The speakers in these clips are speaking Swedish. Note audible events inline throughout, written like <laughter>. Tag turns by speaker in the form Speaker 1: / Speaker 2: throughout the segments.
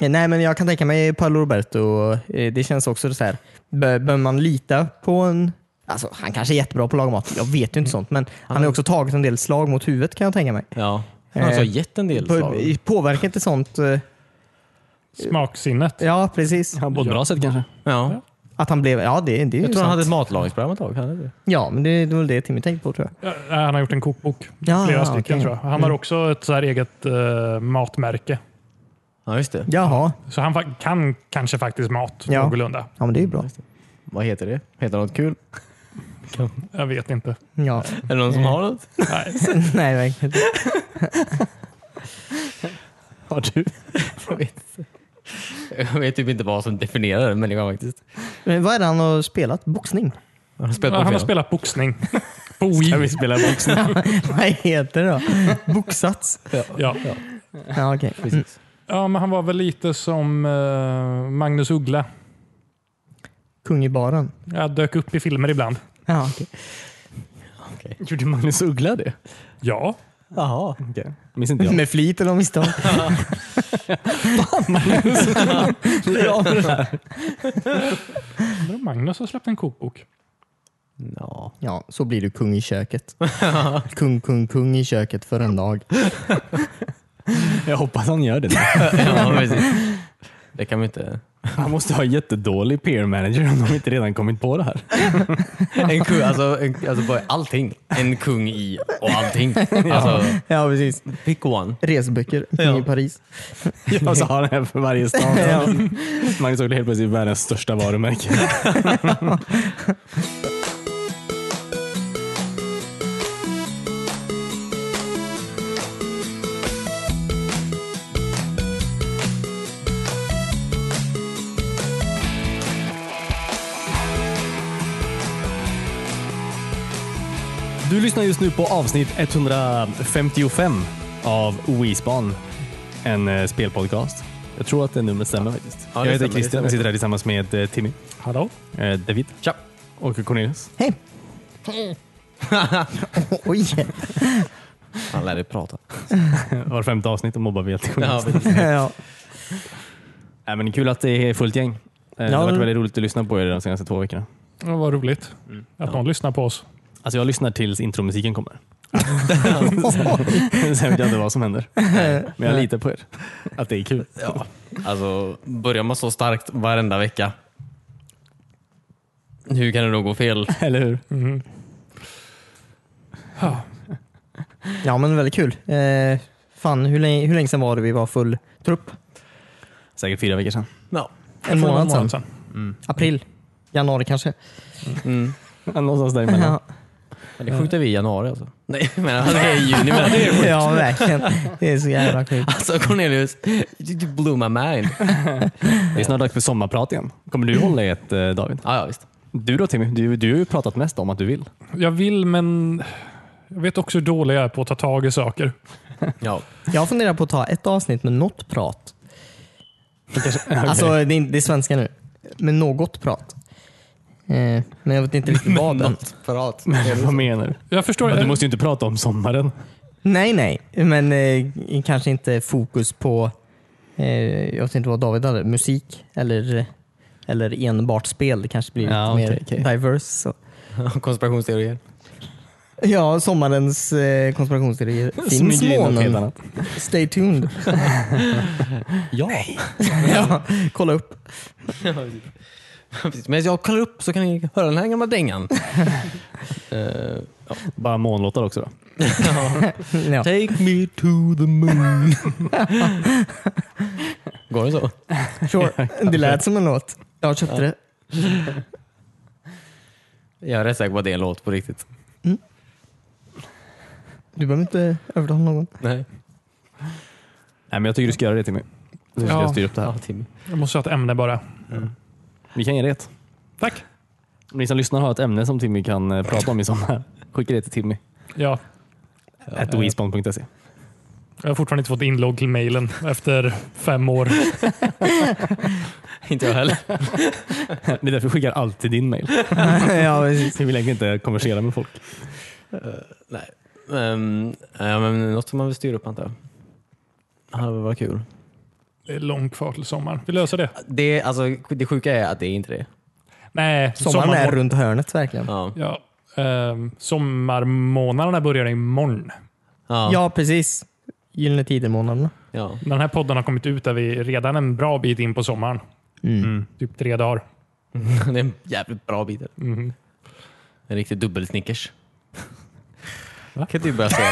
Speaker 1: Eh, Nej, men jag kan tänka mig Paolo Roberto. eh, Det känns också så här. Bör, bör man lita på en... Alltså, han kanske är jättebra på lagmat. Jag vet ju inte sånt, men han har ju också tagit en del slag mot huvudet kan jag tänka mig.
Speaker 2: Ja. Han har alltså
Speaker 1: Eh,
Speaker 2: gett en del
Speaker 1: På,
Speaker 2: slag.
Speaker 1: i- påverkar inte sånt... eh,
Speaker 3: Smaksinnet.
Speaker 1: Ja, precis.
Speaker 4: Ja, på ett bra sätt kanske.
Speaker 2: Ja.
Speaker 1: Att han blev... Ja, det, det är
Speaker 2: Jag
Speaker 1: ju
Speaker 2: tror han hade
Speaker 1: sant.
Speaker 2: ett matlagningsprogram ett tag. hade det?
Speaker 1: Ja, men det, det var väl det Timmy tänkte på tror jag.
Speaker 3: Ja, Han har gjort en kokbok.
Speaker 2: Ah,
Speaker 1: Ja,
Speaker 3: Flera
Speaker 1: ja,
Speaker 3: stycken
Speaker 1: okej.
Speaker 3: tror jag. Han har
Speaker 2: Mm.
Speaker 3: också ett så här eget eh, matmärke.
Speaker 2: Ja, just det.
Speaker 1: Jaha.
Speaker 3: Så han fa- kan kanske faktiskt mat
Speaker 1: Ja.
Speaker 3: någorlunda.
Speaker 1: Ja, men det är ju bra.
Speaker 2: Vad heter det? Heter det något kul?
Speaker 3: Jag vet inte.
Speaker 1: Ja. <laughs>
Speaker 2: Är det någon som har något?
Speaker 3: Nej.
Speaker 1: Nej, verkligen inte.
Speaker 2: Har du? <laughs> Jag vet inte. Jag vet typ inte vad som definierar en människa faktiskt.
Speaker 1: Men vad är det han har spelat? Boxning? <laughs>
Speaker 2: Han har spelat
Speaker 3: Han har
Speaker 2: boxning. <laughs>
Speaker 3: spelat boxning. På Wii.
Speaker 2: spela boxning.
Speaker 1: vad heter det då? Boxats?
Speaker 3: Ja.
Speaker 1: Ja, okej. Mm.
Speaker 2: Precis.
Speaker 3: ja, men han var väl lite som eh, Magnus Uggla.
Speaker 1: Kung i baren?
Speaker 3: Jag dök upp i filmer ibland.
Speaker 1: Mm. Ja, okej.
Speaker 4: Gjorde Magnus Uggla det?
Speaker 3: Ja.
Speaker 4: Jaha. Okay. Minns inte jag.
Speaker 1: Med flit eller av misstag?
Speaker 4: Ja, men-
Speaker 3: Undrar om Magnus har släppt en kokbok.
Speaker 4: Ja.
Speaker 1: <laughs> Ja, så blir du kung i <laughs> köket. kung, kung, kung i köket för en dag.
Speaker 4: Jag hoppas han gör det. <laughs> nu.
Speaker 2: <laughs> ja, precis. Det kan man inte...
Speaker 4: Han måste ha jättedålig peer manager om de inte redan kommit på det här.
Speaker 2: En kung, alltså, en, alltså bara allting. En kung i och <laughs> allting. Alltså,
Speaker 1: Ja, precis.
Speaker 2: pick one.
Speaker 1: Reseböcker. Kung i Paris.
Speaker 4: Och så har han en för varje stad. Magnus Uggla är helt plötsligt världens största varumärke. Du lyssnar just nu på avsnitt 155 av Wispan, en eh, spelpodcast. Jag tror att det numret stämmer faktiskt.
Speaker 2: Ja, det
Speaker 4: jag heter
Speaker 2: stämmer, det
Speaker 4: Christian
Speaker 2: stämmer.
Speaker 4: och sitter här tillsammans med eh, Timmy,
Speaker 3: Hallå?
Speaker 4: eh, David
Speaker 2: Tja!
Speaker 4: och Cornelius.
Speaker 1: <laughs> Hej! Oj!
Speaker 2: Han lär dig prata.
Speaker 4: Var femte avsnitt och mobbar vi alltid
Speaker 2: Ja,
Speaker 4: Cornelius.
Speaker 2: precis.
Speaker 1: ja.
Speaker 4: Nej, men det är Kul att det är fullt gäng. Eh, Det har varit väldigt roligt att lyssna på er de senaste två veckorna.
Speaker 3: Ja, vad roligt att någon lyssnar på oss.
Speaker 4: Alltså jag lyssnar tills intromusiken kommer. Sen vet jag inte vad som händer. Men jag litar på er. Att det är kul.
Speaker 2: Ja. Alltså, börjar man så starkt varenda vecka, hur kan det då gå fel?
Speaker 4: Eller hur?
Speaker 3: Mhm.
Speaker 1: ja, men väldigt kul. Eh, fan, hur länge, hur länge sedan var det vi var full trupp?
Speaker 4: Säkert fyra veckor sedan.
Speaker 2: Ja.
Speaker 1: En
Speaker 3: För någon
Speaker 1: månad sedan? April? Januari kanske?
Speaker 2: Mm.
Speaker 4: Någonstans däremellan.
Speaker 1: Ja,
Speaker 2: Men det skjuter vi i januari alltså. Nej, men alltså, det är i juni. Men det är sjukt.
Speaker 1: ja verkligen. Det är så jävla sjukt.
Speaker 2: Alltså Cornelius, you blew my mind.
Speaker 4: Det är snart dags för sommarprat igen. Kommer du hålla i ett eh, David?
Speaker 2: Ja, ja visst.
Speaker 4: Du då Timmy? Du, du har ju pratat mest om att du vill.
Speaker 3: Jag vill, men jag vet också hur dålig jag är på att ta tag i saker.
Speaker 2: Ja.
Speaker 1: Jag funderar på att ta ett avsnitt med något prat. Alltså, det är, det är svenska nu. Med något prat. Eh, men jag vet inte riktigt vad än.
Speaker 2: prat.
Speaker 4: <laughs> Vad menar du?
Speaker 3: Jag förstår.
Speaker 4: Men du måste ju inte prata om sommaren.
Speaker 1: Nej, nej. Men eh, kanske inte fokus på, eh, jag vet inte vad David hade, musik eller, eller enbart spel. Det kanske blir
Speaker 4: Ja,
Speaker 1: lite
Speaker 4: okej,
Speaker 1: mer diverse. Så.
Speaker 2: <laughs> Konspirationsteorier.
Speaker 1: Ja, sommarens eh, konspirationsteorier.
Speaker 4: Som
Speaker 1: Finns
Speaker 4: ligger i något helt
Speaker 1: månen?
Speaker 4: annat.
Speaker 1: Stay tuned.
Speaker 4: <laughs> Ja.
Speaker 1: <laughs> ja, kolla upp.
Speaker 2: Precis. Men jag kollar upp så kan ni höra den här gamla dängan. Eh,
Speaker 4: Bara månlåtar också då.
Speaker 1: Ja.
Speaker 2: <laughs> Take me to the moon. Går det så?
Speaker 1: Sure. Det lät som en låt. Jag köpte det.
Speaker 2: Jag är rätt säker på att det är en låt på riktigt.
Speaker 1: Du behöver inte övertala någon.
Speaker 2: Nej.
Speaker 4: Nej, men jag tycker du ska göra det Timmy. Du ska
Speaker 3: Ja.
Speaker 4: styra upp det här.
Speaker 2: Timmy.
Speaker 3: Jag måste ha ett ämne bara.
Speaker 4: Vi kan ge det ett.
Speaker 3: Tack.
Speaker 4: Om ni som lyssnar har ett ämne som Timmy kan eh, prata om i sommar, skicka det till Timmy.
Speaker 3: Ja,
Speaker 4: At weespan.se.
Speaker 3: jag har fortfarande inte fått inlogg till mejlen efter fem år.
Speaker 2: Inte jag heller.
Speaker 4: <laughs> Det är därför jag skickar alltid din <laughs> mail.
Speaker 1: ja, precis.
Speaker 4: Vi vill egentligen inte konversera med folk.
Speaker 2: Nej. Ehm, Um, ja, men något som man vill styra upp antar jag. Det hade väl varit kul.
Speaker 3: Det är långt kvar till sommaren. Vi löser det.
Speaker 2: Det, är- alltså, det sjuka är att det är inte det.
Speaker 3: Nej,
Speaker 1: Sommaren är
Speaker 3: sommarmor-
Speaker 1: runt hörnet verkligen. Ja,
Speaker 2: Ja.
Speaker 3: Ja, ehm, sommarmånaderna börjar imorgon.
Speaker 2: Ja.
Speaker 1: precis. Gyllene Tider-månaderna.
Speaker 2: Ja. <laughs>
Speaker 3: Den här podden har kommit ut där vi är redan en bra bit in på sommaren. Typ tre dagar.
Speaker 2: Det är en jävligt bra bit. En riktig dubbelsnickers.
Speaker 3: Va?
Speaker 2: Kan du börja säga?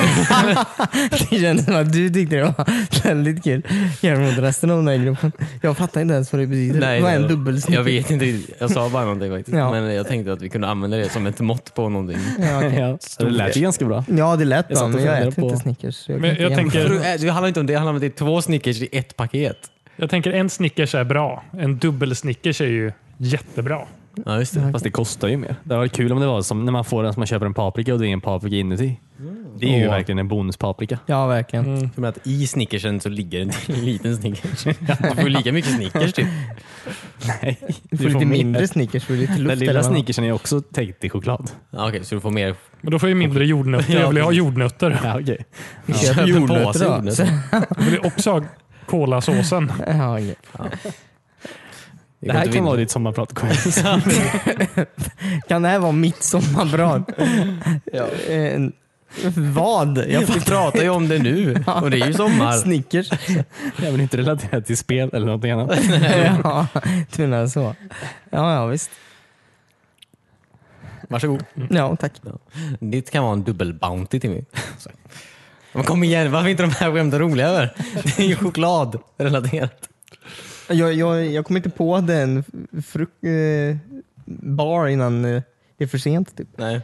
Speaker 1: <laughs> Det kändes som att du tyckte det var väldigt kul jämfört med resten av den här gruppen. Jag fattar inte ens vad det betyder.
Speaker 2: Nej,
Speaker 1: vad är en
Speaker 2: jag-
Speaker 1: dubbelsnitt?
Speaker 2: Jag vet inte riktigt. Jag sa bara någonting faktiskt.
Speaker 1: Ja.
Speaker 2: Men jag tänkte att vi kunde använda det som ett mått på någonting.
Speaker 1: Ja,
Speaker 4: <laughs>
Speaker 1: okej.
Speaker 4: Ja, det lät ju ganska bra.
Speaker 1: ja, det lät
Speaker 4: Jag
Speaker 1: bra,
Speaker 4: satt och
Speaker 1: men jag
Speaker 4: funderade
Speaker 1: äter inte
Speaker 4: på-
Speaker 1: Snickers. så kan
Speaker 3: Men
Speaker 1: inte
Speaker 3: jag
Speaker 1: jämföra.
Speaker 3: tänker-
Speaker 2: Du, eh, det handlar inte om det, det handlar om att det är två snickers i ett paket.
Speaker 3: Jag tänker en Snickers är bra. En dubbelsnickers är ju jättebra.
Speaker 2: Ja, just det.
Speaker 4: Fast det kostar ju mer. Det var kul om det var som när man får en som man köper en paprika och det är en paprika inuti. Det är ju
Speaker 1: Åh.
Speaker 4: verkligen en <laughs> bonuspaprika.
Speaker 1: Ja, verkligen.
Speaker 3: Mm,
Speaker 2: För att i snickersen så ligger en till liten snickers. Du får lika mycket snickers typ.
Speaker 4: Nej,
Speaker 1: Du får lite mindre Snickers för lite luft.
Speaker 4: Den lilla
Speaker 1: eller vad?
Speaker 4: snickersen är också täckt i choklad.
Speaker 2: Ja, Okej, så du får mer.
Speaker 3: Men då får jag ju mindre jordnötter. Jag vill ju ha jordnötter.
Speaker 4: Ja, okej.
Speaker 1: Vi
Speaker 2: Ja.
Speaker 1: köper
Speaker 2: Köper
Speaker 1: jordnötter
Speaker 2: påse
Speaker 1: då.
Speaker 2: jordnötter.
Speaker 1: Så-
Speaker 3: Jag vill ju också ha kolasåsen.
Speaker 1: Ja, okej.
Speaker 4: Det här kan vara ditt sommarprat. Cornelius.
Speaker 1: Kan det här vara mitt sommarbrad? Eh, Vad? Jag
Speaker 2: Vi
Speaker 1: fattar
Speaker 2: pratar ju om det
Speaker 1: <laughs>
Speaker 2: nu och det är ju sommar. <laughs>
Speaker 1: Snickers.
Speaker 4: <laughs> Jag vill inte relatera till spel eller något annat.
Speaker 1: ja, du menar så. Ja, ja visst.
Speaker 2: Varsågod.
Speaker 1: Ja, tack.
Speaker 2: Ditt kan vara en dubbel bounty till mig. Så. Men kom igen, varför är inte de här skämten roliga? Över? Det är ju chokladrelaterat.
Speaker 1: Jag, jag, jag kom inte på den fruk- eh, bar innan eh, det är för sent. Typ.
Speaker 2: Nej.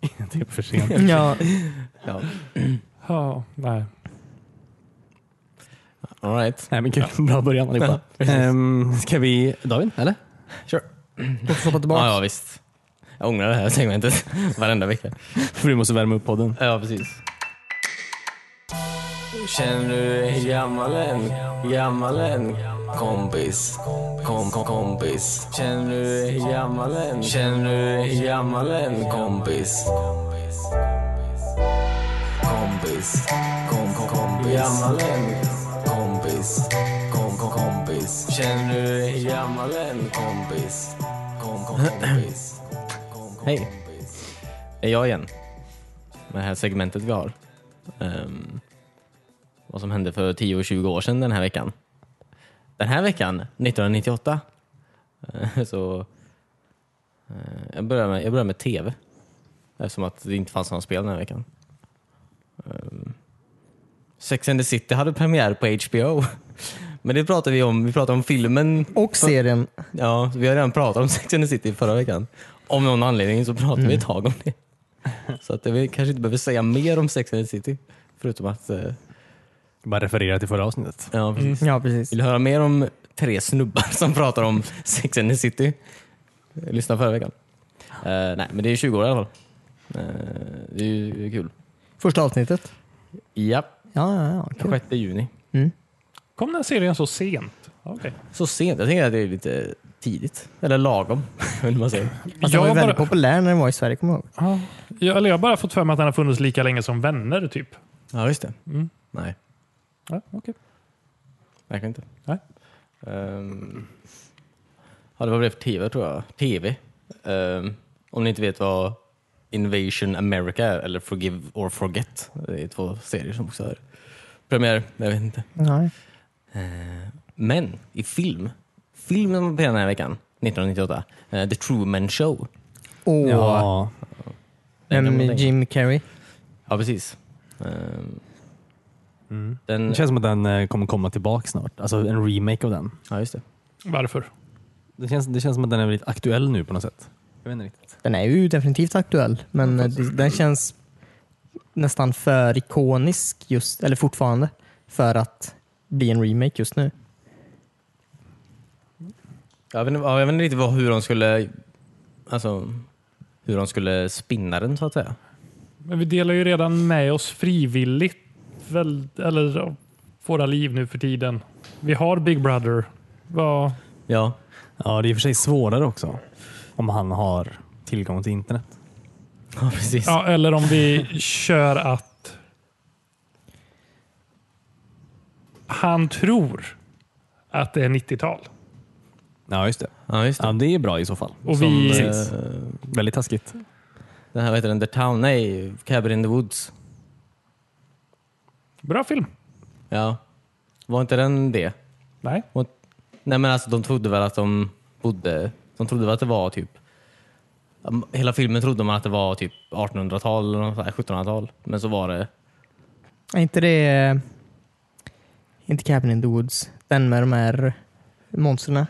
Speaker 4: <laughs> Det är för sent.
Speaker 1: Ja,
Speaker 2: Ja.
Speaker 3: Ja, nej.
Speaker 2: All right.
Speaker 4: Nej, men kul. Bra början allihopa. Ehm, ska vi... David, eller?
Speaker 2: Sure.
Speaker 1: låt oss hoppa tillbaka.
Speaker 2: Ja, ja, visst. Jag ångrar det här segmentet <laughs> varenda vecka.
Speaker 4: <laughs> För vi måste värma upp podden.
Speaker 2: Ja, precis.
Speaker 5: Känner du dig gammal än? Gammal än? Kompis, kom, kom, kompis. Känner du dig gammal än? Känner du dig gammal än? Kompis. Kompis, kom, kom, kompis. Gammal än? Kompis, kom, kom, kompis. Känner du dig gammal än? Kompis, kom, kom, kompis. Kom, kom,
Speaker 2: Hej.
Speaker 5: kompis.
Speaker 2: Det är jag igen. Med det här segmentet vi har. Ehm, vad som hände för 10 och 20 år sedan den här veckan. Den här veckan, 1998, eh, så... eh, jag, börjar med, jag börjar med TV. Eftersom att det inte fanns några spel den här veckan. Ehm, Sex and the City hade premiär på HBO. <laughs> Men det pratade vi om. Vi pratade om filmen
Speaker 1: Och serien.
Speaker 2: Ja, vi har redan pratat om Sex and the City förra veckan. Om någon anledning så pratade vi ett tag om det. Så att vi kanske inte behöver säga mer om Sex and the City. Förutom att, eh,
Speaker 4: Bara referera till förra avsnittet.
Speaker 2: ja precis.
Speaker 1: Ja, precis.
Speaker 2: Vill du höra mer om tre snubbar som pratar om Sex and the City? Lyssna förra veckan. Eh, nej, men det är 20 år i alla fall. Eh, det är ju kul.
Speaker 1: Första avsnittet.
Speaker 2: Ja,
Speaker 1: Ja, ja, ja. Kul.
Speaker 2: 6 juni.
Speaker 3: Kom den här serien så sent? Okej.
Speaker 2: Så sent. Jag tänker att det är lite tidigt. Eller lagom, <laughs> vill man säga.
Speaker 1: Fast den Alltså, var ju
Speaker 3: Jag,
Speaker 1: väldigt
Speaker 3: bara,
Speaker 1: populär när den var i Sverige, kommer jag ihåg.
Speaker 3: ja, jag, eller jag har bara fått för mig att den har funnits lika länge som Vänner, typ.
Speaker 2: Ja, just det.
Speaker 3: Mm.
Speaker 2: Nej.
Speaker 3: Ja, okej.
Speaker 2: Verkligen inte.
Speaker 3: Nej.
Speaker 2: Ehm, ja, det var väl det för TV tror jag. TV. Ehm, om ni inte vet vad Invasion America är, eller Forgive or Forget. Det är två serier som också är premiär. Jag vet inte.
Speaker 1: Nej.
Speaker 2: Ehm, men i film. Filmen som var premiär den här veckan, 1998. eh, The Truman Show.
Speaker 1: Och
Speaker 4: Ja.
Speaker 2: Den kan man
Speaker 1: vem,
Speaker 2: tänka.
Speaker 1: Jim Carrey.
Speaker 2: Ja, precis. Ehm,
Speaker 4: Det
Speaker 2: den,
Speaker 4: känns som att den eh, kommer komma tillbaka snart. Alltså en remake av den.
Speaker 2: ja, just det.
Speaker 3: Varför?
Speaker 4: Det känns, det känns som att den är väldigt aktuell nu på något sätt. Jag vet inte riktigt.
Speaker 1: Den är ju definitivt aktuell, men eh, det- den känns nästan för ikonisk just, eller fortfarande, för att bli en remake just nu.
Speaker 2: Jag vet, inte- ja, jag vet inte riktigt vad, hur de skulle alltså, hur de skulle spinna den så att säga.
Speaker 3: Men vi delar ju redan med oss frivilligt väl, eller av våra liv nu för tiden. Vi har Big Brother. Vad-
Speaker 2: Ja, <laughs>
Speaker 4: Ja, det är i och för sig svårare också. Om han har tillgång till internet.
Speaker 2: ja precis.
Speaker 3: ja, eller om vi kör att han tror att det är 90-tal.
Speaker 4: Ja, just det.
Speaker 2: Ja, just det.
Speaker 4: Ja, det är bra i så fall.
Speaker 3: Och
Speaker 2: Som,
Speaker 3: vi-
Speaker 2: eh,
Speaker 4: Väldigt taskigt.
Speaker 2: den här, vad heter den? The Town? Nej, Cabin in the Woods.
Speaker 3: Bra film.
Speaker 2: Ja. Var inte den det?
Speaker 3: Nej.
Speaker 2: Och, nej men alltså de trodde väl att de bodde, de trodde väl att det var typ, um, hela filmen trodde man att det var typ 1800-tal eller något sånt här, 1700-tal. Men så var det,
Speaker 1: Är inte det... eh, Inte Cabin in the Woods. Den med de här monstren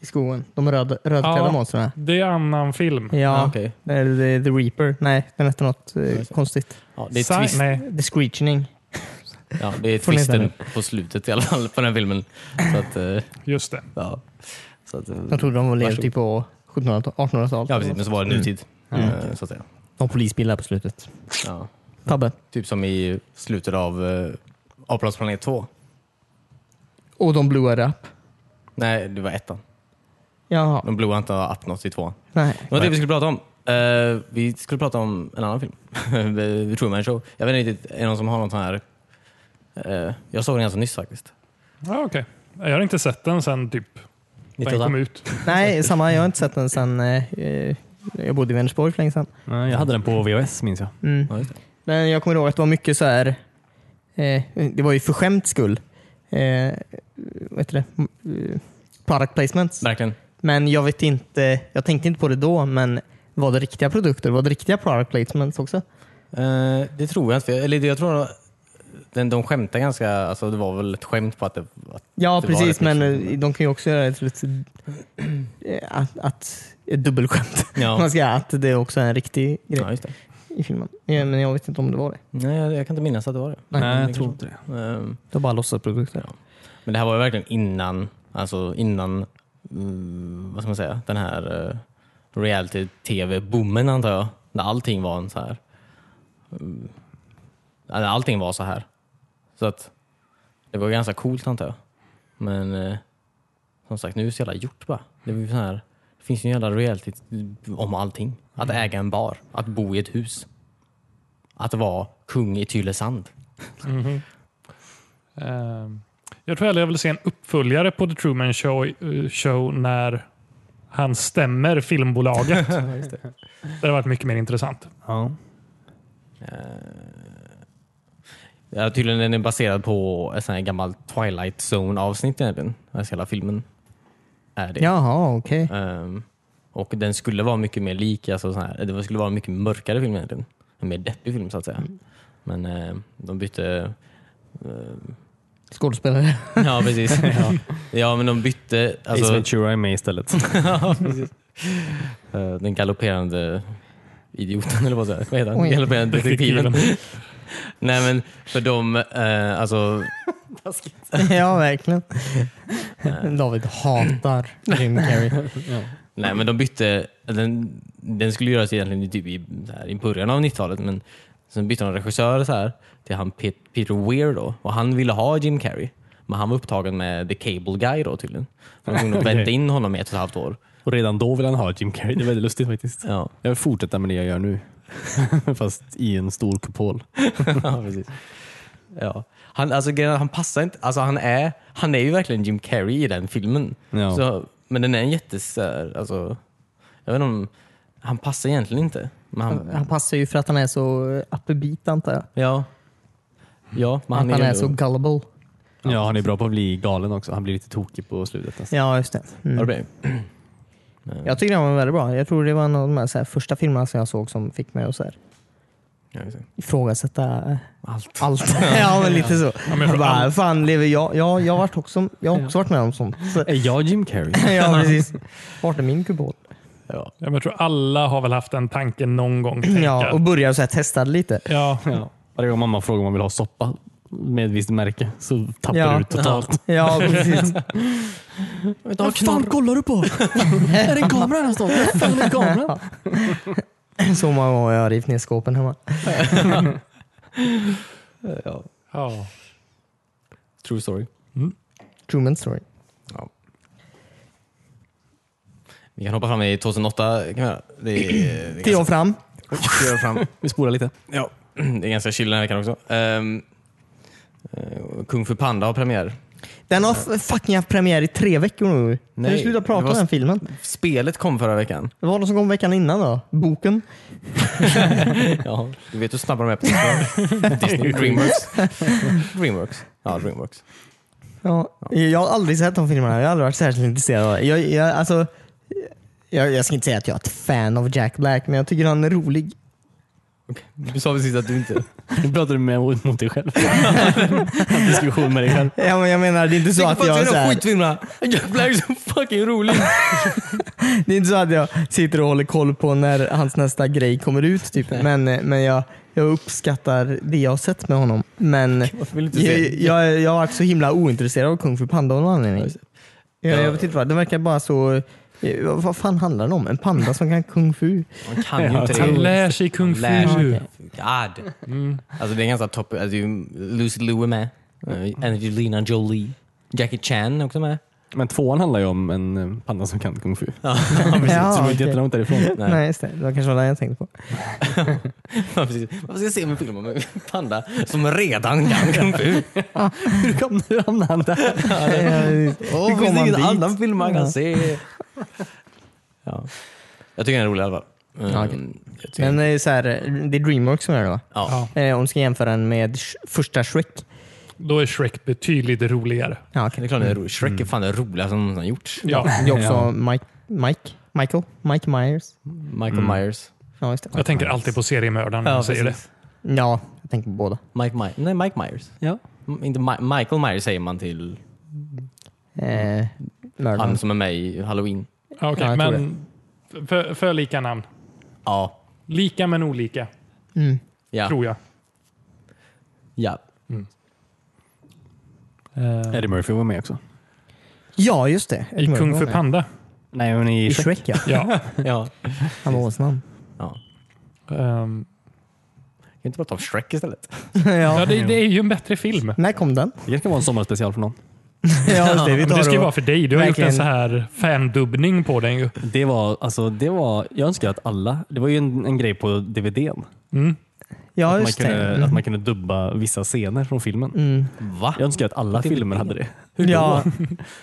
Speaker 1: i skogen. De röd, rödklädda
Speaker 3: Ja.
Speaker 1: monstren.
Speaker 3: Det är en annan film.
Speaker 1: Ja,
Speaker 2: ja Ah, okej.
Speaker 1: det är The, the Reaper. Nej, den hette något eh,
Speaker 2: Just det.
Speaker 1: konstigt.
Speaker 2: Ja, det är,
Speaker 3: Sa-
Speaker 2: twist,
Speaker 3: Nej.
Speaker 1: The Screeching.
Speaker 2: ja, det är
Speaker 1: Får ni
Speaker 2: twisten
Speaker 1: vänta
Speaker 2: på slutet i alla fall på den filmen. Så att, eh,
Speaker 3: Just det.
Speaker 2: ja. Så att, eh,
Speaker 1: De trodde de levde
Speaker 2: Varsågod.
Speaker 1: typ på 1700-talet, 1800-talet.
Speaker 2: ja precis, men så var det nutid.
Speaker 1: Mm.
Speaker 2: Eh, Så att säga.
Speaker 1: De polisbilar på slutet.
Speaker 2: Ja.
Speaker 1: Tabbe.
Speaker 2: Typ som i slutet av eh, Apornas planet 2.
Speaker 1: Och de blåade upp.
Speaker 2: Nej, det var ettan.
Speaker 1: Jaha.
Speaker 2: De blåa inte upp något i tvåan.
Speaker 1: Nej.
Speaker 2: Det var det vi skulle prata om. Eh, vi skulle prata om en annan film. <laughs> Eh, The Truman Show. Jag vet inte riktigt, är det någon som har något sån här? Eh, jag såg den ganska nyss faktiskt.
Speaker 3: Ja, okej. Jag har inte sett den sen typ den
Speaker 2: 98.
Speaker 3: kom ut.
Speaker 1: Nej, samma. Jag har inte sett den sedan eh, eh, jag bodde i Vänersborg för länge sedan.
Speaker 4: Nej, Jag hade den på VHS minns jag.
Speaker 1: Mm.
Speaker 2: Ja, just det.
Speaker 1: Men jag kommer ihåg att det var mycket så här. Eh, det var ju för skämts skull. Eh, vad heter det? Mm, eh, Product placements.
Speaker 2: Verkligen.
Speaker 1: Men jag vet inte. Jag tänkte inte på det då, men var det riktiga produkter? Var det riktiga product placements också?
Speaker 2: Eh, det tror jag inte. Eller det- jag tror att den, de skämtade ganska, alltså det var väl ett skämt på att det att,
Speaker 1: Ja,
Speaker 2: Det var
Speaker 1: precis.
Speaker 2: det,
Speaker 1: Men
Speaker 2: liksom.
Speaker 1: eh, de kan ju också göra ett, ett, att, att, ett dubbelskämt. Om Man
Speaker 2: ja.
Speaker 1: ska, säga, att det också är en riktig grej
Speaker 2: ja, just det.
Speaker 1: i filmen. Ja, men jag vet inte om det var det.
Speaker 2: Nej, jag, jag kan inte minnas att det var det.
Speaker 1: Nej,
Speaker 2: Men
Speaker 4: jag
Speaker 2: det
Speaker 4: tror
Speaker 2: kanske var det. Ehm,
Speaker 1: Det var bara låtsasprodukter.
Speaker 2: Men det här var ju verkligen innan, alltså innan, mm, vad ska man säga, den här eh, reality-tv-boomen antar jag. När allting var en så här, mm, när allting var så här. Så att det var ganska coolt antar jag. Men eh, som sagt, nu är det så jävla gjort bara. Det, var ju så här, det finns ju en jävla reality om allting. Att äga en bar, att bo i ett hus. Att vara kung i Tylösand.
Speaker 3: Mhm. Ehm, Jag tror hellre jag vill se en uppföljare på The Truman Show, eh, show när han
Speaker 1: <laughs>
Speaker 3: stämmer filmbolaget. det har varit mycket mer intressant.
Speaker 4: Ja.
Speaker 2: Eh, Ja, tydligen den är baserad på en sån här gammal Twilight Zone avsnitt egentligen. Alltså hela filmen är det.
Speaker 1: Jaha, okej.
Speaker 2: Ehm, och den skulle vara mycket mer lik, alltså sån här, det skulle vara en mycket mörkare film egentligen. En mer deppig film så att säga. Men eh, de bytte eh,
Speaker 1: Skådespelare.
Speaker 2: <laughs>
Speaker 1: <laughs>
Speaker 2: Ja precis. ja. men de bytte
Speaker 4: Ace
Speaker 2: alltså,
Speaker 4: Ventura är med <laughs> istället.
Speaker 2: ja, precis. <laughs> Eh, den galopperande idioten eller vad säger jag? Vad heter han?
Speaker 1: Oj.
Speaker 2: Galopperande detektiven.
Speaker 3: Detektiven.
Speaker 2: Nej men för de, eh, alltså
Speaker 1: ja, verkligen. David hatar Jim <laughs> Carrey.
Speaker 2: Nej, men de bytte... Den, den skulle göras egentligen i typ i, så här, i början av 90-talet, men sen bytte de regissör så här, till han Pet, Peter Weir då, och han ville ha Jim Carrey. Men han var upptagen med The Cable Guy då tydligen. Så De kunde vänta in honom i ett och ett halvt år.
Speaker 4: Och redan då vill han ha Jim Carrey. Det är väldigt lustigt faktiskt.
Speaker 2: Ja,
Speaker 4: Jag vill fortsätta med det jag gör nu. <laughs> Fast i en stor kupol.
Speaker 2: ja precis. Ja. Han, alltså, grejen är att han passar inte. Alltså, han, är, han är ju verkligen Jim Carrey i den filmen.
Speaker 4: Ja.
Speaker 2: Så, men den är en jättes... Alltså, jag vet inte om... Han passar egentligen inte. Men han,
Speaker 1: Han passar ju för att han är så upbeat antar jag.
Speaker 2: ja. Ja, men
Speaker 1: att han är
Speaker 2: ändå-
Speaker 1: så gullible.
Speaker 4: Ja, han är bra på att bli galen också. Han blir lite tokig på slutet. Alltså.
Speaker 1: Ja, just det.
Speaker 2: Ja, det
Speaker 1: Mm.
Speaker 2: blir det.
Speaker 1: Jag tycker den var väldigt bra. Jag tror det var en av de här, så här, första filmerna som jag såg som fick mig att så här, ifrågasätta eh,
Speaker 2: Allt.
Speaker 1: allt. <laughs> ja, men lite så.
Speaker 3: men jag
Speaker 1: jag
Speaker 3: tror
Speaker 1: bara,
Speaker 3: all-
Speaker 1: fan lever jag? Ja, jag har varit också, jag har också varit med om sånt. Så,
Speaker 4: Är jag Jim
Speaker 1: <laughs>
Speaker 4: Carrey?
Speaker 1: ja, precis. Vart är min kupol?
Speaker 2: Ja.
Speaker 3: Ja, men Jag tror alla har väl haft den tanken någon gång. tänker
Speaker 1: Ja,
Speaker 3: jag.
Speaker 1: och börjar så här, testa det lite.
Speaker 3: ja.
Speaker 4: Ja. Varje gång mamma frågar om man vill ha soppa med ett visst märke så tappar
Speaker 1: Ja.
Speaker 4: du ut totalt.
Speaker 1: Ja, <laughs> precis.
Speaker 2: Vad fan
Speaker 1: <laughs>
Speaker 4: kollar du på? är det en kamera någonstans? Vad fan är en kamera?
Speaker 1: Så många gånger jag har rivit ner skåpen hemma.
Speaker 2: Ja.
Speaker 3: Ja.
Speaker 2: True story.
Speaker 1: Truman story.
Speaker 2: Vi kan hoppa fram i 2008. Kan vi göra. det är, det
Speaker 1: <clears throat>
Speaker 2: är
Speaker 1: Tio år
Speaker 2: ganska,
Speaker 1: fram.
Speaker 2: tio år fram.
Speaker 4: Vi spolar lite.
Speaker 2: Ja. Det är ganska chill den här veckan också. Ehm, eh, Kung Fu Panda har premiär.
Speaker 1: Den har f- fucking haft premiär i tre veckor nu. Nej,
Speaker 2: Nej,
Speaker 1: du sluta
Speaker 2: det
Speaker 1: prata
Speaker 2: var-
Speaker 1: om den filmen?
Speaker 2: Spelet kom förra veckan.
Speaker 1: Det var något som kom veckan innan då. Boken.
Speaker 2: Ja, du vet hur snabba de är på <laughs> sånt där. Disney. Dreamworks. Dreamworks. Ja, Dreamworks.
Speaker 1: Ja. Jag har aldrig sett de filmerna. Jag har aldrig varit särskilt intresserad av det. Jag, jag, alltså, jag, jag ska inte säga att jag är ett fan av Jack Black, men jag tycker han är rolig.
Speaker 2: Du sa precis att du inte...
Speaker 4: Nu pratar du med mot, mot dig
Speaker 1: <laughs>
Speaker 4: själv. En diskussion med dig själv.
Speaker 1: Ja, men jag menar, det är inte så att jag... Så här,
Speaker 2: skitfilmerna. Jack Black är så fucking rolig.
Speaker 1: det är inte så att jag sitter och håller koll på när hans nästa grej kommer ut. Typ. Men, men jag, jag uppskattar det jag har sett med honom. Men
Speaker 2: Varför vill du inte
Speaker 1: jag,
Speaker 2: se?
Speaker 1: jag, jag har varit så himla ointresserad av Kung Fu Panda av någon anledning. Jag, jag vet inte vad, det verkar bara så... eh, Vad fan handlar den om? En panda som kan Kung
Speaker 3: <laughs>
Speaker 1: Fu?
Speaker 2: Man kan ju inte
Speaker 3: Han
Speaker 2: det.
Speaker 3: lär sig kung
Speaker 2: Lär sig.
Speaker 3: fu.
Speaker 2: God. Alltså det är ganska topp. Alltså, det är ju Lucy Liu är med. Eh, Angelina Jolie. Jackie Chan är också med.
Speaker 4: Men tvåan handlar ju om en eh, panda som kan kung fu.
Speaker 1: Ja,
Speaker 4: så det var inte
Speaker 1: okej.
Speaker 4: jättelångt därifrån.
Speaker 2: Nej.
Speaker 1: <laughs> Nej. just det. Det var kanske var det jag tänkte på.
Speaker 2: Precis. Varför ska jag se en film om en panda som redan kan kung fu?
Speaker 4: Hur kom du hamnade där?
Speaker 1: <laughs> Oh,
Speaker 2: Det finns ingen annan film man kan se. Ja. Jag tycker den är rolig i alla fall. Mm,
Speaker 1: Ja, okej.
Speaker 2: jag tycker-
Speaker 1: Men det är, så här, det är Dreamworks som är det va?
Speaker 2: ja.
Speaker 3: Ja,
Speaker 1: Eh, Om du ska jämföra den med Sh- första Shrek.
Speaker 3: då är Shrek betydligt roligare.
Speaker 1: Ja,
Speaker 2: Det
Speaker 1: okay.
Speaker 2: är klart den är rolig. Shrek är fan det roligaste som någonsin har gjorts.
Speaker 3: Ja,
Speaker 1: Det är också Mike, Mike, Michael, Mike Myers.
Speaker 2: Michael Myers.
Speaker 1: Ja, just det.
Speaker 3: jag tänker alltid på seriemördaren när jag säger det.
Speaker 1: Ja, jag tänker på båda.
Speaker 2: Mike My- Nej, Mike Myers.
Speaker 4: Ja.
Speaker 2: M- Inte Mi- Michael Myers säger man till
Speaker 1: Eh, mördaren.
Speaker 2: han som är med i Halloween.
Speaker 3: Ja, okej,
Speaker 1: Ja, jag tror
Speaker 3: men för, för lika namn.
Speaker 2: Ja.
Speaker 3: Lika men olika,
Speaker 1: Mm.
Speaker 2: Ja.
Speaker 3: tror jag.
Speaker 2: ja.
Speaker 3: Eh,
Speaker 4: Eddie Murphy var med också.
Speaker 1: Ja, just det.
Speaker 3: I
Speaker 1: Mördaren
Speaker 3: Kung
Speaker 1: var
Speaker 3: för
Speaker 1: med.
Speaker 3: Panda.
Speaker 4: Nej, men
Speaker 1: I Shrek ja.
Speaker 3: Ja.
Speaker 2: <laughs> ja.
Speaker 1: Han var åsnan.
Speaker 2: ja.
Speaker 3: <laughs> ehm,
Speaker 2: Kan vi inte prata om Shrek istället?
Speaker 3: ja,
Speaker 1: ja.
Speaker 3: det, det är ju en bättre film.
Speaker 1: När kom den?
Speaker 4: Det kan vara en sommarspecial för någon.
Speaker 1: ja, just det. Vi
Speaker 3: Men
Speaker 1: tar
Speaker 3: det ska ju
Speaker 1: och-
Speaker 3: vara för dig. Du har gjort
Speaker 1: verkligen.
Speaker 3: en så här fandubbning på den ju.
Speaker 4: Det var, alltså, det var, jag önskar att alla, det var ju en, en grej på DVDn.
Speaker 3: Mm.
Speaker 1: Ja,
Speaker 4: Att man,
Speaker 1: just det.
Speaker 4: kunde,
Speaker 1: Mm.
Speaker 4: att man kunde dubba vissa scener från filmen.
Speaker 1: Mm.
Speaker 2: Va?
Speaker 4: Jag önskar att alla
Speaker 2: DVD?
Speaker 4: filmer hade det.
Speaker 1: Ja,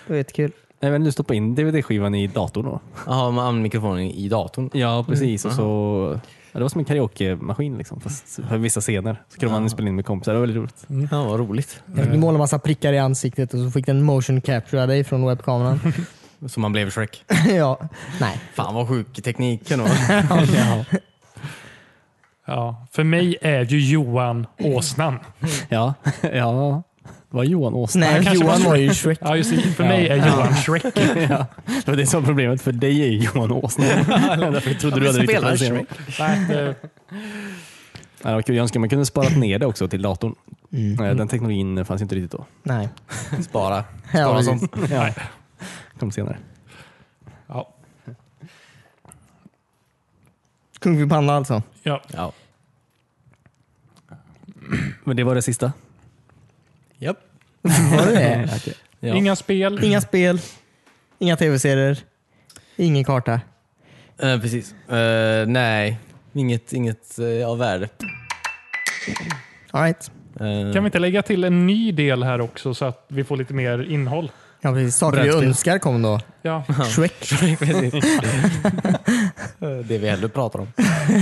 Speaker 1: det var jättekul.
Speaker 4: Nej, men du stoppar in dvd-skivan i datorn då.
Speaker 2: Jaha, man använder mikrofonen i datorn.
Speaker 4: Ja, precis. Och så, ja, det var som en karaokemaskin liksom, fast för vissa scener. Så kunde man spela in med kompisar. Det var väldigt roligt.
Speaker 2: Ja, vad roligt.
Speaker 1: Du målade massa prickar i ansiktet och så fick den motion capture dig från webbkameran.
Speaker 2: Så man blev Shrek.
Speaker 1: ja. Nej.
Speaker 2: Fan vad sjuk teknik. ändå.
Speaker 3: Ja. För mig är ju Johan åsnan.
Speaker 4: Ja, <laughs> ja. Det var Johan Åsne.
Speaker 1: Nej,
Speaker 3: kanske
Speaker 1: Johan
Speaker 3: var
Speaker 1: var ju Shrek.
Speaker 3: Ja, just det. För mig är Johan Shrek.
Speaker 4: Ja, <laughs> det var det som var problemet. För dig är Johan Åsne. <laughs> Därför trodde du
Speaker 2: Jag
Speaker 4: aldrig riktigt
Speaker 2: spelar
Speaker 4: vad du
Speaker 2: Shrek.
Speaker 3: Nej, det-
Speaker 4: Ja, det var kul. Jag önskar man kunde sparat ner det också till datorn. Eh, Den teknologin fanns ju inte riktigt då.
Speaker 1: Nej.
Speaker 2: <laughs> Spara.
Speaker 1: Ja,
Speaker 2: Spara som
Speaker 1: precis.
Speaker 4: Ja. Kom senare.
Speaker 3: Ja.
Speaker 1: Kung Fu Panda alltså.
Speaker 3: Ja.
Speaker 2: Ja.
Speaker 4: Men det var det sista.
Speaker 2: Japp.
Speaker 1: Var det det?
Speaker 2: Ja.
Speaker 3: Inga spel.
Speaker 1: Eh, Inga spel, inga tv-serier, ingen karta.
Speaker 2: Eh, precis. Eh, nej, inget, inget eh, av värde.
Speaker 1: All right.
Speaker 2: Eh, <laughs>
Speaker 3: Kan vi inte lägga till en ny del här också så att vi får lite mer innehåll?
Speaker 1: Ja, precis. Saker vi
Speaker 4: Brädspel.
Speaker 1: önskar kom då.
Speaker 3: Ja.
Speaker 1: Shrek.
Speaker 2: <laughs> precis. Eh, det vi hellre pratar om.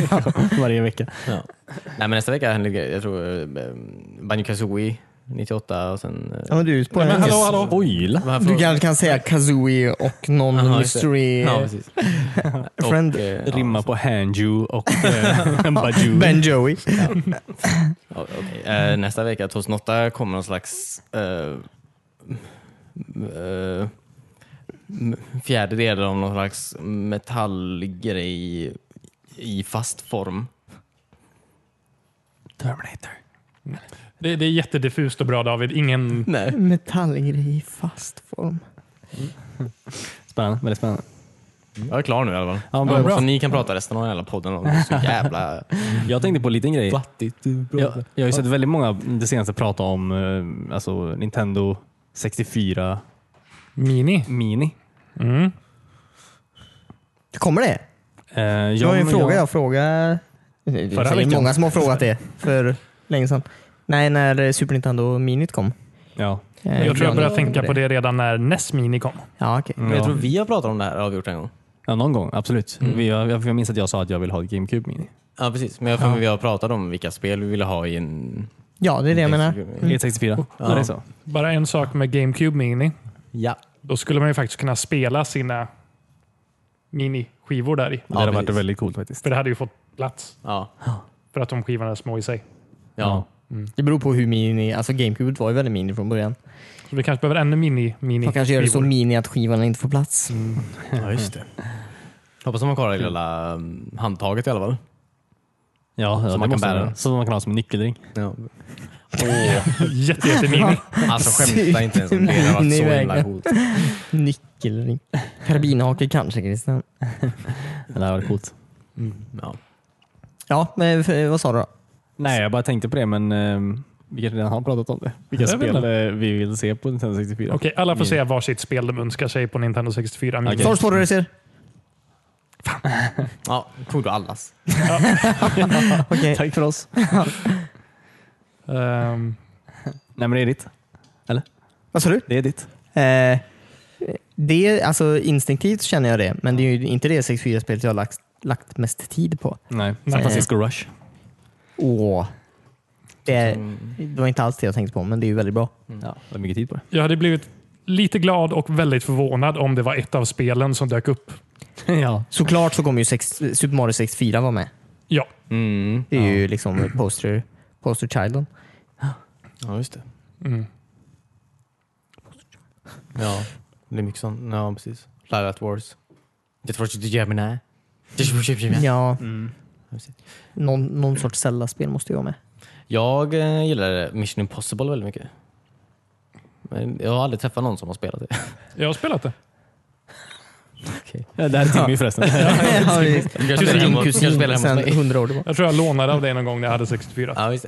Speaker 4: <laughs> Varje vecka.
Speaker 2: Ja. Nej, men nästa vecka händer grejer. Jag tror eh, Banjo Kazooie 98 och sen...
Speaker 1: Ja,
Speaker 2: Eh,
Speaker 1: men du är ute på
Speaker 3: Nej,
Speaker 1: en.
Speaker 3: men hallå, hallå.
Speaker 4: Spoila!
Speaker 2: vad här
Speaker 1: Du
Speaker 2: för-
Speaker 1: kanske kan säga Kazooie och någon
Speaker 2: Aha, just det.
Speaker 1: mystery.
Speaker 2: Ja, precis.
Speaker 1: <laughs> Friend.
Speaker 2: Och, eh, ja,
Speaker 4: Rimma på Hanju och eh, Baju.
Speaker 1: ben Joey.
Speaker 2: ja, okej. Eh, nästa vecka, 2008, kommer någon slags eh, eh, m- fjärde del av någon slags metallgrej i fast form.
Speaker 4: Terminator.
Speaker 3: Det, det är jättediffust och bra David. Ingen...
Speaker 2: Nej.
Speaker 1: Metallgrej i fast form.
Speaker 4: Spännande. Väldigt spännande.
Speaker 2: Jag är klar nu i alla fall.
Speaker 4: Ja, bra.
Speaker 2: Så ni kan prata resten av hela podden om det. så <laughs> jävla
Speaker 4: Jag tänkte på en liten grej.
Speaker 2: plattigt.
Speaker 4: Jag, jag har ju sett väldigt många det senaste prata om eh, alltså Nintendo 64
Speaker 3: Mini.
Speaker 4: Mini.
Speaker 3: Mm.
Speaker 1: Kommer det?
Speaker 4: Eh, ja,
Speaker 1: Det var ju en
Speaker 4: men
Speaker 1: fråga jag frågade. Det
Speaker 3: Förra
Speaker 1: är säkert
Speaker 3: veckan.
Speaker 1: många som har frågat det för länge sedan. Nej, när Super Nintendo Minit kom.
Speaker 4: Ja.
Speaker 1: Eh,
Speaker 3: Jag tror jag
Speaker 1: Björn,
Speaker 3: började tänka
Speaker 1: det.
Speaker 3: på det redan när NES Mini kom.
Speaker 1: Ja, okej.
Speaker 2: Men jag
Speaker 4: Ja.
Speaker 2: tror vi har pratat om det här avgjort en gång.
Speaker 4: ja, någon gång. Absolut. Vi, jag, jag minns att jag sa att jag vill ha ett GameCube Mini.
Speaker 2: Ja, precis. Men jag tror vi har pratat om vilka spel vi ville ha i en...
Speaker 1: Ja, det är det jag menar.
Speaker 4: E64. Ja. det är så.
Speaker 3: Bara en sak med GameCube Mini.
Speaker 2: Ja.
Speaker 3: Då skulle man ju faktiskt kunna spela sina miniskivor där i.
Speaker 4: det hade varit
Speaker 2: precis.
Speaker 4: väldigt coolt faktiskt.
Speaker 3: För det hade ju fått plats.
Speaker 2: Ja.
Speaker 3: För att de skivorna är små i sig.
Speaker 2: ja.
Speaker 1: Det beror på hur mini, alltså GameCube var ju väldigt mini från början.
Speaker 3: Så vi kanske behöver ännu mini mini
Speaker 1: Man kanske gör det så mini att skivan inte får plats.
Speaker 4: Mm.
Speaker 2: Ja, just det. Hoppas de har kvar det lilla um, handtaget i alla fall.
Speaker 4: Ja, ja,
Speaker 2: man kan
Speaker 4: det måste
Speaker 2: bära
Speaker 4: man-
Speaker 2: den.
Speaker 4: Så man kan ha som en nyckelring.
Speaker 2: Ja.
Speaker 3: <laughs> Jätte, jätte mini.
Speaker 2: <laughs> Alltså skämta inte ens om det. Det har varit så himla coolt.
Speaker 1: Nyckelring. Karbinhake kanske Christian.
Speaker 4: Det hade varit coolt.
Speaker 2: Ja.
Speaker 1: Ja, men eh, vad sa du då?
Speaker 4: Nej, jag bara tänkte på det, men ehm, vi kanske redan har pratat om det. Vilka
Speaker 3: Jag vet
Speaker 4: spel
Speaker 3: inte.
Speaker 4: eh, vi vill se på Nintendo 64.
Speaker 3: Okej, alla får säga varsitt spel de önskar sig på Nintendo 64 Mini.
Speaker 4: Okej.
Speaker 1: Force
Speaker 4: <laughs>
Speaker 1: Racer.
Speaker 2: ja, tog du allas?
Speaker 1: Okej.
Speaker 4: Tack för oss.
Speaker 3: Ehm,
Speaker 4: Nej, men det är ditt.
Speaker 1: Vad sa du?
Speaker 4: Det är ditt.
Speaker 1: Eh, det, alltså instinktivt känner jag det, men det är ju inte det 64-spelet jag har lagt, lagt mest tid på.
Speaker 4: Nej.
Speaker 3: Nej.
Speaker 4: San Francisco Rush.
Speaker 1: Åh.
Speaker 2: Eh.
Speaker 1: Det,
Speaker 2: Mm.
Speaker 1: det var inte alls det jag tänkte på, men det är ju väldigt bra.
Speaker 4: Ja, det är mycket tid på det.
Speaker 3: <laughs> jag hade blivit lite glad och väldigt förvånad om det var ett av spelen som dök upp.
Speaker 4: ja.
Speaker 1: Såklart så kommer ju sex, Super Mario 64 vara med.
Speaker 3: Ja,
Speaker 2: Mm.
Speaker 1: Det är ju liksom poster, poster childen.
Speaker 2: Ja, just det.
Speaker 3: Mm.
Speaker 2: Ja, det är mycket sånt. Ja, precis. Live at Wars. Detroit Gemini. Detroit Gemini.
Speaker 1: Ja,
Speaker 4: Mm.
Speaker 2: Precis.
Speaker 1: någon, någon sorts Zelda-spel måste ju
Speaker 2: <laughs>
Speaker 1: vara med.
Speaker 2: Jag eh, gillar Mission Impossible väldigt mycket. Men jag har aldrig träffat någon som har spelat det.
Speaker 3: jag har spelat det.
Speaker 4: ja <laughs> det här är Timmy förresten.
Speaker 1: Ja, visst.
Speaker 2: Kanske
Speaker 1: Han är
Speaker 2: hemma-
Speaker 1: din
Speaker 2: kanske spelar
Speaker 1: kusin
Speaker 2: hemma hos
Speaker 1: sen
Speaker 2: mig.
Speaker 1: 100 år tillbaka.
Speaker 3: Jag tror jag lånade av dig någon gång när jag hade 64.
Speaker 2: Ja, just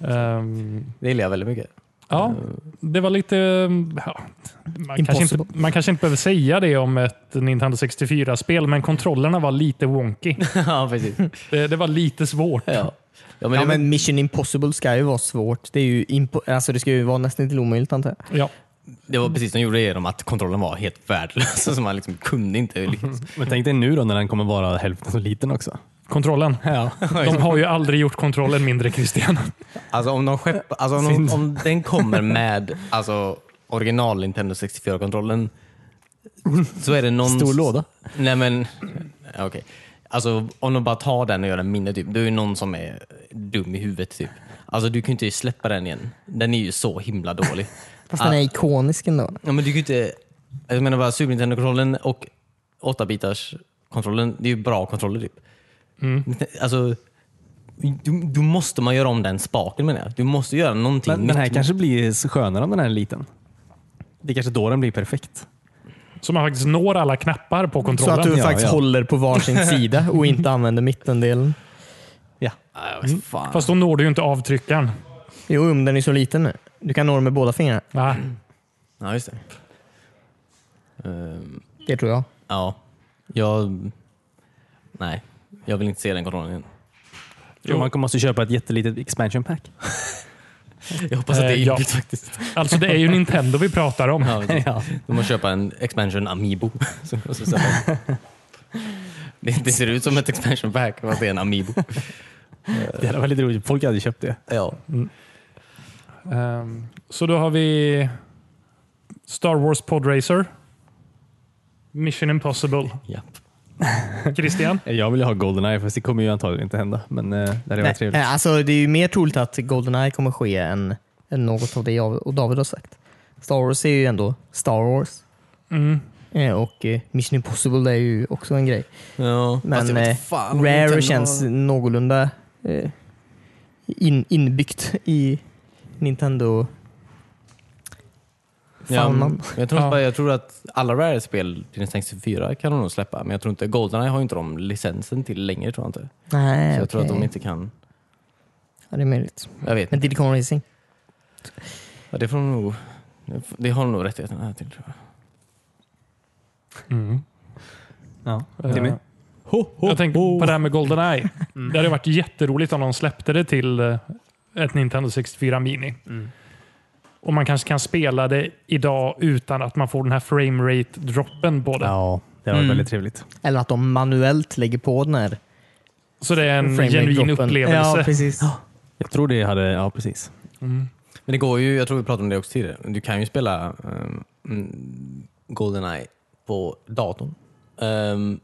Speaker 2: det.
Speaker 3: Ehm,
Speaker 2: Det gillar jag väldigt mycket. Mm.
Speaker 3: Ja, det var lite... mm, Ja, man, kanske inte,
Speaker 1: Impossible.
Speaker 3: man kanske inte behöver säga det om ett Nintendo 64-spel, men kontrollerna var
Speaker 1: <laughs>
Speaker 3: lite wonky.
Speaker 2: <laughs> ja, precis.
Speaker 3: Det, det var lite svårt.
Speaker 2: Ja. Ja, men
Speaker 1: Ja,
Speaker 2: det,
Speaker 1: men Mission Impossible ska ju vara svårt. Det, är ju impo- alltså, det ska ju vara nästan till omöjligt antar jag.
Speaker 3: Ja.
Speaker 2: det var precis de gjorde det genom att kontrollen var helt värdelös. <laughs> Så man liksom kunde inte lyckas.
Speaker 4: Men tänk dig nu då när den kommer vara hälften så liten också.
Speaker 1: <laughs>
Speaker 3: Kontrollen.
Speaker 4: Ja.
Speaker 3: De har ju aldrig gjort kontrollen mindre, Christian.
Speaker 2: Alltså om, de skepp, alltså, om, de,
Speaker 4: Synd.
Speaker 2: om den kommer med alltså, original Nintendo 64-kontrollen så är det någon...
Speaker 4: Stor låda.
Speaker 2: Nej men, okej. Alltså om de bara tar den och gör den mindre, typ, då är det någon som är dum i huvudet. Typ. Alltså du kan ju inte släppa den igen. Den är ju så himla dålig.
Speaker 1: Fast
Speaker 2: Ah.
Speaker 1: den är ikonisk ändå.
Speaker 2: Ja, men du kan ju inte... alltså, Jag menar bara Super Nintendo-kontrollen och 8-bitars-kontrollen, det är ju bra kontroller typ. Alltså, du, du måste man göra om den spaken menar jag. Du måste göra någonting
Speaker 4: Men den här
Speaker 2: nytt.
Speaker 4: kanske blir skönare om den här är liten. Det är kanske då den blir perfekt.
Speaker 3: Så man faktiskt når alla knappar på
Speaker 1: Så att
Speaker 3: kontrollen.
Speaker 1: du
Speaker 4: ja,
Speaker 1: faktiskt
Speaker 4: ja.
Speaker 1: håller på varsin sida och inte använder mittendelen.
Speaker 4: Ja.
Speaker 2: Ja, jag vet fan.
Speaker 3: Fast då når du ju inte avtryckaren.
Speaker 1: Jo, men den är så liten nu. Du kan nå den med båda fingrarna.
Speaker 3: Ja.
Speaker 2: Ja, just det. Ehm,
Speaker 1: Det tror jag.
Speaker 2: ja, jag... Nej, jag vill inte se den kontrollen igen.
Speaker 4: Jo. Man måste köpa ett jättelitet
Speaker 3: <laughs>
Speaker 4: expansion pack.
Speaker 2: Jag hoppas att det är
Speaker 3: Eh, ja.
Speaker 2: inbyggt faktiskt.
Speaker 3: <laughs> Alltså det är ju Nintendo vi pratar om.
Speaker 2: Ja, precis. De måste köpa en expansion Amiibo. <laughs> som jag måste säga. det, det ser ut som ett expansion pack, fast det är en Amiibo.
Speaker 4: Det hade varit lite roligt. Folk hade köpt det.
Speaker 2: Ja.
Speaker 3: Ehm, Så då har vi Star Wars Podracer. Mission Impossible.
Speaker 2: ja.
Speaker 3: Christian?
Speaker 4: Jag vill ju ha Goldeneye fast det kommer ju antagligen inte hända. Men eh, det hade varit
Speaker 1: Nej,
Speaker 4: trevligt.
Speaker 1: eh, alltså, det är ju mer troligt att Goldeneye kommer ske än, än något av det jag och David har sagt. Star Wars är ju ändå Star Wars.
Speaker 3: Mm.
Speaker 1: Eh, Och eh, Mission Impossible är ju också en grej.
Speaker 2: ja. fast Alltså, jag
Speaker 1: Men
Speaker 2: vet
Speaker 1: eh,
Speaker 2: fan om
Speaker 1: Rare
Speaker 2: Nintendo-
Speaker 1: känns någorlunda eh, in, inbyggt i Nintendo.
Speaker 2: Ja,
Speaker 1: Fan,
Speaker 2: Mm. men
Speaker 1: man.
Speaker 2: jag, tror
Speaker 3: Ja.
Speaker 2: bara, jag tror att alla Rare-spel till Nintendo 64 kan de nog släppa, men jag tror inte Goldeneye har ju inte de licensen till längre. tror jag inte.
Speaker 1: Nej,
Speaker 2: Så jag tror att
Speaker 1: okej.
Speaker 2: de inte kan...
Speaker 1: Ja, det är möjligt.
Speaker 2: Jag vet
Speaker 1: Men Diddy Kong Racing?
Speaker 2: Ja, det får de nog... Det har de nog rättigheterna här till tror jag.
Speaker 1: Mm.
Speaker 4: Ja.
Speaker 3: Timmy?
Speaker 4: Timmy?
Speaker 3: Jag tänker på det här med Goldeneye. Det hade varit jätteroligt om de släppte det till eh, ett Nintendo 64 Mini. Och man kanske kan spela det idag utan att man får den här framerate-droppen på det.
Speaker 4: Ja, det var
Speaker 2: Mm.
Speaker 4: väldigt trevligt.
Speaker 1: Eller att de manuellt lägger på den här
Speaker 3: Så det är en genuin
Speaker 1: framerate-droppen. Ja,
Speaker 3: upplevelse.
Speaker 1: precis.
Speaker 4: Jag tror det hade, ja precis.
Speaker 2: Men det går ju, jag tror vi pratade om det också tidigare, du kan ju spela ehm, mm, Goldeneye på datorn. Ehm,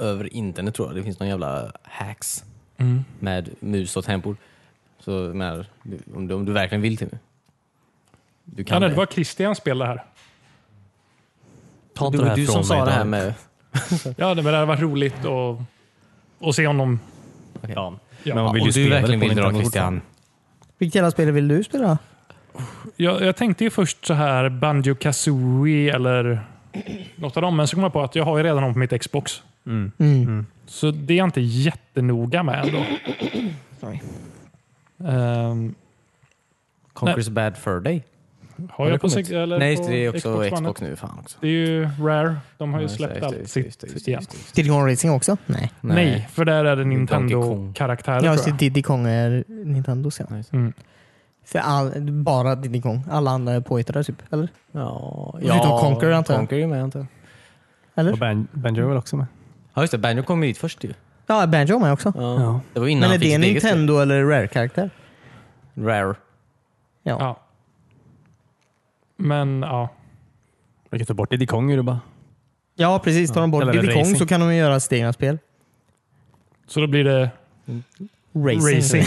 Speaker 2: över internet tror jag, det finns någon jävla hacks
Speaker 3: Mm.
Speaker 2: med mus och tempor. Så jag menar, du- om, du, om du verkligen vill till Du
Speaker 3: Ja,
Speaker 2: kan
Speaker 3: nej,
Speaker 2: det.
Speaker 3: det var Christian spel det här.
Speaker 4: Ta inte
Speaker 2: det
Speaker 4: det
Speaker 2: var
Speaker 4: här
Speaker 2: du
Speaker 4: från
Speaker 2: som
Speaker 4: mig,
Speaker 2: sa det här
Speaker 4: Dan.
Speaker 2: med...
Speaker 3: Ja, det men det hade varit roligt att, att se om de...
Speaker 4: Ja.
Speaker 3: Ja.
Speaker 4: Men man vill ju
Speaker 2: om du
Speaker 4: spela det
Speaker 2: verkligen
Speaker 4: på
Speaker 2: vill dra
Speaker 4: Nintendo
Speaker 2: Christian.
Speaker 1: Vilket jävla spel vill du spela?
Speaker 3: Jag, jag tänkte ju först så här Banjo Kazooie eller något av dem, men så kom jag på att jag har ju redan dem på mitt Xbox.
Speaker 1: Mm.
Speaker 3: Så det är jag inte jättenoga med
Speaker 2: <clears throat>
Speaker 3: ändå.
Speaker 1: Sorry.
Speaker 3: Ehm,
Speaker 2: Conquer's Bad Fur Day.
Speaker 3: har jag på, sig- eller
Speaker 2: Nej, just
Speaker 3: på
Speaker 2: det, det är också Xbox,
Speaker 3: One?
Speaker 2: nu. Fan också.
Speaker 3: Det är ju Rare. De har ju
Speaker 2: Ja, just det,
Speaker 3: släppt
Speaker 2: just det,
Speaker 3: allt
Speaker 2: just det, just det, just
Speaker 3: sitt
Speaker 2: det,
Speaker 3: igen.
Speaker 2: just det, just det.
Speaker 1: Diddy Kong Racing också? Nej.
Speaker 3: Nej, för där är det
Speaker 2: Kong.
Speaker 3: Nintendo-karaktärer
Speaker 1: Ja,
Speaker 3: tror
Speaker 1: just det.
Speaker 3: jag.
Speaker 1: Diddy Kong är Nintendos ja.
Speaker 2: Nej, just det.
Speaker 3: Mm.
Speaker 1: För all, bara Diddy Kong. Alla andra är påhittade typ. Eller?
Speaker 2: Ja,
Speaker 1: Förutom Conquer, antar jag.
Speaker 2: Conquer är ju med antar jag.
Speaker 4: Och
Speaker 1: Eller?
Speaker 4: Ban- Banjo är väl också med?
Speaker 2: Ja just det, Banjo kom ju hit först ju.
Speaker 1: Ja, Banjo är med också.
Speaker 2: Ja. Det var innan
Speaker 1: Men är
Speaker 2: han fick
Speaker 1: det
Speaker 2: sitt eget spel.
Speaker 1: Nintendo eller Rare-karaktär?
Speaker 2: Rare.
Speaker 1: Ja.
Speaker 3: Ja. Men ja.
Speaker 4: Jag kan ta bort Diddy Kong ur det bara.
Speaker 1: Ja, precis. Tar de bort
Speaker 4: Eller
Speaker 1: Diddy Kong
Speaker 4: racing.
Speaker 1: så kan de ju göra sitt egna spel.
Speaker 3: Så då blir det
Speaker 1: Racing.
Speaker 3: racing.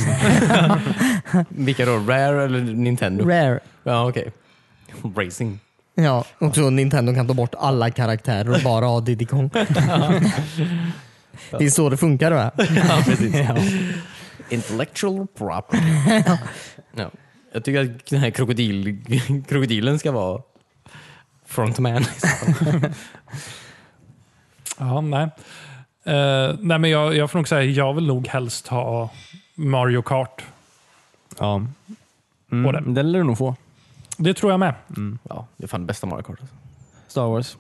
Speaker 2: Vilka då? Rare eller Nintendo?
Speaker 1: Rare.
Speaker 2: Ja okej. <laughs> Racing.
Speaker 1: Ja, och så Nintendo kan ta bort alla karaktärer och bara ha Diddy Kong. det är så det funkar va?
Speaker 2: Ja precis. Intellectual property. ja. Jag tycker att den här krokodil, krokodilen ska vara frontman.
Speaker 3: Ja, nej. Eh, nej men jag, jag får nog säga jag vill nog helst ha Mario Kart.
Speaker 4: Ja.
Speaker 3: På
Speaker 4: Mm,
Speaker 3: den.
Speaker 4: den lär du nog få.
Speaker 3: Det tror jag med.
Speaker 2: ja, det är fan det bästa Mario Kart. Alltså. <laughs>
Speaker 4: Star Wars,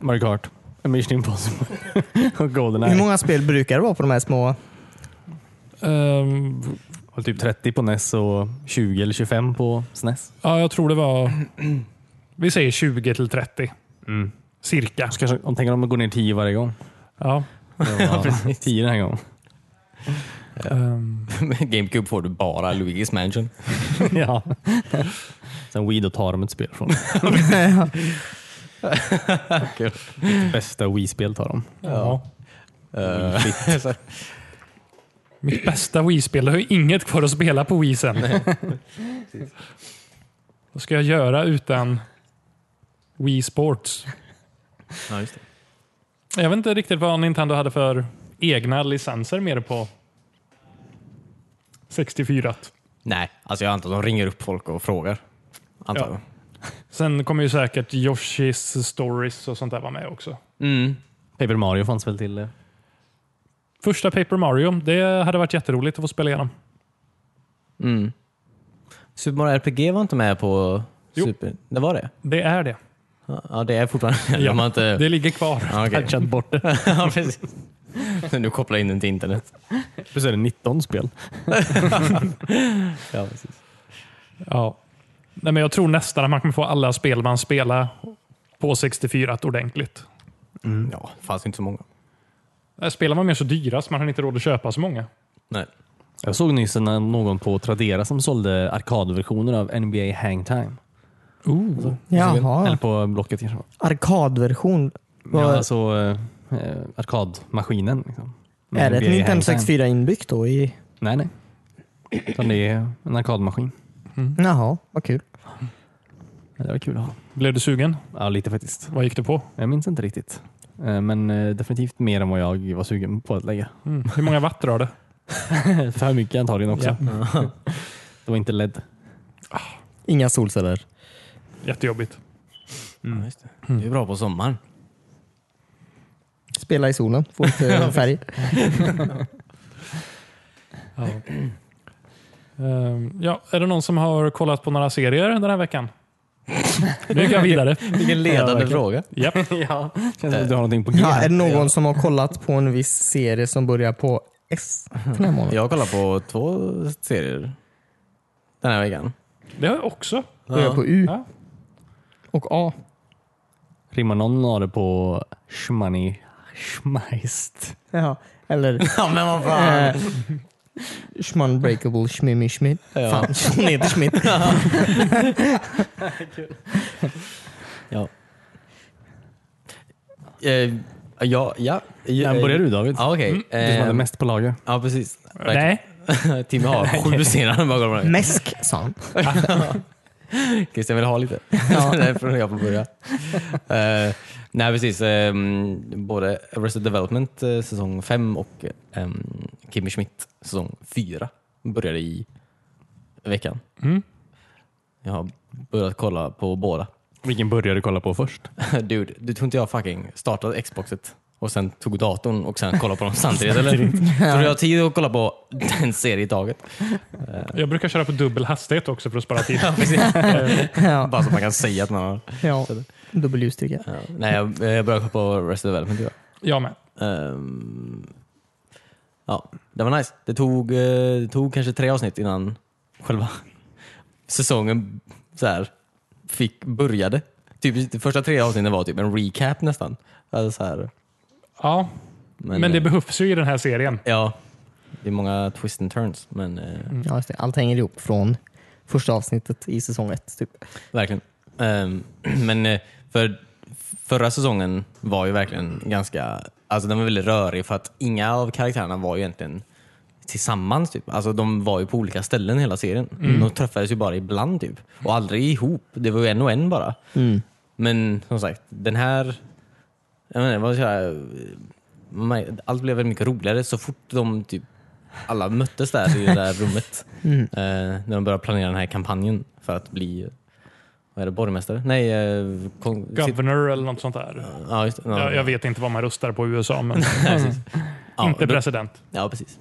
Speaker 4: Mario Kart, Mission Impossible <laughs> och
Speaker 1: Hur
Speaker 4: Goldeneye.
Speaker 1: många spel brukar det vara på de här små?
Speaker 3: Ehm,
Speaker 4: Och typ 30 på NES och 20 eller 25 på E SNES.
Speaker 3: ja, jag tror det var... Vi säger 20 till 30.
Speaker 4: Mm.
Speaker 3: Cirka.
Speaker 4: Så kanske, om tänker om man går ner 10 varje gång.
Speaker 3: Ja.
Speaker 4: Ja, 10 den här gången.
Speaker 3: ehm,
Speaker 2: Med GameCube får du bara Luigi's Mansion.
Speaker 4: ja. <laughs> Sen Wii, då tar de ett spel från. <laughs>
Speaker 2: Kul.
Speaker 4: Bästa Wii-spel tar de.
Speaker 3: ja.
Speaker 2: Eh, <laughs> så-
Speaker 3: Mitt bästa Wii-spel. Jag har ju inget kvar att spela på Wii sen. Vad ska jag göra utan Wii Sports?
Speaker 2: ja, just det.
Speaker 3: Jag vet inte riktigt vad Nintendo hade för egna licenser mer på 64.
Speaker 2: Nej, alltså jag antar att de ringer upp folk och frågar. Antar
Speaker 3: Ja.
Speaker 2: jag.
Speaker 3: Sen kommer ju säkert Yoshis Stories och sånt där vara med också.
Speaker 2: Mm.
Speaker 4: Paper Mario fanns väl till? eh,
Speaker 3: Första Paper Mario, det hade varit jätteroligt att få spela igenom.
Speaker 2: Mm. Super Mario RPG var inte med på
Speaker 3: Jo.
Speaker 2: Super... Det var det?
Speaker 3: Det är det.
Speaker 2: Ja, det är fortfarande...
Speaker 3: Ja,
Speaker 2: De har inte...
Speaker 3: Det ligger kvar.
Speaker 2: Ja, okej.
Speaker 4: Patchat bort <laughs> det.
Speaker 2: ja, precis. <laughs> Nu kopplar jag in den till internet.
Speaker 4: Plus är det 19 spel.
Speaker 2: Ja, precis.
Speaker 3: Ja. Nej, men jag tror nästan att man kommer få alla spel man spelar på 64 ordentligt.
Speaker 4: Mm.
Speaker 2: Ja, det fanns inte så många.
Speaker 3: Där spelar man mer så dyra så man har inte råd att köpa så många.
Speaker 2: Nej.
Speaker 4: Jag såg nyss en- någon på Tradera som sålde arkadversioner av NBA Hangtime.
Speaker 3: Ooh.
Speaker 4: Eller
Speaker 1: Jaha.
Speaker 4: på Blocket kanske.
Speaker 1: Arkadversion.
Speaker 4: Ja,
Speaker 1: Vad-
Speaker 4: alltså eh, eh, arkadmaskinen. Liksom.
Speaker 1: är det ett
Speaker 4: NBA
Speaker 1: Nintendo
Speaker 4: Hangtime.
Speaker 1: 64 inbyggt då? I...
Speaker 4: Nej, nej. Utan det är en arkadmaskin.
Speaker 1: Jaha, vad kul.
Speaker 4: Det var kul att ha.
Speaker 3: Blev du sugen?
Speaker 4: Ja, lite faktiskt.
Speaker 3: Vad gick du på?
Speaker 4: Jag minns inte riktigt. Eh, Men eh, definitivt mer än vad jag var sugen på att lägga. <laughs>
Speaker 3: Mm. Hur många watt drar det?
Speaker 4: För mycket antagligen också. <laughs> Det var inte LED.
Speaker 1: Inga solceller.
Speaker 3: Jättejobbigt.
Speaker 2: Ja, just det. det är bra på sommaren.
Speaker 1: Spela i solen. Få lite färg.
Speaker 3: Ja. Ehm, ja, är det någon som har kollat på några serier den här veckan? Nu gick jag vidare.
Speaker 2: Vilken ledande
Speaker 4: verkligen.
Speaker 2: fråga.
Speaker 3: Japp.
Speaker 4: Ja. Känns som att du har någonting på <laughs> G.
Speaker 1: Ja, är det någon som har kollat på en viss serie som börjar på S? för den här månaden?
Speaker 2: Jag kollar på två serier den här veckan.
Speaker 3: Det har jag också.
Speaker 1: Börjar på U
Speaker 3: Ja.
Speaker 1: och A.
Speaker 4: Rimmar någon av det på schmani, schmeist?
Speaker 1: Ja. Eller
Speaker 2: <laughs> Ja, men vad fan.
Speaker 1: eh, Schmunbreakable Schmimmi Schmidt.
Speaker 2: Ja.
Speaker 1: Fan, hon heter Schmidt.
Speaker 2: Ja. Eh, ja, ja.
Speaker 4: Nej, börjar du David?
Speaker 2: Ja, okej.
Speaker 4: Du som hade
Speaker 2: Eh,
Speaker 4: mest på lager.
Speaker 2: Ja, precis. Verkligen.
Speaker 3: Nej,
Speaker 2: Tim <laughs> har sju senare. bara går med.
Speaker 1: Mäsk sa han.
Speaker 2: Christian vill ha lite. <laughs>
Speaker 1: Ja.
Speaker 2: Därför jag får börja. Eh, nej precis, ehm, både Arrested Development eh, säsong 5 och um, Kimmy Schmidt säsong 4 började i veckan.
Speaker 3: Mm.
Speaker 2: Jag har börjat kolla på båda. <laughs>
Speaker 4: Vilken började du kolla på först?
Speaker 2: Dude, du tror inte jag fucking startade Xboxet och sen tog datorn och sen kollade på dem samtidigt eller? Tror du jag har tid att kolla på en serie i taget?
Speaker 3: jag brukar köra på dubbel hastighet också för att spara
Speaker 2: <laughs>
Speaker 3: tid.
Speaker 1: Ja.
Speaker 2: Bara så man kan säga att man har...
Speaker 1: Ja. W-styrka.
Speaker 2: Ja. Nej, jag, jag började kolla på Arrested Development idag.
Speaker 3: Jag med.
Speaker 2: Ehm, ja, det var nice. Det tog, eh, det tog kanske tre avsnitt innan själva <laughs> säsongen så här, fick, började. Typ, de första tre avsnitten var typ en recap nästan. Alltså, så här,
Speaker 3: Ja, men, det
Speaker 2: eh,
Speaker 3: behövs ju i den här serien.
Speaker 2: Ja, det är många twist and turns. Men eh,
Speaker 3: Mm.
Speaker 1: Ja, just det. Allt hänger ihop från första avsnittet i säsong ett. Typ.
Speaker 2: verkligen. Ehm, <clears throat> men eh, för förra säsongen var ju verkligen ganska, alltså den var väldigt rörig för att inga av karaktärerna var ju egentligen tillsammans. Typ. Alltså de var ju på olika ställen hela serien. De träffades ju bara ibland typ. Och aldrig ihop. Det var ju en och en bara. Men som sagt, den här... Jag menar, vad ska jag, man- allt blev väldigt mycket roligare så fort de typ alla möttes där i det där rummet. Eh, när de började planera den här kampanjen för att bli vad är det, borgmästare? Nej, eh, kon- sit-
Speaker 3: Governor eller något sånt där.
Speaker 2: ja, just, det. ja,
Speaker 3: Jag, jag vet inte vad man röstar på i
Speaker 2: <laughs>
Speaker 3: USA, men Mm.
Speaker 2: Ja,
Speaker 3: inte
Speaker 2: då-
Speaker 3: president.
Speaker 2: Ja, precis.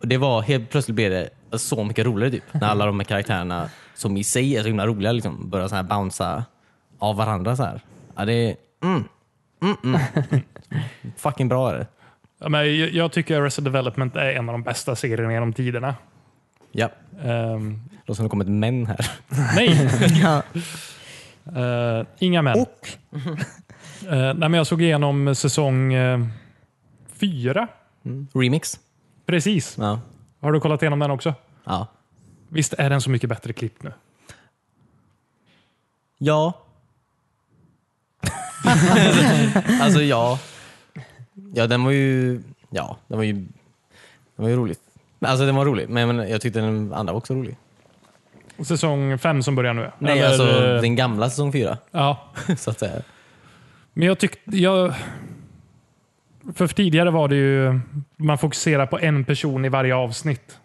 Speaker 2: Och det var, helt plötsligt blev det så mycket roligare typ. När alla de här karaktärerna, som i sig är så himla roliga, liksom, börjar så här bouncea av varandra. Så här. Ja, det är... Mm, mm, mm. Fucking bra är det.
Speaker 3: Ja, men jag, jag tycker Arrested Development är en av de bästa serierna genom tiderna.
Speaker 2: Ja,
Speaker 3: Ehm,
Speaker 2: låter som det kom ett män här. <laughs>
Speaker 3: nej,
Speaker 1: Ja.
Speaker 3: Eh, inga män.
Speaker 1: Och?
Speaker 3: Eh, nej, men jag såg igenom säsong eh, fyra.
Speaker 2: Remix.
Speaker 3: Precis.
Speaker 2: Ja.
Speaker 3: Har du kollat igenom den också?
Speaker 2: Ja.
Speaker 3: Visst är den så mycket bättre klippt nu?
Speaker 2: ja. <laughs> alltså ja. Ja, den var ju... Ja, den var ju... Den var ju rolig. Men, Alltså den var rolig, men jag menar, jag tyckte den andra var också rolig.
Speaker 3: Säsong fem som börjar nu.
Speaker 2: Nej,
Speaker 3: Eller,
Speaker 2: alltså
Speaker 3: eh,
Speaker 2: den gamla säsong fyra. <laughs>
Speaker 3: ja.
Speaker 2: så att säga.
Speaker 3: Men jag tyckte... Jag, för tidigare var det ju... Man fokuserar på en person i varje avsnitt.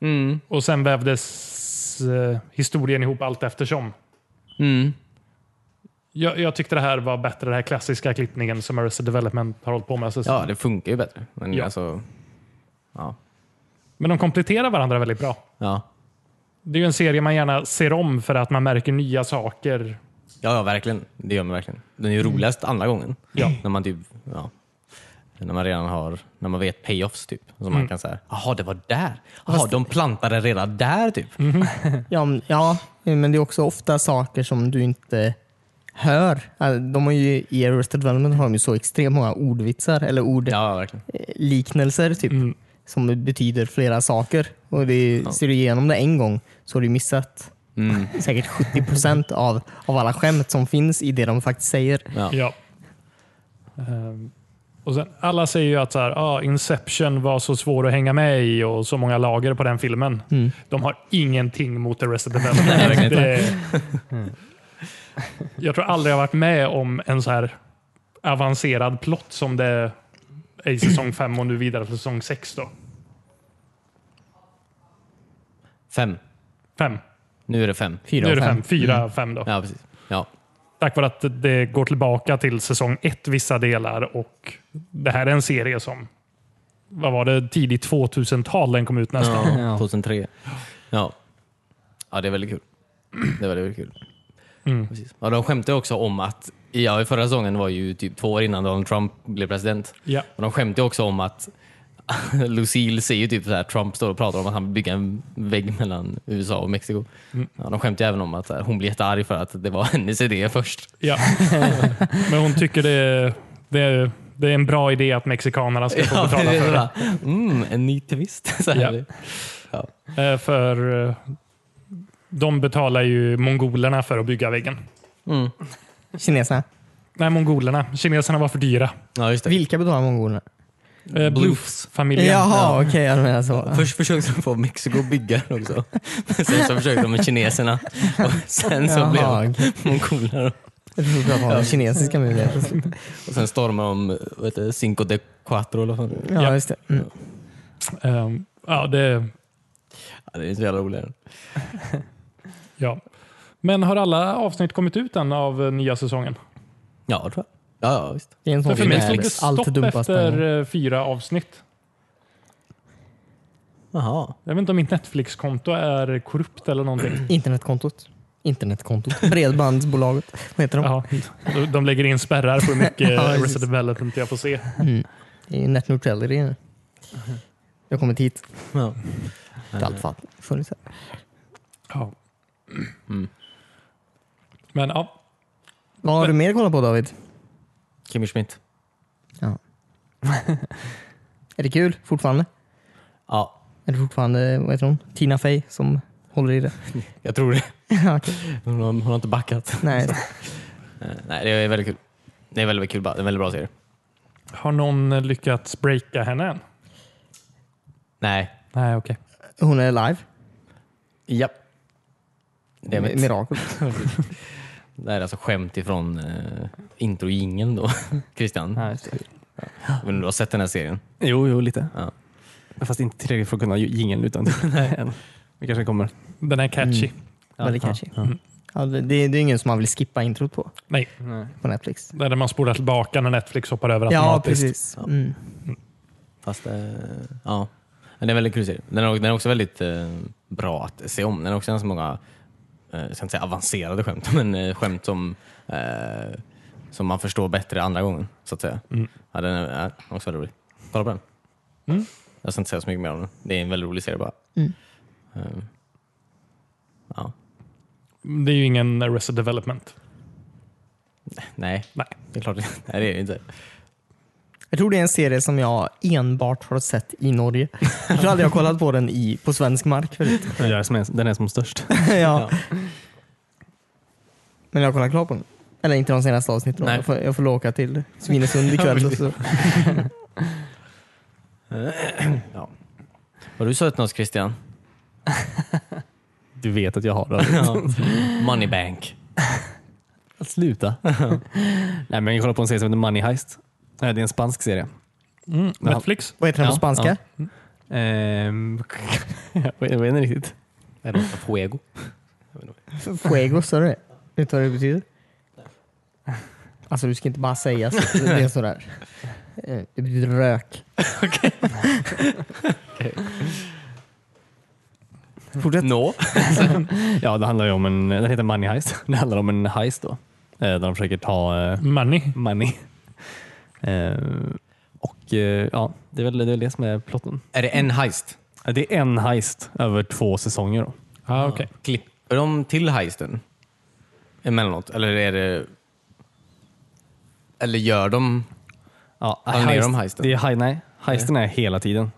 Speaker 2: Mm.
Speaker 3: Och sen vävdes eh, historien ihop allt eftersom.
Speaker 2: Mm.
Speaker 3: Jag, jag tyckte det här var bättre, den här klassiska klippningen som Arrested Development har hållit på med. Så,
Speaker 2: Ja, det funkar ju bättre. Men
Speaker 3: Ja.
Speaker 2: alltså, ja.
Speaker 3: Men de kompletterar varandra väldigt bra.
Speaker 2: Ja.
Speaker 3: Det är ju en serie man gärna ser om för att man märker nya saker.
Speaker 2: Ja, ja, verkligen. Det gör man verkligen. Den är ju roligast andra gången.
Speaker 3: Mm. Ja.
Speaker 2: När man typ, ja. När man redan har, när man vet payoffs typ. Så
Speaker 3: Mm.
Speaker 2: man kan säga, jaha det var där. Jaha, de plantade redan där typ.
Speaker 3: Mm.
Speaker 1: Ja, men- ja, men det är också ofta saker som du inte hör. Alltså, De har ju, I Arrested Development har de ju så extremt många ordvitsar eller
Speaker 2: Ja, verkligen.
Speaker 1: ordliknelser typ,
Speaker 3: Mm.
Speaker 1: som betyder flera saker. Och det, Ser du igenom det en gång så har du missat
Speaker 2: Mm.
Speaker 1: säkert 70 procent av, av alla skämt som finns i det de faktiskt säger.
Speaker 2: Ja.
Speaker 3: Ja. Ehm, Och sen, alla säger ju att så här, ah, Inception var så svår att hänga med i och så många lager på den filmen. De har ingenting mot Arrested Development. det, Mm. jag tror aldrig jag varit med om en så här avancerad plott som det är i säsong fem och nu vidare till säsong sex Då.
Speaker 2: Fem.
Speaker 3: Fem.
Speaker 2: Nu är det fem.
Speaker 1: Fyra
Speaker 3: Nu är
Speaker 1: av
Speaker 3: det
Speaker 1: fem.
Speaker 3: fem. Fyra, fem då.
Speaker 2: Ja, precis. Ja.
Speaker 3: Tack vare att det går tillbaka till säsong ett vissa delar och det här är en serie som vad var det, tidigt 2000-tal den kom ut nästan.
Speaker 2: ja. 2003. Ja. ja, det är väldigt kul. Det är väldigt, väldigt kul. Precis. Ja, de skämtade också om att, ja, i förra säsongen var ju typ två år innan Donald Trump blev president.
Speaker 3: Ja.
Speaker 2: Och de skämtade också om att <laughs> Lucille ser ju typ så här, Trump står och pratar om att han vill bygga en vägg mellan USA och Mexiko. Ja, de skämtar ju även om att så här, hon blir jättearg för att det var <laughs> hennes idé först.
Speaker 3: Ja. Men hon tycker det är, det, är, det är en bra idé att mexikanerna ska
Speaker 2: <laughs>
Speaker 3: få
Speaker 2: Ja,
Speaker 3: betala
Speaker 2: det är
Speaker 3: för det.
Speaker 2: sådär, mm, en ny twist. <laughs> Så här.
Speaker 3: Ja. Eh, För eh, de betalar ju mongolerna för att bygga väggen.
Speaker 1: Kineserna.
Speaker 3: Nej, mongolerna. Kineserna var för dyra.
Speaker 2: Ja, just det.
Speaker 1: Vilka betalar mongolerna?
Speaker 3: Eh, Bluffs-familjen.
Speaker 1: Jaha, okej. jag menar så.
Speaker 2: Först försökte de få Mexiko att bygga
Speaker 1: <laughs>
Speaker 2: den också. Men sen så försökte de med kineserna. Och sen så blev
Speaker 1: Jaha,
Speaker 2: de
Speaker 1: okej.
Speaker 2: mongoler.
Speaker 1: Jag trodde du pratade om kinesiska muren.
Speaker 2: Och sen stormade de vad heter det, Cinco de Cuatro. Eller vad fan. det är.
Speaker 1: Ja,
Speaker 3: Ja.
Speaker 1: just det. Mm.
Speaker 3: Eh, Ja, det,
Speaker 2: Ja, det är så jävla roligt.
Speaker 3: ja. Men har alla avsnitt kommit ut än av eh, nya säsongen?
Speaker 2: Ja, tror jag. Ja, ja visst.
Speaker 1: Det är en
Speaker 3: För,
Speaker 1: sån
Speaker 3: för mig
Speaker 1: film.
Speaker 3: stod det
Speaker 1: Allt
Speaker 3: stopp
Speaker 1: dumpas på en gång.
Speaker 3: efter eh, fyra avsnitt.
Speaker 2: Jaha.
Speaker 3: Jag vet inte om mitt Netflix-konto är korrupt
Speaker 1: <clears throat>
Speaker 3: eller någonting.
Speaker 1: Internetkontot. Internetkontot. Bredbandsbolaget. Vad heter de?
Speaker 3: Ja, de- de lägger in spärrar på hur mycket
Speaker 1: Ja,
Speaker 3: ja,
Speaker 1: precis.
Speaker 3: Resident Development jag får se.
Speaker 1: Det är ju net neutrality
Speaker 2: Mhm.
Speaker 1: nu. Jag har kommit hit.
Speaker 2: Ja.
Speaker 1: Det har alltid fatt- funnits här.
Speaker 3: Ja.
Speaker 2: Mm.
Speaker 3: Men ja,
Speaker 1: Vad har du mer kollat på David?
Speaker 2: Kimmy Schmidt.
Speaker 1: Är det kul fortfarande?
Speaker 2: Ja,
Speaker 1: Är det fortfarande, vad heter hon? Tina Fey som håller i det?
Speaker 2: jag tror det.
Speaker 1: <laughs> Ja, okej.
Speaker 2: Hon har, hon har inte backat.
Speaker 1: Nej.
Speaker 2: Eh, Nej, det är väldigt kul. Det är väldigt, väldigt kul. bara. Det är en väldigt bra serie.
Speaker 3: har någon lyckats breaka henne än?
Speaker 2: Nej.
Speaker 3: Nej, okej.
Speaker 1: Hon är live.
Speaker 2: Japp. Det är mitt.
Speaker 1: Mirakel.
Speaker 2: Det här är alltså skämt ifrån uh, introjingeln då. <laughs> Christian, jag vet inte om du har sett den här serien?
Speaker 4: Jo, jo, lite.
Speaker 2: Ja.
Speaker 4: Fast inte tillräckligt för att kunna jingeln <laughs> utan än. Vi kanske kommer.
Speaker 3: Den är catchy.
Speaker 1: Väldigt catchy. Ja, det, det är det är ingen som man vill skippa introt på,
Speaker 3: Nej,
Speaker 1: på Netflix.
Speaker 3: det är där man spolar tillbaka när Netflix hoppar över
Speaker 1: Ja,
Speaker 3: automatiskt.
Speaker 1: precis. Mm.
Speaker 2: Fast, eh, ja. Men det är en väldigt kul serie. Den är, den är också väldigt eh, bra att se om. Den har också ganska många, eh, jag ska inte säga avancerade skämt, <laughs> men eh, skämt som, eh, som man förstår bättre andra gången. Så att säga. Ja, den är är också väldigt rolig. Kolla på den. Jag ska inte säga så mycket mer om den. Det är en väldigt rolig serie bara. Eh, ja.
Speaker 3: Det är ju ingen Arrested Development.
Speaker 2: Nej,
Speaker 3: Nej.
Speaker 2: det är klart det- Nej, det är det inte.
Speaker 1: Jag tror det är en serie som jag enbart har sett i
Speaker 2: <laughs>
Speaker 1: Norge. Jag tror aldrig jag har kollat på den i, på svensk mark förut.
Speaker 4: Den är som är, den är som störst.
Speaker 1: <laughs> ja. Men jag har kollat klart på den. Eller inte de senaste avsnitten. då.
Speaker 2: Nej.
Speaker 1: Jag får, jag får åka till Svinesund ikväll. Och så.
Speaker 2: Ja. Har du sett något Christian?
Speaker 4: Du vet att jag har <laughs> den.
Speaker 2: Moneybank.
Speaker 4: Att <laughs> sluta. Nej, men jag kollar på en serie som heter Money Heist. Eh, Det är en spansk serie.
Speaker 3: Mm,
Speaker 4: Ja.
Speaker 3: Netflix?
Speaker 1: Vad heter den på
Speaker 4: Ja,
Speaker 1: spanska?
Speaker 4: ja. Ehm, <laughs> jag vet jag vet inte riktigt.
Speaker 2: Eller Fuego.
Speaker 1: Fuego, sa du det? <laughs> Vet du vad det betyder? Alltså du ska inte bara säga så. Det är sådär. Eh, Det betyder rök. Fortsätt.
Speaker 2: No.
Speaker 4: <laughs> Ja, det handlar ju om en, den heter Money Heist. <laughs> Det handlar om en heist då. Eh, Där de försöker ta eh,
Speaker 3: Money?
Speaker 4: money. <laughs> Eh, Och eh, ja, det är väl det, är väl det som är plotten.
Speaker 2: Är det en heist?
Speaker 4: Eh, Det är en heist över två säsonger. Då.
Speaker 3: Ah, okay.
Speaker 2: Klipper de till heisten emellanåt? Eller är det... Eller gör de...
Speaker 4: Ja,
Speaker 2: Tar ni ner om heisten?
Speaker 4: Det är, hei- nej, heisten är hela tiden.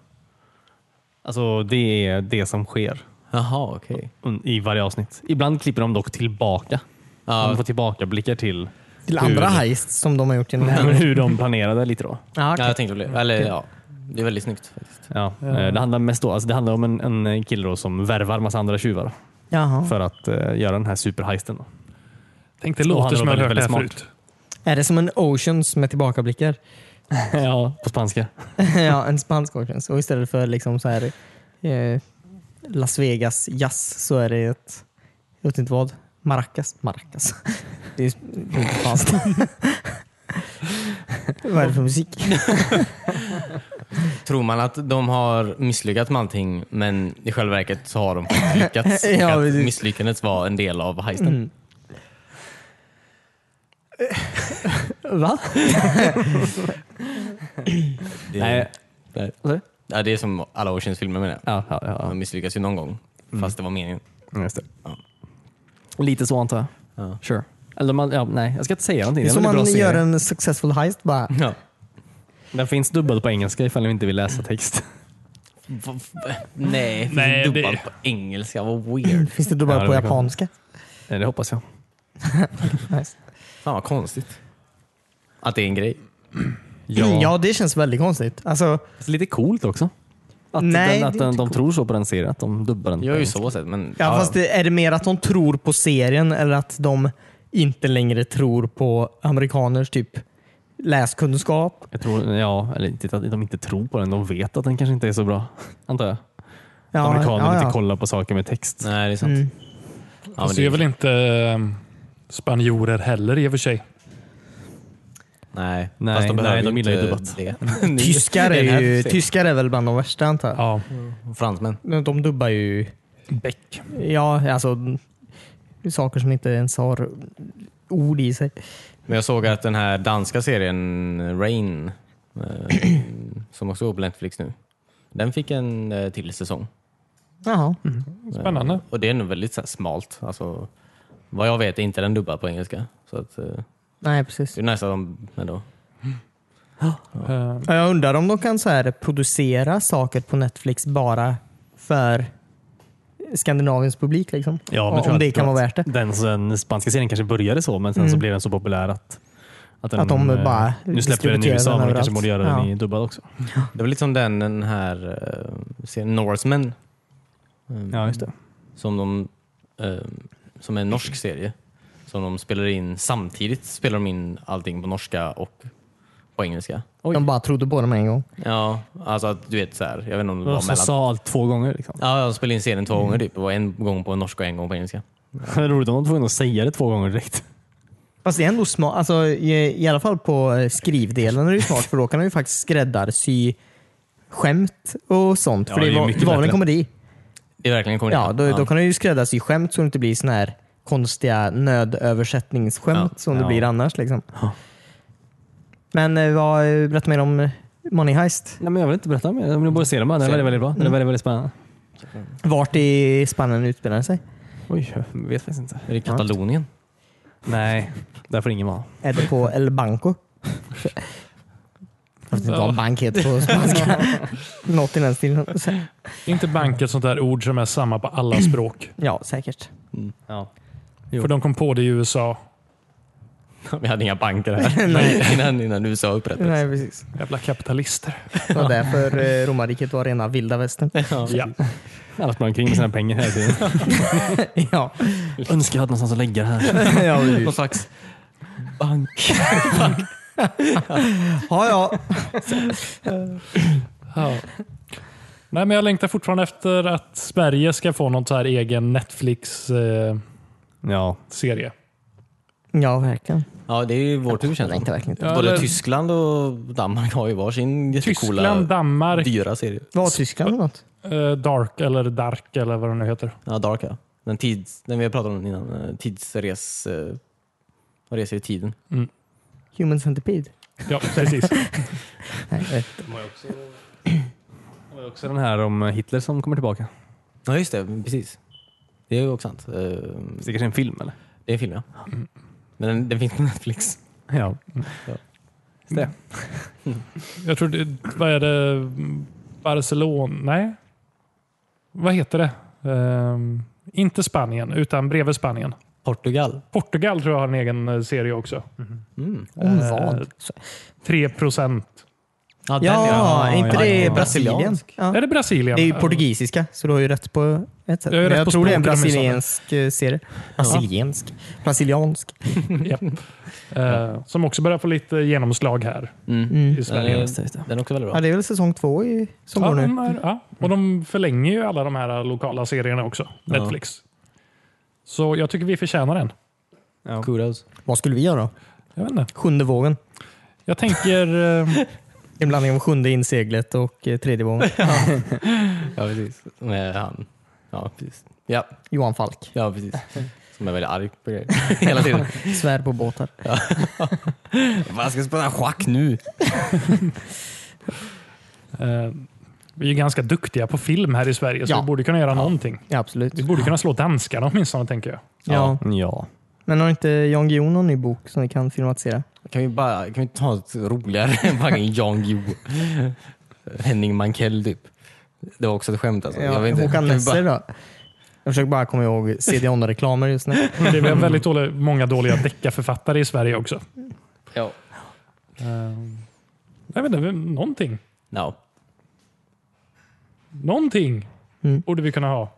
Speaker 4: Alltså det är det som sker
Speaker 2: Jaha, okej.
Speaker 4: un- i varje avsnitt. Ibland klipper de dock tillbaka.
Speaker 2: Ja.
Speaker 4: De får tillbakablickar till,
Speaker 1: Till andra
Speaker 4: Hur?
Speaker 1: heist som de har gjort genom
Speaker 4: Nej, men <laughs> hur de planerade lite då.
Speaker 1: ah,
Speaker 2: Ja, jag tänkte på det. Eller ja, det är väldigt snyggt faktiskt.
Speaker 4: Ja, eh, Det handlar mest då, alltså det handlar om en, en kille då som värvar massa andra tjuvar
Speaker 1: Jaha.
Speaker 4: för att eh, göra den här
Speaker 2: <laughs>
Speaker 4: superheisten. Då.
Speaker 3: Tänk, det
Speaker 4: Och han
Speaker 3: låter
Speaker 4: är
Speaker 3: som jag har hört det
Speaker 4: väldigt,
Speaker 3: här
Speaker 4: väldigt
Speaker 3: förut.
Speaker 1: Är det som en Oceans med tillbakablickar?
Speaker 4: ja, på spanska.
Speaker 1: <laughs> ja, en spansk Oceans. Och istället för liksom så här, eh, Las Vegas jazz så är det ett, jag vet inte vad, maracas. Maracas. det är det är inte spanskt. <laughs> vad är det för musik?
Speaker 2: Tror man att de har misslyckats med allting men i själva verket så har de faktiskt <laughs> lyckats? Och
Speaker 1: Ja,
Speaker 2: att
Speaker 1: precis.
Speaker 2: misslyckandet var en del av heisten?
Speaker 4: Va?
Speaker 2: Det,
Speaker 4: Nej.
Speaker 2: Nej.
Speaker 4: Vad sa du?
Speaker 2: Ja, det är som alla Oceans filmer med det.
Speaker 4: Ja, ja, ja.
Speaker 2: De misslyckas ju någon gång, fast det var meningen.
Speaker 4: ja. Just det.
Speaker 2: Ja.
Speaker 4: Lite så antar jag. Sure. Eller man, ja, nej, jag ska inte säga någonting.
Speaker 1: Det är som
Speaker 4: en väldigt
Speaker 1: man
Speaker 4: bra
Speaker 1: gör
Speaker 4: serie.
Speaker 1: en successful heist bara.
Speaker 2: Ja.
Speaker 4: Den finns dubbad på engelska ifall ni inte vill läsa text.
Speaker 2: Nej,
Speaker 3: Nej,
Speaker 2: Nej
Speaker 3: det-
Speaker 2: dubbad på engelska. Vad weird.
Speaker 1: Finns det då bara
Speaker 4: Ja,
Speaker 1: på
Speaker 4: det kan-
Speaker 1: japanska?
Speaker 4: Eh, Det hoppas jag.
Speaker 1: Nice.
Speaker 2: Fan vad konstigt. Att det är en grej.
Speaker 1: Ja. Mm, ja, det känns väldigt konstigt. Alltså,
Speaker 4: Fast lite coolt också. Att,
Speaker 1: Nej,
Speaker 4: den, att
Speaker 1: det är
Speaker 4: den,
Speaker 1: inte
Speaker 4: de tror så på den serien, att de dubbar den. på
Speaker 2: Jag är ju
Speaker 4: engelska.
Speaker 2: så sett, men...
Speaker 1: ja, fast det, är det mer att de tror på serien eller att de inte längre tror på amerikaners typ läskunskap?
Speaker 4: Jag tror, ja, eller inte att de inte tror på den, de vet att den kanske inte är så bra. Antar jag.
Speaker 1: Ja,
Speaker 4: Amerikaner
Speaker 1: ja,
Speaker 4: vill
Speaker 1: ja.
Speaker 4: inte kollar på saker med text.
Speaker 2: Nej, det är sant.
Speaker 1: Mm.
Speaker 2: Ja, men
Speaker 3: Fast
Speaker 2: det
Speaker 3: det är
Speaker 2: är...
Speaker 3: väl inte ehm, spanjorer heller i och för sig.
Speaker 2: Nej,
Speaker 4: Nej,
Speaker 2: fast de
Speaker 4: nej,
Speaker 2: behöver
Speaker 4: de gillar ju
Speaker 2: inte
Speaker 4: dubbat.
Speaker 2: det. <laughs>
Speaker 1: Tyskar
Speaker 2: Det
Speaker 1: är,
Speaker 2: här
Speaker 1: ju,
Speaker 2: för-
Speaker 1: tyskar är väl bland de värsta antar jag.
Speaker 3: Ja.
Speaker 2: Fransmän.
Speaker 1: De dubbar ju
Speaker 3: Beck.
Speaker 1: ja, alltså, saker som inte ens har ord i sig.
Speaker 2: Men jag såg att den här danska serien Rain, eh, <clears throat> som också går på Netflix nu, den fick en eh, till säsong. Eh,
Speaker 1: Jaha. Mm.
Speaker 3: Spännande.
Speaker 2: Och det är nog väldigt så här, smalt. Alltså, vad jag vet är inte den dubbad på engelska. Så att, eh,
Speaker 1: Nej, precis.
Speaker 2: det är nästan de ändå.
Speaker 3: Ehm,
Speaker 1: Ja, Jag undrar om de kan så här producera saker på Netflix bara för Skandinaviens publik. Liksom.
Speaker 4: Ja,
Speaker 1: om
Speaker 4: men tror jag
Speaker 1: det
Speaker 4: att-
Speaker 1: kan vara värt det.
Speaker 4: Den, den spanska serien kanske började så, men sen så
Speaker 1: Mm.
Speaker 4: blev den så populär att,
Speaker 1: Att de
Speaker 4: eh,
Speaker 1: bara
Speaker 4: Nu släppte vi den i
Speaker 1: distribuerar
Speaker 4: USA,
Speaker 1: den
Speaker 4: men de
Speaker 1: överallt.
Speaker 4: kanske borde göra den
Speaker 1: Ja.
Speaker 4: i dubbad också.
Speaker 2: Det var lite som den, den här eh, serien Norsemen. eh,
Speaker 4: Ja, just det.
Speaker 2: som, de, eh, som är en norsk serie. Som de spelar in samtidigt spelar de in allting på norska och på engelska.
Speaker 1: De bara trodde på dem en gång.
Speaker 2: Ja, alltså att du vet så här, jag vet inte om det var
Speaker 4: De
Speaker 2: mellan...
Speaker 4: sa allt två gånger. Liksom.
Speaker 2: Ja, de spelade in serien två gånger typ. Det var en gång på norska och en gång på engelska.
Speaker 4: <laughs> Det är roligt om de var tvungna att säga det två gånger direkt.
Speaker 1: Fast det är ändå smart, alltså, i, i alla fall på eh, skrivdelen är det ju smart för då kan de ju faktiskt skräddarsy skämt och sånt.
Speaker 4: Ja,
Speaker 1: för det,
Speaker 4: det är ju
Speaker 1: var,
Speaker 4: mycket
Speaker 1: det var väl en
Speaker 4: bättre.
Speaker 1: komedi?
Speaker 2: Det är verkligen kommit
Speaker 1: Ja,
Speaker 2: in.
Speaker 1: då, då kan du ju skräddarsy skämt så det inte blir såna här konstiga nödöversättningsskämt som det
Speaker 4: Ja.
Speaker 1: blir annars. Liksom. Men eh, vad, berätta mer om Money Heist.
Speaker 4: Nej, men jag vill inte berätta mer. Jag vill bara se den. Den är
Speaker 2: Se.
Speaker 4: väldigt, väldigt bra. Den är väldigt, väldigt spännande.
Speaker 1: Vart i Spanien utspelar den sig?
Speaker 4: Oj, jag vet faktiskt inte.
Speaker 2: Är det Katalonien? <laughs>
Speaker 4: Nej, där får ingen vara.
Speaker 1: Är det på El
Speaker 4: <laughs>
Speaker 1: Banco? Fast inte vad bank heter
Speaker 4: <laughs>
Speaker 1: på spanska. Något i den stilen. Sä-
Speaker 3: inte bank ett sånt där ord som är samma på
Speaker 4: <clears throat>
Speaker 3: alla språk.
Speaker 1: Ja, säkert.
Speaker 4: Ja. Jo.
Speaker 3: För de kom på det i USA.
Speaker 2: Vi hade inga banker
Speaker 4: <laughs>
Speaker 2: här <laughs> innan, innan USA upprättades.
Speaker 1: Nej, precis.
Speaker 3: Jävla kapitalister.
Speaker 1: Det var därför eh, romarriket var rena vilda västern.
Speaker 3: Ja.
Speaker 4: Alla sprang omkring med sina pengar hela tiden.
Speaker 1: ja.
Speaker 4: <laughs> Önskar jag hade någonstans att lägga det här. <laughs>
Speaker 1: ja,
Speaker 4: typ.
Speaker 1: precis.
Speaker 2: Någon slags...
Speaker 4: Bank.
Speaker 1: ja, ja.
Speaker 3: Nej, men jag längtar fortfarande efter att Sverige ska få någon så här egen eh, Netflix-serie.
Speaker 4: Ja.
Speaker 1: ja, verkligen.
Speaker 2: Ja, det är ju vår tur känns
Speaker 1: Jag
Speaker 2: det
Speaker 1: längtar
Speaker 2: som.
Speaker 1: verkligen inte.
Speaker 3: Ja,
Speaker 2: Både
Speaker 3: eller-
Speaker 2: Tyskland och Danmark har ju varsin jättecoola,
Speaker 3: Tyskland, Danmark,
Speaker 2: dyra serie.
Speaker 1: Var Tyskland eller något?
Speaker 3: eh, Dark eller Dark eller vad de nu heter.
Speaker 2: Ja, Dark ja. Den, tids, den vi har pratat om innan. eh, Tidsres... eh, Vad reser i tiden.
Speaker 1: Human Centipede?
Speaker 3: Ja, precis.
Speaker 1: Nej, jag vet
Speaker 4: Och också den här om Hitler som kommer tillbaka.
Speaker 2: Ja, just det. Precis. Det är ju också sant. Eh,
Speaker 4: Det är kanske en film eller?
Speaker 2: Det är en film ja. Men den, den finns på Netflix.
Speaker 4: Ja.
Speaker 3: Jag tror det, vad är det? Barcelona? Nej. Vad heter det? Ehm, inte Spanien, utan bredvid Spanien.
Speaker 2: Portugal.
Speaker 3: Portugal tror jag har en egen eh, serie också.
Speaker 2: Mm.
Speaker 1: Om
Speaker 3: Eh,
Speaker 1: vad?
Speaker 3: 3 procent.
Speaker 2: Ja,
Speaker 1: Ja, är inte
Speaker 4: ja,
Speaker 1: det
Speaker 4: ja.
Speaker 1: Brasilien?
Speaker 2: Brasiliansk.
Speaker 1: Ja.
Speaker 3: Är det Brasilien?
Speaker 1: Det är ju portugisiska, så du har ju rätt på ett sätt.
Speaker 3: Jag har ju
Speaker 1: Men
Speaker 3: rätt
Speaker 1: jag
Speaker 3: på
Speaker 1: tror det är en
Speaker 3: språket om jag sa det.
Speaker 1: brasiliensk eh, serie. Brasiliensk? Brasiliansk?
Speaker 3: Japp. Eh, som också börjar få lite genomslag här
Speaker 2: Mm.
Speaker 3: i Sverige.
Speaker 2: Den, är, den är också väldigt bra.
Speaker 1: Ja, det är väl säsong två i, som
Speaker 3: Ja,
Speaker 1: går nu.
Speaker 3: de är, ja. Och de förlänger ju alla de här eh, lokala serierna också. Netflix. Så jag tycker vi förtjänar den.
Speaker 4: ja.
Speaker 2: Kudos.
Speaker 1: Vad skulle vi göra?
Speaker 3: Jag vet inte.
Speaker 1: Sjunde vågen.
Speaker 3: Jag tänker... eh,
Speaker 1: En blandning av sjunde inseglet och eh, tredje vågen.
Speaker 2: Ja, precis. Med han. Ja, precis. Ja,
Speaker 1: Johan Falk.
Speaker 2: ja, precis. Som är väldigt arg på grejer hela tiden.
Speaker 1: Svär på båtar.
Speaker 2: Vad ska jag spela schack nu?
Speaker 3: eh, Vi är ju ganska duktiga på film här i Sverige, så
Speaker 1: Ja.
Speaker 3: vi borde kunna göra någonting.
Speaker 1: Ja, absolut.
Speaker 3: Vi borde kunna slå danskarna åtminstone, tänker jag.
Speaker 1: Ja.
Speaker 4: Ja.
Speaker 1: Men har inte Jan Guillou någon ny bok som vi kan filmatisera?
Speaker 2: Kan vi bara kan vi ta ett roligare än fucking Jan Guillou? Henning Mankell typ. Det var också ett skämt alltså.
Speaker 1: Ja,
Speaker 2: jag vet inte. Kan
Speaker 1: Håkan
Speaker 2: vi bara-
Speaker 1: Nesser då? Jag försöker bara komma ihåg CDON-reklamer just nu.
Speaker 3: Det är väl väldigt dåliga, många dåliga deckarförfattare i Sverige också.
Speaker 2: Ja.
Speaker 3: Ehm, Jag vet inte, någonting.
Speaker 2: No.
Speaker 3: Någonting
Speaker 1: Mm.
Speaker 3: borde vi kunna ha.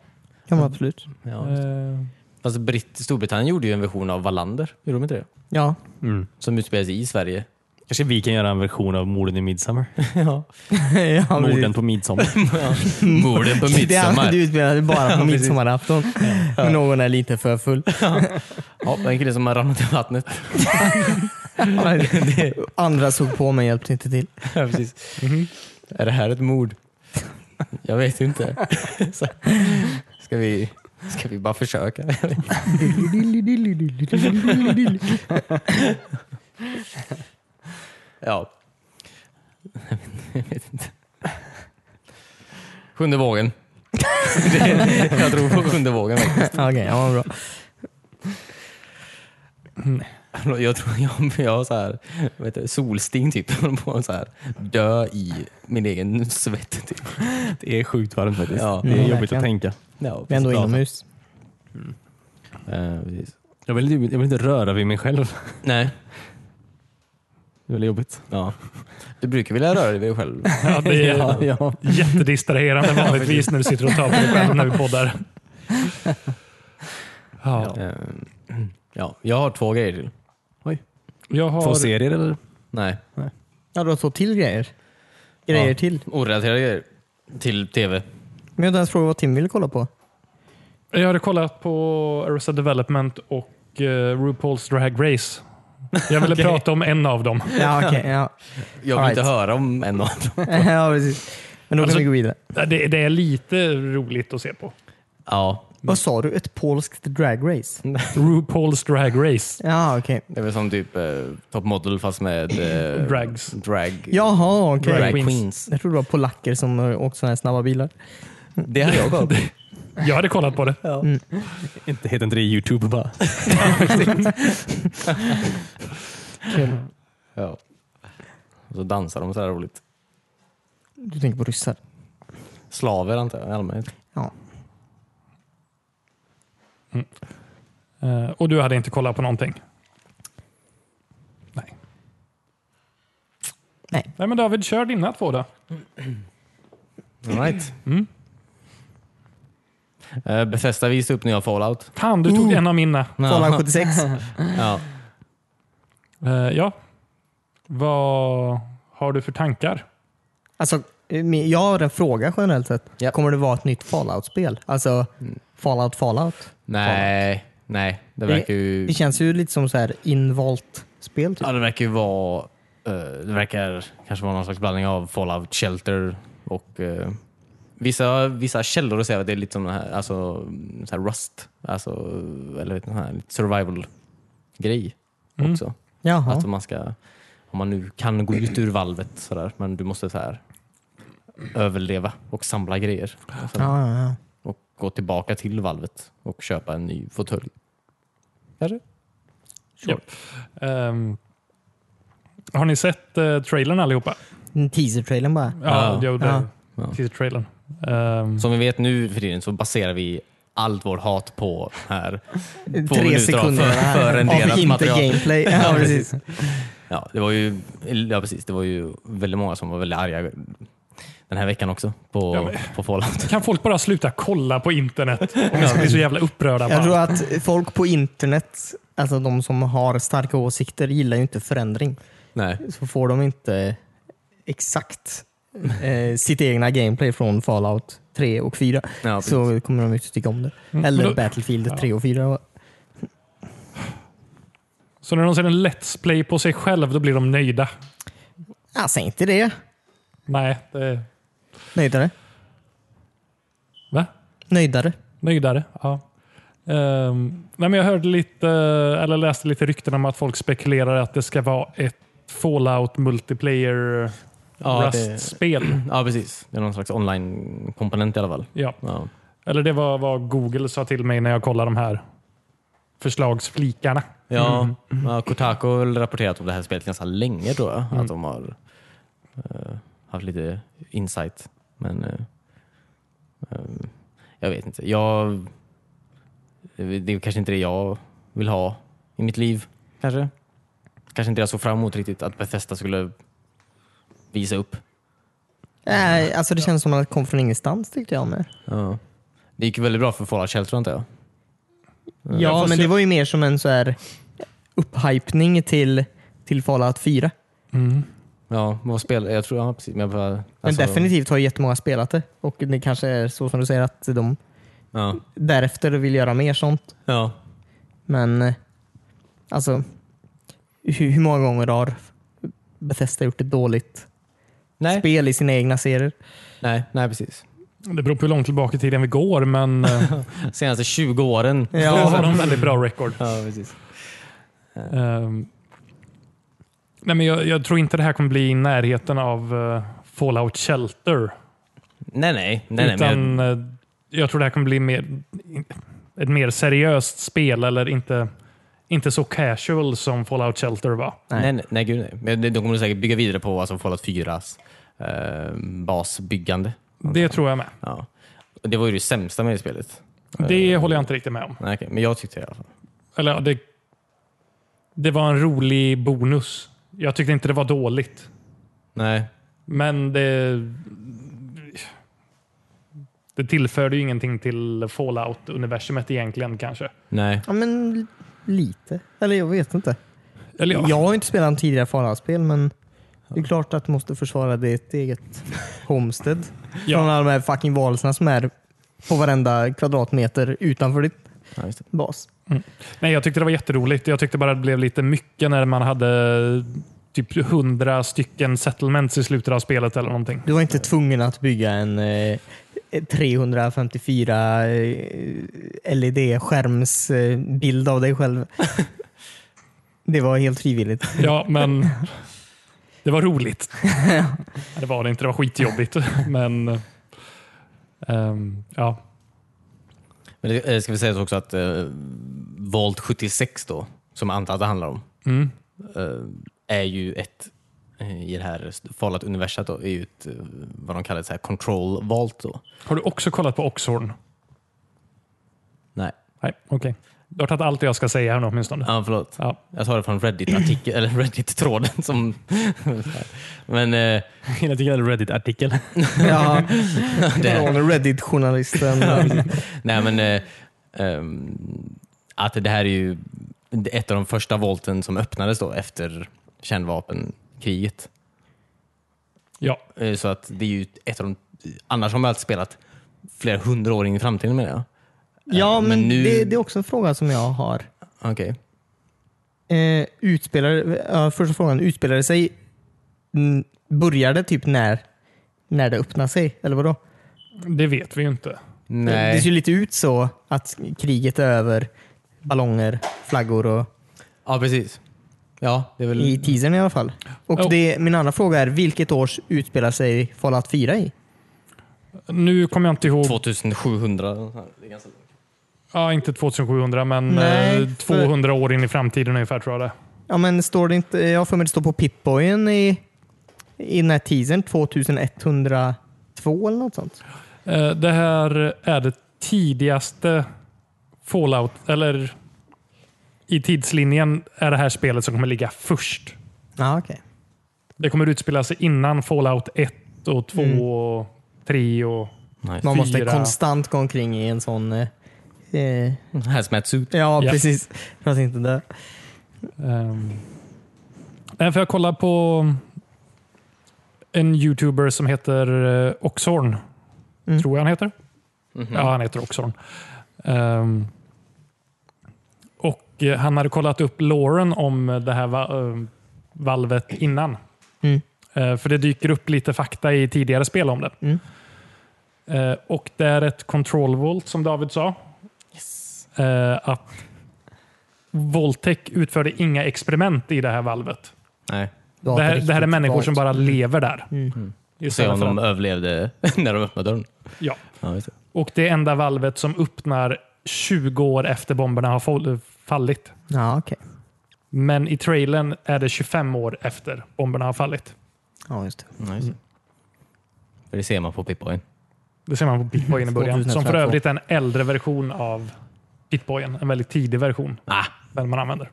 Speaker 1: Kan man absolut.
Speaker 2: Ja.
Speaker 3: Ehm,
Speaker 2: Fast Britt, Storbritannien gjorde ju en version av Wallander, gjorde de inte det?
Speaker 1: Ja, <laughs>
Speaker 4: Mm.
Speaker 2: Som utspelar sig i Sverige.
Speaker 4: Kanske vi kan göra en version av morden i Midsommar.
Speaker 2: ja.
Speaker 1: ja precis.
Speaker 4: Morden på midsommar.
Speaker 2: Morden på
Speaker 1: Mm. Det hade
Speaker 2: midsommar.
Speaker 1: du utspelat bara på midsommarafton. Men någon är lite för full.
Speaker 2: Ja, en kille som har ramlat i
Speaker 1: <laughs>
Speaker 2: vattnet.
Speaker 1: Andra såg på men hjälpte inte till.
Speaker 2: Ja, precis. Är det här ett mord? Jag vet inte. <laughs> Så, ska, vi, ska vi bara försöka? ja. Jag vet inte. Sjunde vågen. <laughs> Det, jag tror på sjunde vågen faktiskt.
Speaker 1: Okej, ja, bra.
Speaker 2: <laughs> Jag tror jag, jag så här, vad heter det, solsting typ. Jag håller på att så här, dö i min egen svett. Typ.
Speaker 4: <laughs> Det är sjukt varmt faktiskt.
Speaker 2: Ja.
Speaker 4: Det är
Speaker 1: Mm,
Speaker 4: jobbigt
Speaker 1: verkligen.
Speaker 4: att tänka.
Speaker 2: Ja,
Speaker 1: Vi är ändå
Speaker 2: precis.
Speaker 1: inomhus.
Speaker 2: Eh, precis.
Speaker 4: Jag vill, jag vill inte röra vid mig själv.
Speaker 2: Nej.
Speaker 4: Det är väldigt jobbigt.
Speaker 2: Ja. Du brukar vilja röra dig själv.
Speaker 3: ja, det är
Speaker 4: ja.
Speaker 3: jättedistraherande vanligtvis när du sitter och tar på dig själv när vi poddar. Ja.
Speaker 2: Eh, ja, jag har två grejer till.
Speaker 3: Jag
Speaker 4: Två
Speaker 3: har
Speaker 4: serier eller?
Speaker 2: Nej,
Speaker 1: Ja, du har två till grejer. Grejer
Speaker 2: Ja.
Speaker 1: till.
Speaker 2: orelaterade grejer. Till tv.
Speaker 1: Men jag har inte ens frågat vad Tim ville kolla på.
Speaker 3: Jag hade kollat på Arrested Development och eh, RuPaul's Drag Race. Jag ville prata om en av dem.
Speaker 1: Ja, okej. ja. <laughs>
Speaker 2: Jag vill
Speaker 1: Alright.
Speaker 2: inte höra om en av dem.
Speaker 1: ja, precis. Men då kan
Speaker 3: Alltså-
Speaker 1: vi gå vidare.
Speaker 3: Det, det är lite roligt att se på.
Speaker 2: Ja,
Speaker 1: Vad sa du? Ett polskt dragrace?
Speaker 3: RuPaul's Drag Race.
Speaker 1: Ja, okej.
Speaker 2: det är väl som typ eh, Top Model fast med eh,
Speaker 3: Drags.
Speaker 2: Drag.
Speaker 1: Jaha, okej.
Speaker 2: Drag
Speaker 3: Drag
Speaker 2: queens.
Speaker 3: queens.
Speaker 1: Jag trodde det var polacker som eh, åkte sådana här snabba bilar.
Speaker 2: Det hade jag gått.
Speaker 3: Jag hade kollat på det.
Speaker 4: Inte, heter inte det Youtube <laughs> bara?
Speaker 1: Kul.
Speaker 2: ja. Och så dansar de så här roligt.
Speaker 1: Du tänker på ryssar?
Speaker 2: Slaver antar jag i allmänhet.
Speaker 1: Ja.
Speaker 3: Eh, och du hade inte kollat på någonting? Nej.
Speaker 1: Nej.
Speaker 3: Nej men David, kör dina två då.
Speaker 2: All right.
Speaker 3: Mm.
Speaker 2: Eh, Bethesda visade upp nya Fallout.
Speaker 3: Fan, du
Speaker 1: Mm.
Speaker 3: tog en av mina.
Speaker 2: <laughs>
Speaker 1: Fallout 76?
Speaker 2: Ja.
Speaker 3: Eh, ja. Vad har du för tankar?
Speaker 1: Alltså, eh, min- jag har en fråga generellt sett.
Speaker 2: Ja. Mm.
Speaker 1: Kommer det vara ett nytt Fallout-spel? Alltså, Fallout Fallout?
Speaker 2: Nej, nej. Det verkar ju...
Speaker 1: Det känns ju lite som så här invalt spel typ.
Speaker 2: Mm. Ja, det verkar ju vara... eh, det verkar kanske vara någon slags blandning av Fallout Shelter och eh, vissa, vissa källor säger att det är lite som den här, alltså, mm, så här Rust, alltså, eller vet, ni, den här lite survival-grej
Speaker 3: Mm.
Speaker 2: också.
Speaker 1: Jaha.
Speaker 2: Att man ska, om man nu kan gå ut ur valvet sådär, men du måste så här överleva och samla grejer. Och sen-
Speaker 1: ja, ja, ja.
Speaker 2: Och gå tillbaka till valvet och köpa en ny fåtölj.
Speaker 3: Ehm, har ni sett eh, trailern allihopa?
Speaker 1: Mm, Teaser-trailern bara.
Speaker 3: Ja,
Speaker 2: Ja.
Speaker 3: jag gjorde
Speaker 1: Ja.
Speaker 2: Ja.
Speaker 3: ja. trailern. Ehm,
Speaker 2: Som vi vet nu för tiden så baserar vi allt vårt hat på här. Två minuter av
Speaker 1: Tre sekunder
Speaker 2: för- förenderat
Speaker 1: av inte
Speaker 2: material. <laughs>
Speaker 1: gameplay. Ja, precis.
Speaker 2: Ja, det var ju, ja, precis, det var ju väldigt många som var väldigt arga den här veckan också på,
Speaker 3: Ja, men-
Speaker 2: på Fallout.
Speaker 3: Kan folk bara sluta kolla på internet om de ska bli så jävla upprörda? på
Speaker 1: Jag tror
Speaker 3: allt?
Speaker 1: att folk på internet, alltså de som har starka åsikter, gillar ju inte förändring.
Speaker 2: Nej.
Speaker 1: Så får de inte exakt eh, sitt egna gameplay från Fallout 3 och 4
Speaker 2: Ja, precis.
Speaker 1: så kommer de inte tycka om det. Eller
Speaker 3: Mm. men då-
Speaker 1: Battlefield 3 och 4.
Speaker 3: Så när de ser en Let's Play på sig själv, då blir de nöjda.
Speaker 1: Ja, säg inte det.
Speaker 3: Nej, det...
Speaker 1: Nöjdare.
Speaker 3: Va?
Speaker 1: Nöjdare.
Speaker 3: Nöjdare? Ja. Ehm, nej men jag hörde lite, eller läste lite rykten om att folk spekulerar att det ska vara ett Fallout multiplayer
Speaker 2: Ja, det-
Speaker 3: Rust-spel.
Speaker 2: Ja, precis. Det är någon slags online-komponent i alla fall.
Speaker 3: Ja.
Speaker 2: Ja.
Speaker 3: Eller det var vad Google sa till mig när jag kollade de här förslagsflikarna.
Speaker 2: Ja, mm. ja, Kotaku har väl rapporterat om det här spelet ganska länge tror jag. Att de har eh, haft lite insight. Men eh, eh, jag vet inte. Jag, det är kanske inte det jag vill ha i mitt liv. Kanske. Kanske inte jag såg fram emot riktigt att Bethesda skulle visa upp.
Speaker 1: Nej, alltså det känns som att det kom från ingenstans tyckte jag med.
Speaker 2: Ja. Det gick ju väldigt bra för Fallout Shelter antar jag.
Speaker 1: Ja,
Speaker 2: Mm.
Speaker 3: fast
Speaker 1: men
Speaker 3: jag-
Speaker 1: det var ju mer som en så här upphypning till, till Fallout 4.
Speaker 3: Mm.
Speaker 2: Ja, vad spel, jag tror, ja precis. Men jag bara,
Speaker 1: Men
Speaker 2: alltså,
Speaker 1: definitivt har ju jättemånga spelat det och det kanske är så som du säger att de
Speaker 2: Ja.
Speaker 1: därefter vill göra mer sånt.
Speaker 2: ja.
Speaker 1: Men eh, alltså, hur, hur många gånger har Bethesda gjort ett dåligt
Speaker 2: Nej,
Speaker 1: spel i sina egna serier?
Speaker 2: nej, nej, precis.
Speaker 3: Det beror på hur långt tillbaka i tiden vi går,
Speaker 1: <laughs>
Speaker 3: men eh,
Speaker 2: senaste 20 åren.
Speaker 3: då har de väldigt bra record.
Speaker 2: Ja, precis.
Speaker 3: Ehm, nej, men jag, jag tror inte det här kommer bli i närheten av eh, Fallout Shelter.
Speaker 2: Nej, nej. nej, nej men jag,
Speaker 3: utan jag... jag tror det här kommer bli mer, ett mer seriöst spel, eller inte, inte så casual som Fallout Shelter var.
Speaker 1: nej.
Speaker 2: nej. Nej, nej, gud nej. Men det- De kommer säkert bygga vidare på alltså, Fallout 4s eh, basbyggande.
Speaker 3: Det tror jag med.
Speaker 2: Ja. Och Det var ju det sämsta med det spelet.
Speaker 3: Det
Speaker 2: Eh.
Speaker 3: håller jag inte riktigt med om.
Speaker 2: Nej, okej, men jag tyckte det i alla fall.
Speaker 3: Eller, ja, det, det var en rolig bonus. Jag tyckte inte det var dåligt,
Speaker 2: Nej,
Speaker 3: men det, det tillförde ju ingenting till Fallout-universumet egentligen kanske.
Speaker 2: nej.
Speaker 1: Ja, men lite. Eller jag vet inte.
Speaker 3: Eller ja,
Speaker 1: Jag har ju inte spelat en tidigare Fallout-spel, men det är klart att du måste försvara ditt eget homestead.
Speaker 3: Ja.
Speaker 1: Från alla de här fucking varelserna som är på varenda kvadratmeter utanför ditt
Speaker 2: Ja, just det.
Speaker 1: bas.
Speaker 3: Nej, jag tyckte det var jätteroligt. Jag tyckte bara det blev lite mycket när man hade typ hundra stycken settlements i slutet av spelet
Speaker 1: <laughs>
Speaker 3: eller någonting.
Speaker 1: Du var inte tvungen att bygga en eh, 354 E LED-skärmsbild eh, av dig själv. Det var helt
Speaker 3: <laughs>
Speaker 1: frivilligt.
Speaker 3: Ja, men det var roligt. Det var det inte. Det var skitjobbigt. Men ehm, ja,
Speaker 2: Men det eh, ska vi säga också att eh, Volt 76 då, som jag antar att det handlar om,
Speaker 3: Mm.
Speaker 2: eh, är ju ett eh, i det här Fallout-universet då, är ju ett, eh, vad de kallar ett så här control vault då.
Speaker 3: har du också kollat på Oxhorn?
Speaker 2: Nej.
Speaker 3: Nej, okej. Du har tagit allt jag ska säga här nu åtminstone.
Speaker 2: Ja, förlåt.
Speaker 3: Typ. Ja.
Speaker 2: Jag tar det från Reddit-artikeln, <laughs> eller Reddit-tråden som... <laughs> Men eh, <laughs>
Speaker 4: Jag tycker det är en Reddit-artikel.
Speaker 1: Ja,
Speaker 2: det,
Speaker 1: från Reddit-journalisten.
Speaker 2: nej, men eh, ehm, att det här är ju ett av de första volten som öppnades då efter kärnvapenkriget.
Speaker 3: Ja,
Speaker 2: Eh, Så att det är ju ett av de... Annars har man alltid spelat flera hundra år in i framtiden menar jag.
Speaker 1: Ja,
Speaker 2: Men
Speaker 1: men
Speaker 2: nu-
Speaker 1: det, det är också en fråga som jag har.
Speaker 2: Okej.
Speaker 1: Eh, utspelar, ja, första frågan, utspelar det sig, mm, börjar det typ när, när det öppnar sig? Eller vadå?
Speaker 3: det vet vi ju inte.
Speaker 1: Det ser
Speaker 2: Nej.
Speaker 1: ju lite ut så att kriget är över, ballonger, flaggor och
Speaker 2: Ja, precis. Ja, det är väl...
Speaker 3: Mm.
Speaker 1: i teasern i alla fall. Och
Speaker 3: Oh.
Speaker 1: det, min andra fråga är, vilket år utspelar sig Fallout 4 i?
Speaker 3: Nu kommer jag inte ihåg.
Speaker 2: 2700. och så här. Det är ganska långt.
Speaker 3: Ja, inte 2700, men
Speaker 1: Nej,
Speaker 3: eh,
Speaker 1: för-
Speaker 3: 200 år in i framtiden ungefär tror jag det är.
Speaker 1: Ja men står det inte, jag har för mig det står på Pipboyen i, i den här teasern 2102 eller något sånt.
Speaker 3: Eh, Det här är det tidigaste Fallout, eller i tidslinjen är det här spelet som kommer ligga först.
Speaker 1: Ja okej.
Speaker 3: Det kommer utspela sig innan Fallout 1 och 2 och 3 och
Speaker 2: Nice.
Speaker 1: Man måste
Speaker 3: Fyra.
Speaker 1: konstant gå omkring i en sån eh, eh,
Speaker 2: Hazmat-suit.
Speaker 1: Ja,
Speaker 3: Ja.
Speaker 1: precis. För att inte dö.
Speaker 3: Ehm. Nej, för jag kollar på en youtuber som heter eh, Oxhorn.
Speaker 1: Mm.
Speaker 3: Tror jag han heter.
Speaker 2: Mhm. Mm.
Speaker 3: Ja, han heter Oxhorn. Ehm. och eh, han hade kollat upp Lauren om det här va- eh, valvet innan.
Speaker 1: Mm.
Speaker 3: Eh, för det dyker upp lite fakta i tidigare spel om det.
Speaker 1: Mm.
Speaker 3: Eh, och det är ett control volt som David sa. Eh, att Voltec utförde inga experiment i det här valvet.
Speaker 2: Nej. Mm.
Speaker 1: Du har
Speaker 3: Det
Speaker 1: ett
Speaker 3: här, det här är
Speaker 1: riktigt
Speaker 3: människor
Speaker 1: valt.
Speaker 3: som bara lever där.
Speaker 2: Och se
Speaker 3: Istället
Speaker 2: om
Speaker 3: för
Speaker 2: de
Speaker 3: att-
Speaker 2: överlevde <laughs> när de öppnade dörren.
Speaker 3: ja.
Speaker 2: Ja, just det.
Speaker 3: Och det enda valvet som öppnar 20 år efter bomberna har fall- fallit.
Speaker 1: Ja, okej.
Speaker 3: Men i trailern är det 25 år efter bomberna har fallit.
Speaker 1: Ja, just det.
Speaker 2: Ja, just det. För det ser man på Pipboyn.
Speaker 3: Det ser man på Bitboyen i början.
Speaker 1: 2002.
Speaker 3: Som för övrigt är en äldre version av Bitboyen. En väldigt tidig version.
Speaker 2: Ah.
Speaker 3: Den man använder.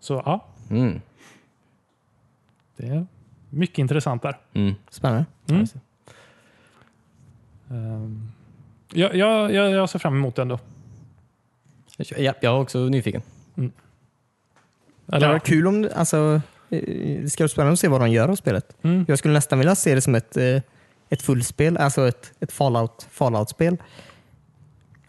Speaker 3: Så ja,
Speaker 2: Mm.
Speaker 3: det är mycket intressant där.
Speaker 2: Mm.
Speaker 1: Spännande.
Speaker 3: Mm.
Speaker 2: just det.
Speaker 3: Ehm, Jag, jag, jag, jag ser fram emot den då.
Speaker 2: Ja, jag är också nyfiken.
Speaker 1: Det
Speaker 3: Eller,
Speaker 1: var kul om det- alltså, eh, det ska vara spännande att se vad de gör av spelet.
Speaker 3: Mm.
Speaker 1: Jag skulle nästan vilja se det som ett, eh, ett fullspel, alltså ett, ett fallout, fallout-spel.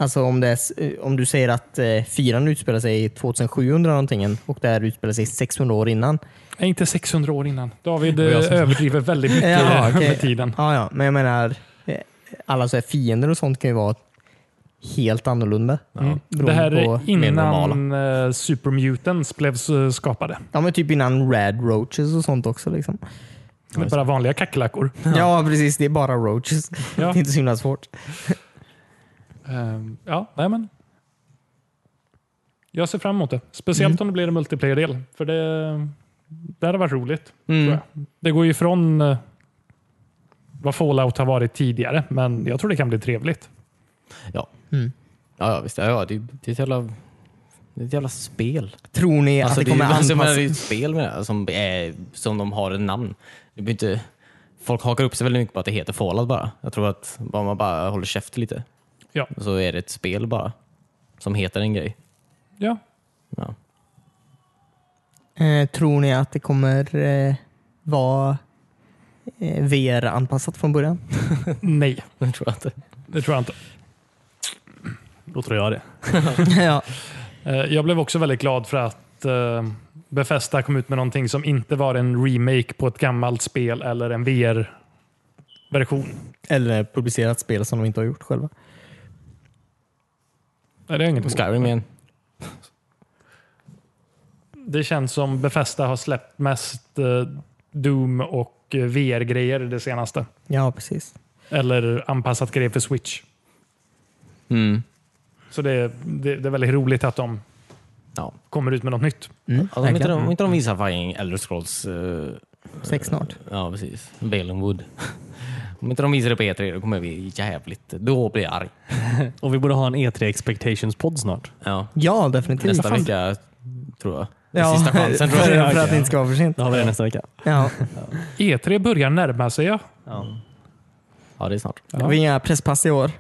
Speaker 1: Alltså om, det är, s- eh, om du säger att eh, fyran utspelar sig i 2700 någonting och det här utspelar sig 600 år innan.
Speaker 3: Nej, inte 600 år innan. David
Speaker 2: Det
Speaker 3: eh,
Speaker 2: var jag som-
Speaker 3: överdriver väldigt mycket
Speaker 1: Ja, okej.
Speaker 3: med tiden.
Speaker 1: Ja, ja, men jag menar, eh, alla så här fiender och sånt kan ju vara helt annorlunda.
Speaker 3: Mm. Det
Speaker 1: Beroende
Speaker 3: här
Speaker 1: på
Speaker 3: är
Speaker 2: mer
Speaker 3: innan
Speaker 2: normala.
Speaker 3: eh, Supermutants blev eh, skapade.
Speaker 1: Ja, men typ innan Rad Roaches och sånt också. Liksom.
Speaker 3: Det är bara vanliga kackerlackor.
Speaker 1: Ja. precis. Det är bara Roaches.
Speaker 3: Ja.
Speaker 1: <laughs> Det är inte så himla svårt.
Speaker 3: Ehm, ja, nej men. Jag ser fram emot det. Speciellt om det blir en multiplayer-del. För det, det hade varit roligt. Tror jag. Det går ju ifrån eh, vad Fallout har varit tidigare, men jag tror det kan bli trevligt.
Speaker 2: Ja, ja visst. Ja, ja, det, det är ett jävla, det är ett jävla spel.
Speaker 1: Tror ni att det kommer
Speaker 2: är, alltså, jag menar,
Speaker 1: anpassas?
Speaker 2: Alltså, det är ett spel med det här som, är, som de har ett namn. Det blir inte, folk hakar upp sig väldigt mycket på att det heter Fallout bara. Jag tror att bara man bara håller käft lite
Speaker 3: Ja.
Speaker 2: så är det ett spel bara som heter en grej. <laughs>
Speaker 3: Ja.
Speaker 2: Ja.
Speaker 1: Eh, tror ni att det kommer eh, vara eh, VR-anpassat från <laughs> början?
Speaker 3: Nej,
Speaker 2: Jag tror att det.
Speaker 3: det tror jag inte.
Speaker 4: Då tror jag det.
Speaker 1: ja.
Speaker 3: Eh, Jag blev också väldigt glad för att eh, Bethesda kom ut med någonting som inte var en remake på ett gammalt spel eller en VR-version.
Speaker 1: Eller publicerat spel som de inte har gjort själva.
Speaker 3: Nej, Det, är inget emot.
Speaker 2: Skyrim igen.
Speaker 3: det känns som Bethesda har släppt mest eh, Doom och eh, VR-grejer det senaste.
Speaker 1: Ja, precis.
Speaker 3: Eller anpassat grejer för Switch.
Speaker 2: Mm.
Speaker 3: Så det, det, det är väldigt roligt att de
Speaker 2: Ja.
Speaker 3: kommer ut med något nytt.
Speaker 1: Mm,
Speaker 2: Alltså, om, inte
Speaker 1: verkligen.
Speaker 2: de, om inte de visar fucking Elder Scrolls, eh,
Speaker 1: Sex snart.
Speaker 2: ja precis, Balen Wood. <laughs> om inte de visar det på E3 då kommer jag bli jävligt, då blir jag arg.
Speaker 4: Och vi borde ha en E3 Expectations-podd snart.
Speaker 2: Ja.
Speaker 1: Ja, definitivt.
Speaker 2: Nästa
Speaker 1: Fan.
Speaker 2: vecka tror jag.
Speaker 1: Ja,
Speaker 2: Sista chansen
Speaker 1: <laughs>
Speaker 2: tror jag.
Speaker 1: för, för att det inte ska vara för sent.
Speaker 4: Det har vi det nästa vecka.
Speaker 1: Ja.
Speaker 3: E3 E börjar närma sig. Ja.
Speaker 2: Ja, det är snart.
Speaker 1: Det var inga presspass i år.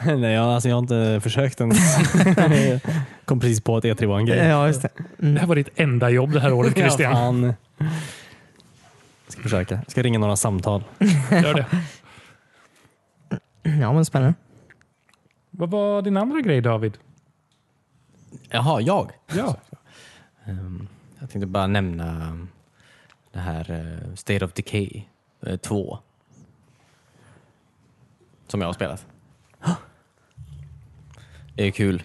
Speaker 4: <laughs> Nej, jag, alltså, jag har inte försökt ens. <laughs> Kom precis på att E3 var en grej.
Speaker 1: Ja, just det.
Speaker 3: Det här var ditt enda jobb det här året Christian.
Speaker 4: <laughs> Ja, fan. Ska försöka. Ska ringa några samtal.
Speaker 3: Gör det.
Speaker 1: Ja, men spännande.
Speaker 3: Vad var din andra grej David?
Speaker 2: Jaha, jag?
Speaker 3: Ja.
Speaker 2: Ehm, jag tänkte bara nämna det här eh, State of Decay eh, 2. Som jag har spelat. <gasps> Det är kul.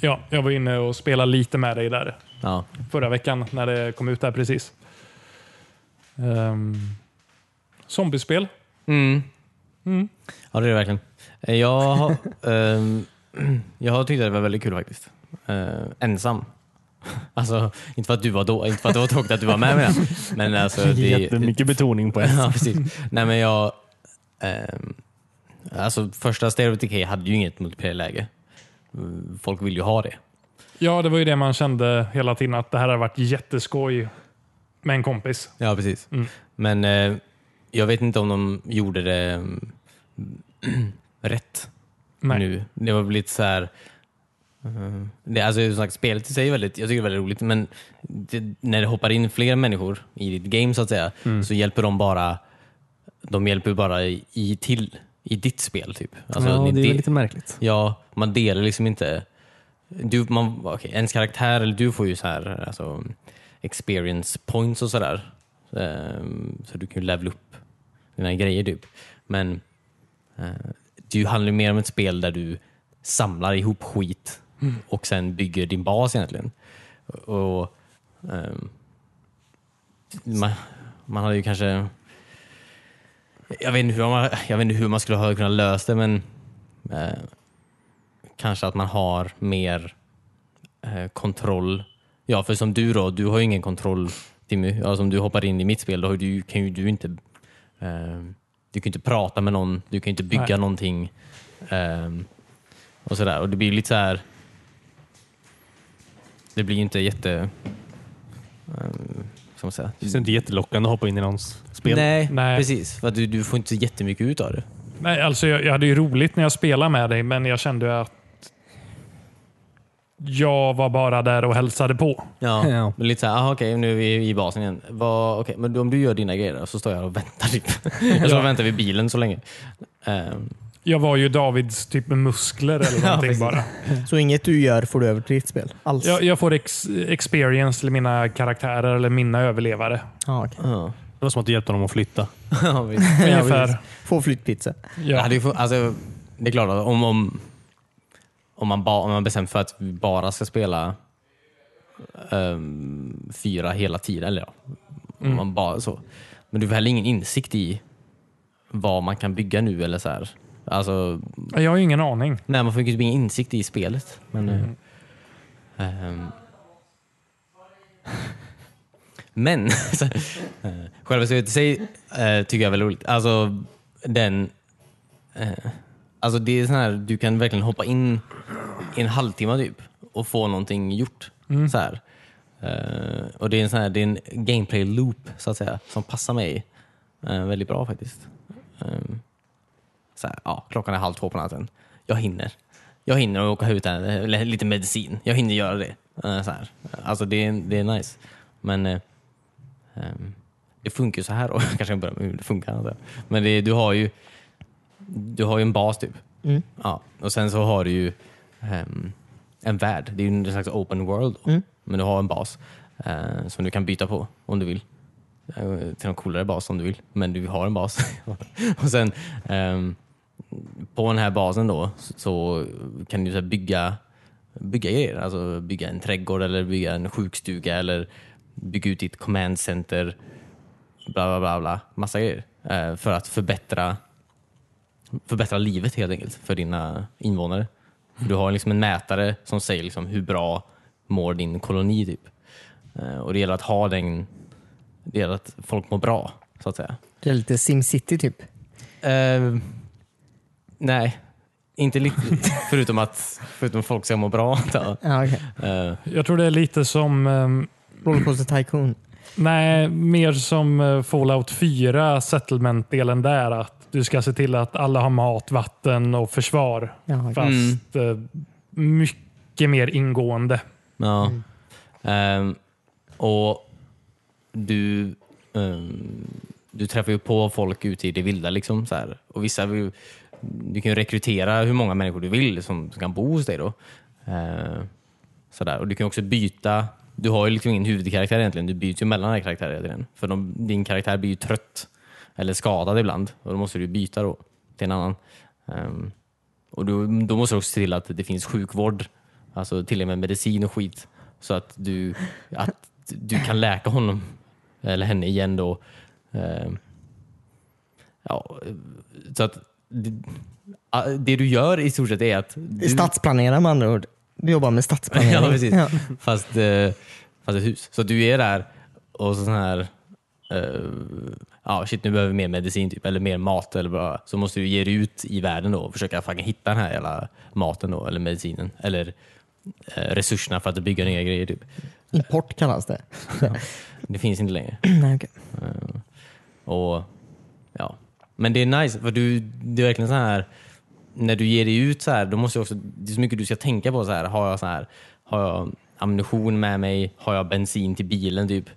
Speaker 3: ja, jag var inne och spelade lite med dig där
Speaker 2: Ja.
Speaker 3: förra veckan när det kom ut där precis. Um, zombiespel.
Speaker 2: Mm.
Speaker 3: Mm.
Speaker 2: Ja, det är det verkligen. Eh, Jag har, <laughs> ehm, <clears throat> jag har tyckt att det var väldigt kul faktiskt. Eh, ensam. <laughs> Alltså, inte för att du var då, inte för att det var tråkigt att du var med mig. Men alltså, det,
Speaker 4: Jättemycket betoning på <laughs> det.
Speaker 2: <laughs> ja, precis. Nej, men jag... ehm, alltså, första Stereo Decay hade ju inget multiplayer-läge. Mm, Folk vill ju ha det.
Speaker 3: Ja, det var ju det man kände hela tiden att det här har varit jätteskoj med en kompis.
Speaker 2: Ja, precis.
Speaker 3: Mm.
Speaker 2: Men eh, jag vet inte om de gjorde det mm, <clears throat> rätt
Speaker 3: Nej.
Speaker 2: nu. Det har blivit så här... eh, Det, alltså, som sagt, spelet i sig är väldigt, jag tycker det är väldigt roligt, men det, när det hoppar in fler människor i ditt game så att säga,
Speaker 4: Mm.
Speaker 2: så hjälper de bara de hjälper bara i, i till i ditt spel. typ. Alltså,
Speaker 4: ja,
Speaker 2: ni-
Speaker 4: det är
Speaker 2: det-
Speaker 4: lite märkligt.
Speaker 2: Ja, man delar liksom inte. Du, man, okej, ens karaktär, eller du får ju så här, alltså, experience points och sådär. Ehm, så du kan ju levela upp dina grejer typ. Men eh, det handlar ju mer om ett spel där du samlar ihop skit och sen bygger din bas egentligen. Och Ehm, man, man hade ju kanske... Jag vet, inte hur man, jag vet inte hur man skulle ha kunnat lösa det, men eh, kanske att man har mer eh, kontroll. Ja, för som du då, du har ju ingen kontroll Timmy. Alltså, om du hoppar in i mitt spel, då har du, kan ju du inte eh, du kan ju inte prata med någon, du kan ju inte bygga
Speaker 3: Nej.
Speaker 2: någonting. eh, och sådär. Och det blir ju lite så här. Det blir ju inte jätte... eh, ska man säga?
Speaker 4: Det känns inte jättelockande att hoppa in i någons spel.
Speaker 2: Nej,
Speaker 3: Nej.
Speaker 2: precis. För att du, du får inte så jättemycket ut av det.
Speaker 3: Nej, alltså jag, jag hade ju roligt när jag spelade med dig, men jag kände att jag var bara där och hälsade på.
Speaker 2: <laughs> Ja.
Speaker 4: Ja.
Speaker 2: Men lite såhär, aha, okej nu är vi i basen igen. Vad, okej, men om du gör dina grejer då, så står jag och väntar. <laughs> Typ. Jag står och väntar vid bilen så länge. Ehm,
Speaker 3: Jag var ju Davids typ muskler
Speaker 2: <laughs>
Speaker 3: eller någonting
Speaker 2: precis.
Speaker 3: bara.
Speaker 1: Så inget du gör får du över till ditt spel? Alls?
Speaker 3: Jag, jag får ex, experience till mina karaktärer eller mina överlevare.
Speaker 1: Ja,
Speaker 2: <laughs>
Speaker 1: okej.
Speaker 2: ja.
Speaker 4: Det var som att du hjälpte honom att flytta.
Speaker 2: Ja, visst.
Speaker 3: Ungefär.
Speaker 1: Få flyttpizza.
Speaker 2: Jag
Speaker 3: Ja.
Speaker 2: hade ju fått- alltså, det är klart att om, om, om, man ba, om man bestämt för att vi bara ska spela ehm, fyra hela tiden, eller ja, om man bara så. Men du har heller ingen insikt i vad man kan bygga nu eller så här. Alltså,
Speaker 3: Jag har ju ingen aning.
Speaker 2: nej, man får ju typ ingen insikt i spelet. Men, eh, ehm, <laughs> men <laughs> så, eh, själva spelet i sig eh, tycker jag är väldigt roligt. Alltså, den, eh, alltså det är sån här, du kan verkligen hoppa in i en halvtimme typ och få någonting gjort. Så här. Eh, och det är en sån här, det är en gameplay loop så att säga som passar mig eh, väldigt bra faktiskt. Eh, så här, ja, klockan är halv två på natten. Jag hinner. Jag hinner åka ut här, eller lite medicin. Jag hinner göra det. Eh, Så här. Alltså det är, det är nice. Men eh, ehm, det funkar ju så här <laughs> då. Jag kanske börjar med hur det funkar. antar jag. Men det, du har ju du har ju en bas typ. Ja. Och sen så har du ju ehm, en värld. Det är ju en slags open world. då. Men du har en bas eh, som du kan byta på om du vill eh, till någon coolare bas om du vill. Men du har en bas. <laughs> och sen ehm, på den här basen då så- så kan du så här bygga, bygga grejer. Alltså bygga en trädgård eller bygga en sjukstuga eller bygga ut ditt command center. Bla bla bla, bla massa grejer. Eh, för att förbättra, förbättra livet helt enkelt för dina invånare. För du har liksom en mätare som säger liksom hur bra mår din koloni typ. Eh, och det gäller att ha den det gäller att folk mår bra, så att säga.
Speaker 1: Det är lite SimCity typ.
Speaker 2: Ehm, nej, inte riktigt. förutom att förutom att folk ska må bra. antar
Speaker 1: Ja, okay.
Speaker 2: jag. Eh,
Speaker 3: Jag tror det är lite som, ehm,
Speaker 1: Rollercoaster Tycoon.
Speaker 3: nej, mer som eh, Fallout 4 settlement-delen där. Att du ska se till att alla har mat, vatten och försvar.
Speaker 1: Ja, okej.
Speaker 3: Fast eh, mycket mer ingående.
Speaker 2: ja. Ehm, och du, ehm, du träffar ju på folk ute i det vilda. Liksom, så här. Och vissa vill, du kan ju rekrytera hur många människor du vill som, som kan bo hos dig. Då. Eh, sådär. Och du kan ju också byta. Du har ju liksom ingen huvudkaraktär egentligen. Du byter ju mellan alla karaktärer. egentligen. För de, din karaktär blir ju trött eller skadad ibland och då måste du byta då till en annan. Ehm, och då, då måste du också se till att det finns sjukvård, alltså till och med medicin och skit, så att du, att du kan läka honom eller henne igen då. Ehm, ja, så att det, ah, det du gör i stort sett är att du,
Speaker 1: Stadsplanera med andra ord. Du jobbar med stadsplanering.
Speaker 2: <laughs> Ja, precis.
Speaker 1: Ja.
Speaker 2: Fast, eh, fast ett hus. Så du är där och så sån här, eh, ja shit nu behöver vi mer medicin typ, eller mer mat eller bara, så måste du ge dig ut i världen då och försöka fucking hitta den här jävla maten då, eller medicinen, eller eh, resurserna för att bygga nya grejer typ.
Speaker 1: Import kallas det.
Speaker 2: Det finns inte längre.
Speaker 1: Mm, Nej, okej.
Speaker 2: Och, ja. Men det är nice, för du, det är verkligen så här när du ger dig ut så här, då måste du också, det är så mycket du ska tänka på. så här, Har jag så här, har jag ammunition med mig? Har jag bensin till bilen? typ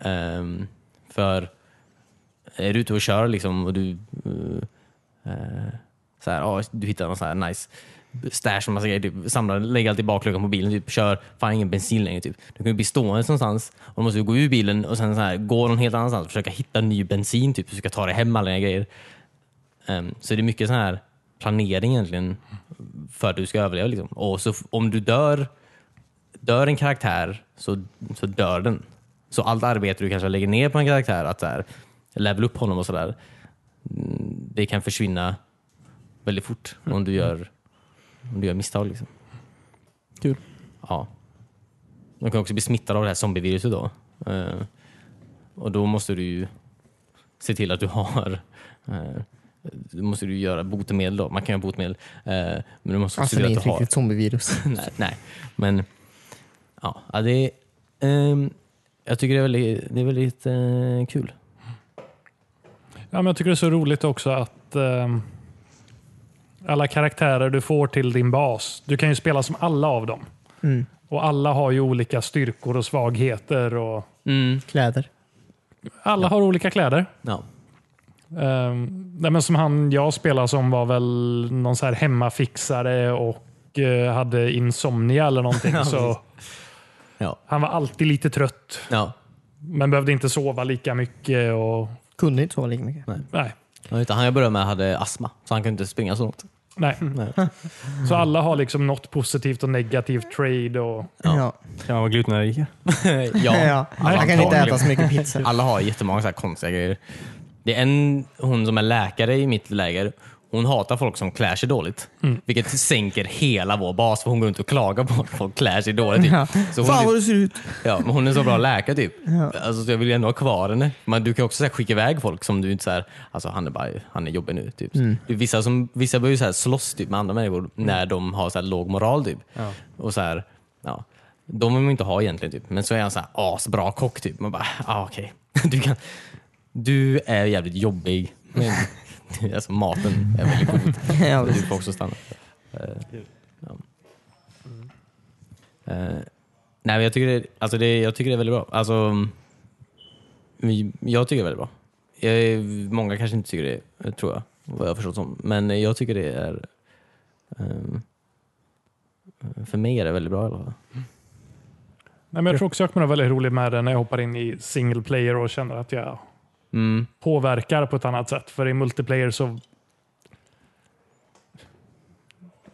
Speaker 2: Ehm, För är du ute och kör liksom och du eh, eh, så här, ja, du hittar någon så här nice stash och massa grejer, typ, samlar, lägger allt i bakluckan på bilen, typ, kör, fan ingen bensin längre. Typ. Du kan ju bli stående någonstans och då måste du gå ur bilen och sen så här, gå någon helt annanstans och försöka hitta ny bensin, typ, så du ska ta dig hem alla dina grejer. Ehm, så det är mycket så här planering egentligen för att du ska överleva. Liksom. Och så f- om du dör dör en karaktär så, så dör den. Så allt arbete du kanske lägger ner på en karaktär, att så här, level upp honom och sådär, mm, det kan försvinna väldigt fort om, du gör, om du gör misstag. Liksom.
Speaker 4: Kul.
Speaker 2: Ja. De kan också bli smittade av det här zombieviruset då. Eh, och då måste du ju se till att du har eh, då måste du göra botemedel då. Man kan göra botemedel. eh, men du måste också
Speaker 1: Alltså
Speaker 2: se
Speaker 1: det är
Speaker 2: till att
Speaker 1: ett
Speaker 2: du har
Speaker 1: riktigt zombievirus.
Speaker 2: <laughs> nej, nej, men ja, ja, det är, ehm, jag tycker det är väldigt, det är väldigt eh, kul.
Speaker 3: Ja, men jag tycker det är så roligt också att ehm, alla karaktärer du får till din bas, du kan ju spela som alla av dem.
Speaker 1: Mm.
Speaker 3: Och alla har ju olika styrkor och svagheter. Och
Speaker 1: Kläder.
Speaker 3: alla har olika kläder.
Speaker 2: Ja.
Speaker 3: Ehm, nej, men som han jag spelar som var väl någon så här hemmafixare och eh, hade insomnia
Speaker 2: <laughs>
Speaker 3: eller någonting. så
Speaker 2: Ja.
Speaker 3: Han var alltid lite trött,
Speaker 2: Ja.
Speaker 3: men behövde inte sova lika mycket. Och,
Speaker 1: Kunde inte sova lika mycket.
Speaker 3: nej.
Speaker 2: Ja, utan han jag började med hade astma, så han kunde inte springa så långt.
Speaker 3: Nej.
Speaker 2: <laughs> Nej.
Speaker 3: Så alla har liksom något positivt och negativt trade. Och,
Speaker 2: Ja.
Speaker 1: Ja.
Speaker 4: Kan man vara glutenallergiker?
Speaker 2: ja,
Speaker 1: Ja.
Speaker 2: alla
Speaker 1: Man kan
Speaker 2: har-
Speaker 1: inte äta så mycket pizza.
Speaker 2: Alla har jättemånga så här konstiga grejer. Det är en, hon som är läkare i mitt läger, hon hatar folk som klär sig dåligt.
Speaker 1: Mm.
Speaker 2: Vilket sänker hela vår bas, för hon går runt och klagar på att folk klär sig dåligt. Typ.
Speaker 1: Ja.
Speaker 2: <laughs> Så hon
Speaker 1: Fan
Speaker 2: typ-
Speaker 1: vad du ser ut!
Speaker 2: Ja, men hon är en så bra läkare typ. Alltså, så jag vill ju ändå ha kvar henne. Men du kan också så här, skicka iväg folk som du inte så här, alltså han är, bara, han är jobbig nu. Typ. Du, vissa, som, vissa börjar ju så här, slåss typ, med andra människor när de har så här, låg moral. Typ. Och så här, ja, de vill man inte ha egentligen. Typ. Men så är han så här, asbra kock typ. Man bara, ah, okej. <laughs> Du, kan, du är jävligt jobbig. Men, alltså, maten är väldigt god.
Speaker 1: Ja,
Speaker 2: Så du får också stanna. Eh, ja. Eh, nej, men jag tycker, det, alltså det, jag tycker det är väldigt bra. Alltså, mm, jag tycker det är väldigt bra. Jag, många kanske inte tycker det, eh, tror jag. Vad jag har förstått som. Men eh, jag tycker det är... ehm, eh, för mig är det väldigt bra i alla fall.
Speaker 3: nej, men jag tror också jag kommer ha väldigt roligt med det när jag hoppar in i single player och känner att jag
Speaker 2: Mm.
Speaker 3: påverkar på ett annat sätt. För i multiplayer så...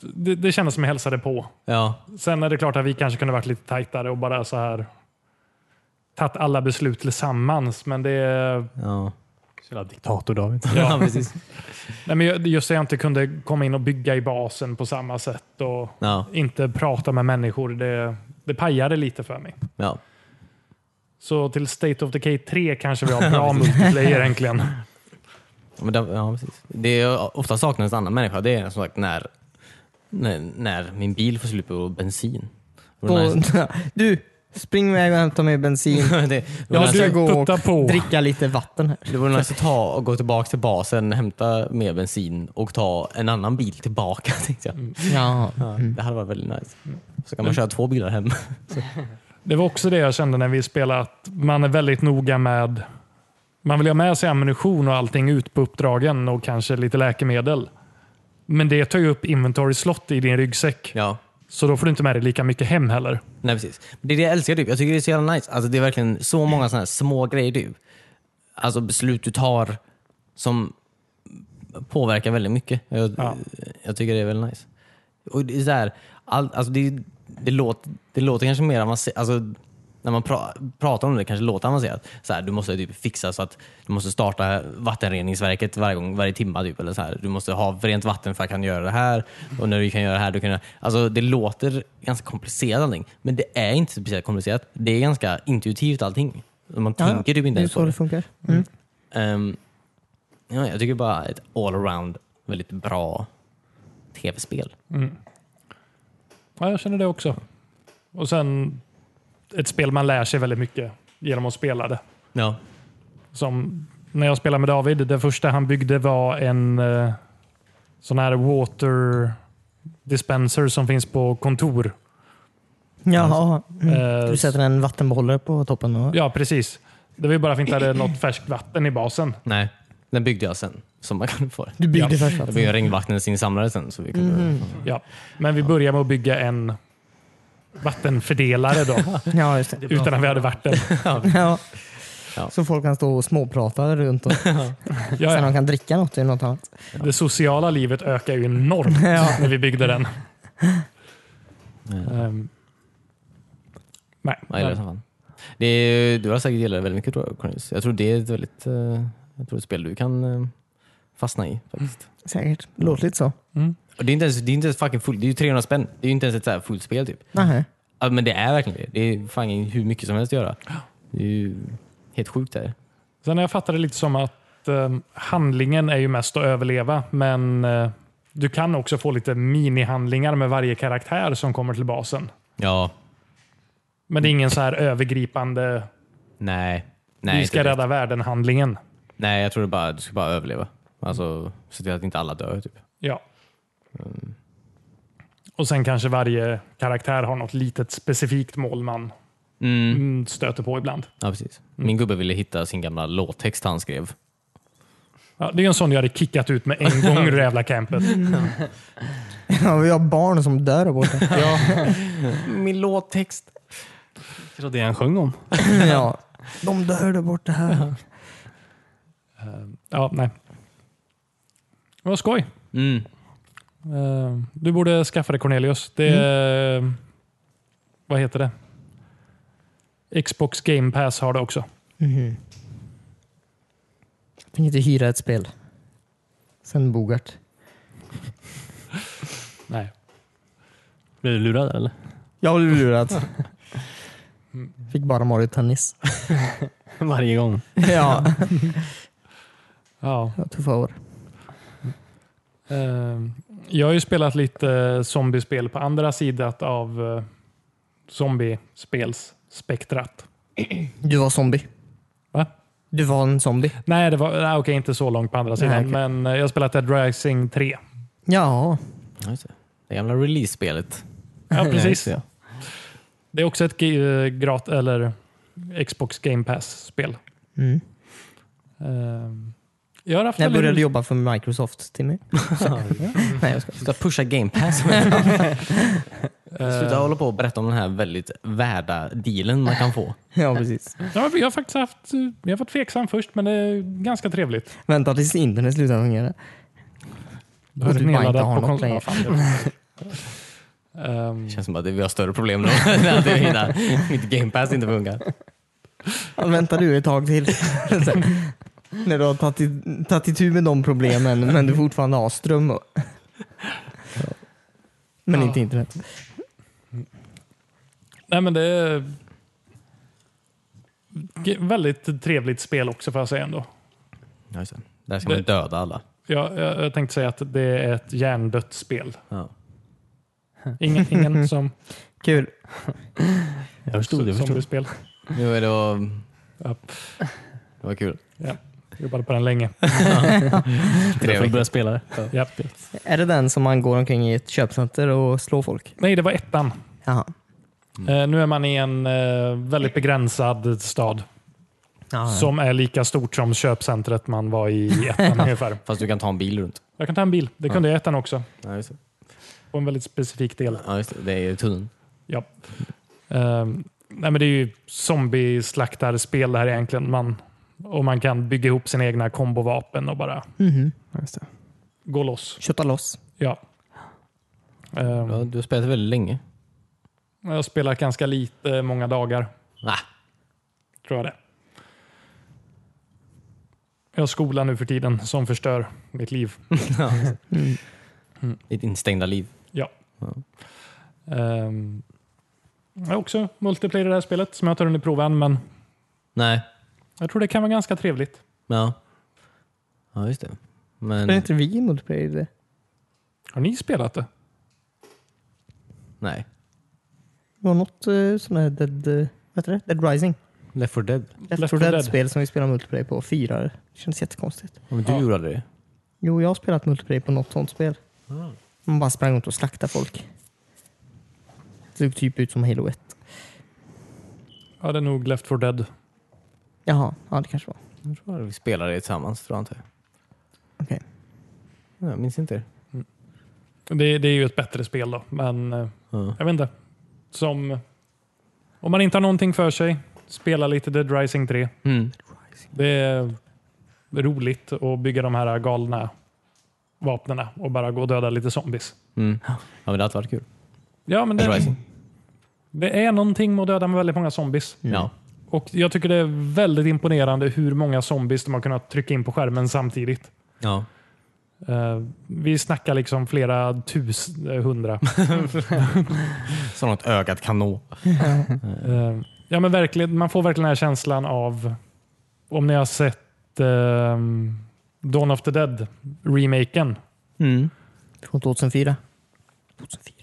Speaker 3: Det, det kändes som jag hälsade på.
Speaker 2: Ja,
Speaker 3: Sen är det klart att vi kanske kunde varit lite tajtare och bara så här tagit alla beslut tillsammans. Men det
Speaker 2: ja.
Speaker 4: Så jävla diktator David. <laughs>
Speaker 2: ja precis.
Speaker 3: nej men jag- just att jag inte kunde komma in och bygga i basen på samma sätt och
Speaker 2: Ja,
Speaker 3: inte prata med människor. Det, det pajade lite för mig.
Speaker 2: ja.
Speaker 3: Så till State of Decay 3 kanske vi har
Speaker 4: <laughs>
Speaker 3: bra multiplayer egentligen.
Speaker 2: Ja, Men det, ja, precis. Det jag ofta saknar hos en annan människa det är som sagt när, när, när min bil får slut på bensin. Och
Speaker 1: Och, du, spring iväg och hämta mig bensin.
Speaker 2: <laughs> det, det, vore
Speaker 3: Ja,
Speaker 2: nice-
Speaker 1: ska
Speaker 3: du
Speaker 1: gå och
Speaker 3: putta på.
Speaker 1: Dricka lite vatten här.
Speaker 2: det vore nice att ta och gå tillbaka till basen, hämta mer bensin och ta en annan bil tillbaka. <laughs> Tänkte jag.
Speaker 1: Mm. Ja.
Speaker 2: Det hade varit väldigt nice. Så kan man köra två bilar hem.
Speaker 3: Det var också det jag kände när vi spelade, att man är väldigt noga med man vill ha med sig ammunition och allting ut på uppdragen och kanske lite läkemedel. Men det tar ju upp inventory slot i din ryggsäck.
Speaker 2: Ja.
Speaker 3: Så då får du inte med dig lika mycket hem heller.
Speaker 2: Nej, precis. Det är det jag älskar. Typ. Jag tycker det är så jävla nice. Alltså, det är verkligen så många såna här små grejer. Typ. Alltså beslut du tar som påverkar väldigt mycket. Jag,
Speaker 3: Ja.
Speaker 2: jag tycker det är väldigt nice. Och det, är så här, all, alltså, det, det, låter, det låter kanske mer avancerat. Alltså, när man pra, pratar om det kanske låter avancerat. Så här, du måste typ fixa så att du måste starta vattenreningsverket varje, gång, varje timma. Typ, eller så här. Du måste ha rent vatten för att kunna göra det här. Och när du kan göra det här, du kan göra... Alltså, det låter ganska komplicerat allting. Men det är inte speciellt komplicerat. Det är ganska intuitivt allting. Man tänker typ
Speaker 1: Det är
Speaker 2: inte ens
Speaker 1: så
Speaker 2: på det.
Speaker 1: det funkar. Mm.
Speaker 2: Ehm, ja, jag tycker bara ett allround väldigt bra tv-spel.
Speaker 3: Ja, jag känner det också. Och sen ett spel man lär sig väldigt mycket genom att spela det.
Speaker 2: Ja.
Speaker 3: Som när jag spelade med David, det första han byggde var en eh, sån här water dispenser som finns på kontor.
Speaker 1: Jaha. Mm.
Speaker 3: Eh,
Speaker 1: Du sätter en vattenbehållare på toppen? Och...
Speaker 3: Ja, precis. Det var ju bara för att vi inte hade något färskt vatten i basen.
Speaker 2: Nej, den byggde jag sen. Som man kunde få det.
Speaker 1: Du byggde
Speaker 3: Ja.
Speaker 1: först alltså. Mhm.
Speaker 2: Jag
Speaker 1: vatten?
Speaker 2: byggde en regnvattensinsamlare sen. Så vi kunde,
Speaker 3: Ja. Men vi började med att bygga en vattenfördelare då,
Speaker 1: Ja, just det.
Speaker 3: utan att vi hade vatten.
Speaker 1: Ja.
Speaker 2: Ja.
Speaker 1: Så folk kan stå och småprata runt och sen
Speaker 3: Ja,
Speaker 1: de
Speaker 3: ja.
Speaker 1: kan dricka något eller något annat.
Speaker 3: Det sociala livet ökar ju Eh, enormt när vi byggde den. Ehm, Nej.
Speaker 2: Jag gillar det som fan. Det är, du har säkert gillat det väldigt mycket tror jag, Cornelius. Jag tror det är ett väldigt eh, jag tror ett spel du kan eh, fastna i faktiskt.
Speaker 1: Säkert. Låter lite så.
Speaker 2: Och det är inte ens, det är inte ens fucking full, det är ju 300 spänn. Det är ju inte ens ett så här fullt spel typ.
Speaker 1: Nähä.
Speaker 2: Ja, men det är verkligen det. Det är fucking hur mycket som helst att göra. Det är ju helt sjukt där.
Speaker 3: Sen har jag fattat det lite som att eh, handlingen är ju mest att överleva, men eh, du kan också få lite minihandlingar med varje karaktär som kommer till basen.
Speaker 2: Ja.
Speaker 3: Men det är ingen så här övergripande,
Speaker 2: Nej. Nej,
Speaker 3: vi ska
Speaker 2: inte-
Speaker 3: rädda världen-handlingen.
Speaker 2: Nej, jag tror det bara, du ska bara överleva. Alltså, se till att inte alla dör typ.
Speaker 3: Ja. Och sen kanske varje karaktär har något litet specifikt mål man mm, stöter på ibland.
Speaker 2: Ja, precis. Min gubbe ville hitta sin gamla låttext han skrev.
Speaker 3: Ja, det är en sån jag hade kickat ut med en gång ur det jävla campet.
Speaker 1: Ja, vi har barn som dör där <laughs> borta.
Speaker 2: Min låttext.
Speaker 4: Det var det han sjöng om.
Speaker 1: ja. De dör där borta här.
Speaker 3: Ja, nej. Vad skoj.
Speaker 2: Mm.
Speaker 3: Eh, Du borde skaffa det Cornelius. Det är, Vad heter det? Xbox Game Pass har det också.
Speaker 1: Mhm. Jag tänker inte hyra ett spel. Sen Bogart.
Speaker 3: Nej.
Speaker 4: Blev du lurad eller?
Speaker 1: Jag blev lurad. <laughs> Fick bara Mario Tennis.
Speaker 4: <laughs> Varje gång.
Speaker 1: <laughs> ja,
Speaker 3: Ja.
Speaker 1: det var tuffa år.
Speaker 3: Eh, Jag har ju spelat lite eh, zombiespel på andra sidan av eh, zombiespelsspektrat.
Speaker 1: Du var zombie.
Speaker 3: Va?
Speaker 1: Du var en zombie.
Speaker 3: Nej, det var, nej, okej, inte så långt på andra sidan,
Speaker 1: Nej, okej.
Speaker 3: men eh, jag har spelat Dead
Speaker 1: <laughs>
Speaker 3: Rising 3.
Speaker 1: Ja,
Speaker 2: Ja, just det. det gamla release-spelet.
Speaker 3: Ja, precis.
Speaker 2: Ja, just
Speaker 3: Det är också ett eh, grat eller Xbox Game Pass-spel.
Speaker 1: Mm.
Speaker 3: Ehm, Jag har haft
Speaker 1: när jag
Speaker 3: väldigt-
Speaker 1: började jobba för Microsoft, Timmy.
Speaker 3: <laughs>
Speaker 1: Nej, jag skojar.
Speaker 2: Sluta pusha game <laughs> pass.
Speaker 3: Eh,
Speaker 2: Sluta hålla på och berätta om den här väldigt värda dealen man kan få.
Speaker 1: Ja, precis.
Speaker 3: Ja, jag har faktiskt haft, jag har varit tveksam först, men det är ganska trevligt.
Speaker 1: <laughs> Vänta tills internet slutar fungera.
Speaker 3: Då
Speaker 1: Och
Speaker 3: är
Speaker 1: du
Speaker 3: det
Speaker 1: bara inte
Speaker 3: nedladdat
Speaker 1: har
Speaker 3: på
Speaker 1: något
Speaker 3: konsol-
Speaker 1: längre.
Speaker 3: Ja, fan, det
Speaker 1: <laughs>
Speaker 3: var- Ehm,
Speaker 2: Det känns som att vi har större problem <laughs> då. när det är innan mitt game pass inte funkar.
Speaker 1: Ja, Vänta du ett tag till. Så här, när du har tagit i- tagit itu med de problemen, men du fortfarande har ström. Och... Men inte internet.
Speaker 3: Nej, men det är Ge- väldigt trevligt spel också får jag säga ändå.
Speaker 2: Ja, just det. Där ska man
Speaker 3: Det-
Speaker 2: döda alla.
Speaker 3: Jag, jag, jag tänkte säga att det är ett hjärndött spel.
Speaker 2: Ja.
Speaker 4: <laughs>
Speaker 3: Ingen, ingen som,
Speaker 1: Kul.
Speaker 4: Jag förstod det.
Speaker 3: som,
Speaker 4: jag Förstod.
Speaker 3: spel.
Speaker 2: Jo, det var,
Speaker 3: Ja,
Speaker 2: det var kul.
Speaker 3: jobbade på den länge.
Speaker 4: Det
Speaker 2: Tre
Speaker 4: jag
Speaker 2: veckor.
Speaker 4: började spela <laughs> det.
Speaker 3: Ja.
Speaker 1: Är det den som man går omkring i ett köpcenter och slår folk?
Speaker 3: Nej, det var ettan.
Speaker 1: Jaha.
Speaker 4: Mm.
Speaker 3: Eh, nu är man i en eh, väldigt begränsad stad
Speaker 4: Ah,
Speaker 3: som är lika stort som köpcentret man var i i
Speaker 4: <laughs>
Speaker 3: ettan ungefär.
Speaker 2: Fast du kan ta en bil runt.
Speaker 3: Jag kan ta en bil. Det kunde jag i ettan också.
Speaker 2: Ja, just det.
Speaker 3: På en väldigt specifik del.
Speaker 2: Ja, just det. det är ju tunneln.
Speaker 3: Ja. Eh, nej, men det är ju zombieslaktarspel det här egentligen. Man, och man kan bygga ihop sina egna kombovapen och bara gå loss.
Speaker 1: Kötta loss.
Speaker 3: Ja. Eh,
Speaker 2: Ja, du har spelat väldigt länge.
Speaker 3: jag har spelat ganska lite, många dagar.
Speaker 2: Ah,
Speaker 3: Tror jag det. Jag har skola nu för tiden som förstör mitt liv.
Speaker 2: ditt instängda liv.
Speaker 3: Ja. Ehm, jag har också multiplayer i det här spelet som jag tar under proven, men
Speaker 2: Nej.
Speaker 3: jag tror det kan vara ganska trevligt.
Speaker 2: Ja. Ja, just det.
Speaker 1: Men är
Speaker 2: Men
Speaker 1: inte vi i multiplayer i det?
Speaker 3: Har ni spelat det?
Speaker 2: nej.
Speaker 1: Det var något eh, sån här Dead, eh, vad heter det? Dead Rising.
Speaker 2: Left 4 Dead.
Speaker 1: Left 4
Speaker 3: 4 Dead.
Speaker 1: Dead-spel som vi spelar multiplayer på. Fyra. Det kändes jättekonstigt.
Speaker 2: Ja, men du
Speaker 3: Ja.
Speaker 2: gjorde aldrig det?
Speaker 1: Jo, jag har spelat multiplayer på något sånt spel. Man bara sprang runt och slaktade folk. Det såg typ ut som Halo 1.
Speaker 3: Ja, det är nog Left 4 Dead.
Speaker 1: Jaha, ja det kanske var.
Speaker 2: Jag tror aldrig vi spelade det tillsammans, tror jag inte.
Speaker 1: Okej.
Speaker 2: Ja, Jag minns inte det.
Speaker 3: Det, det är ju ett bättre spel då, men eh,
Speaker 2: Ja.
Speaker 3: jag vet inte. Som, om man inte har någonting för sig, spela lite Dead Rising 3.
Speaker 2: Mm.
Speaker 3: Det är roligt att bygga de här galna vapnena och bara gå och döda lite zombies.
Speaker 2: Mm. Ja, men det hade varit kul.
Speaker 3: Ja, men
Speaker 2: Dead
Speaker 3: det,
Speaker 2: Rising.
Speaker 3: Det är någonting med att döda med väldigt många zombies.
Speaker 2: Ja.
Speaker 3: Och Jag tycker det är väldigt imponerande hur många zombies de har kunnat trycka in på skärmen samtidigt.
Speaker 2: ja.
Speaker 3: Eh, vi snackar liksom flera tusen, eh, hundra.
Speaker 2: Så något ögat kan nå.
Speaker 3: Eh, ja, men verkligen, man får verkligen den här känslan av, om ni har sett eh, Dawn of the Dead, remaken.
Speaker 2: Mm.
Speaker 1: Från 2004. 2004.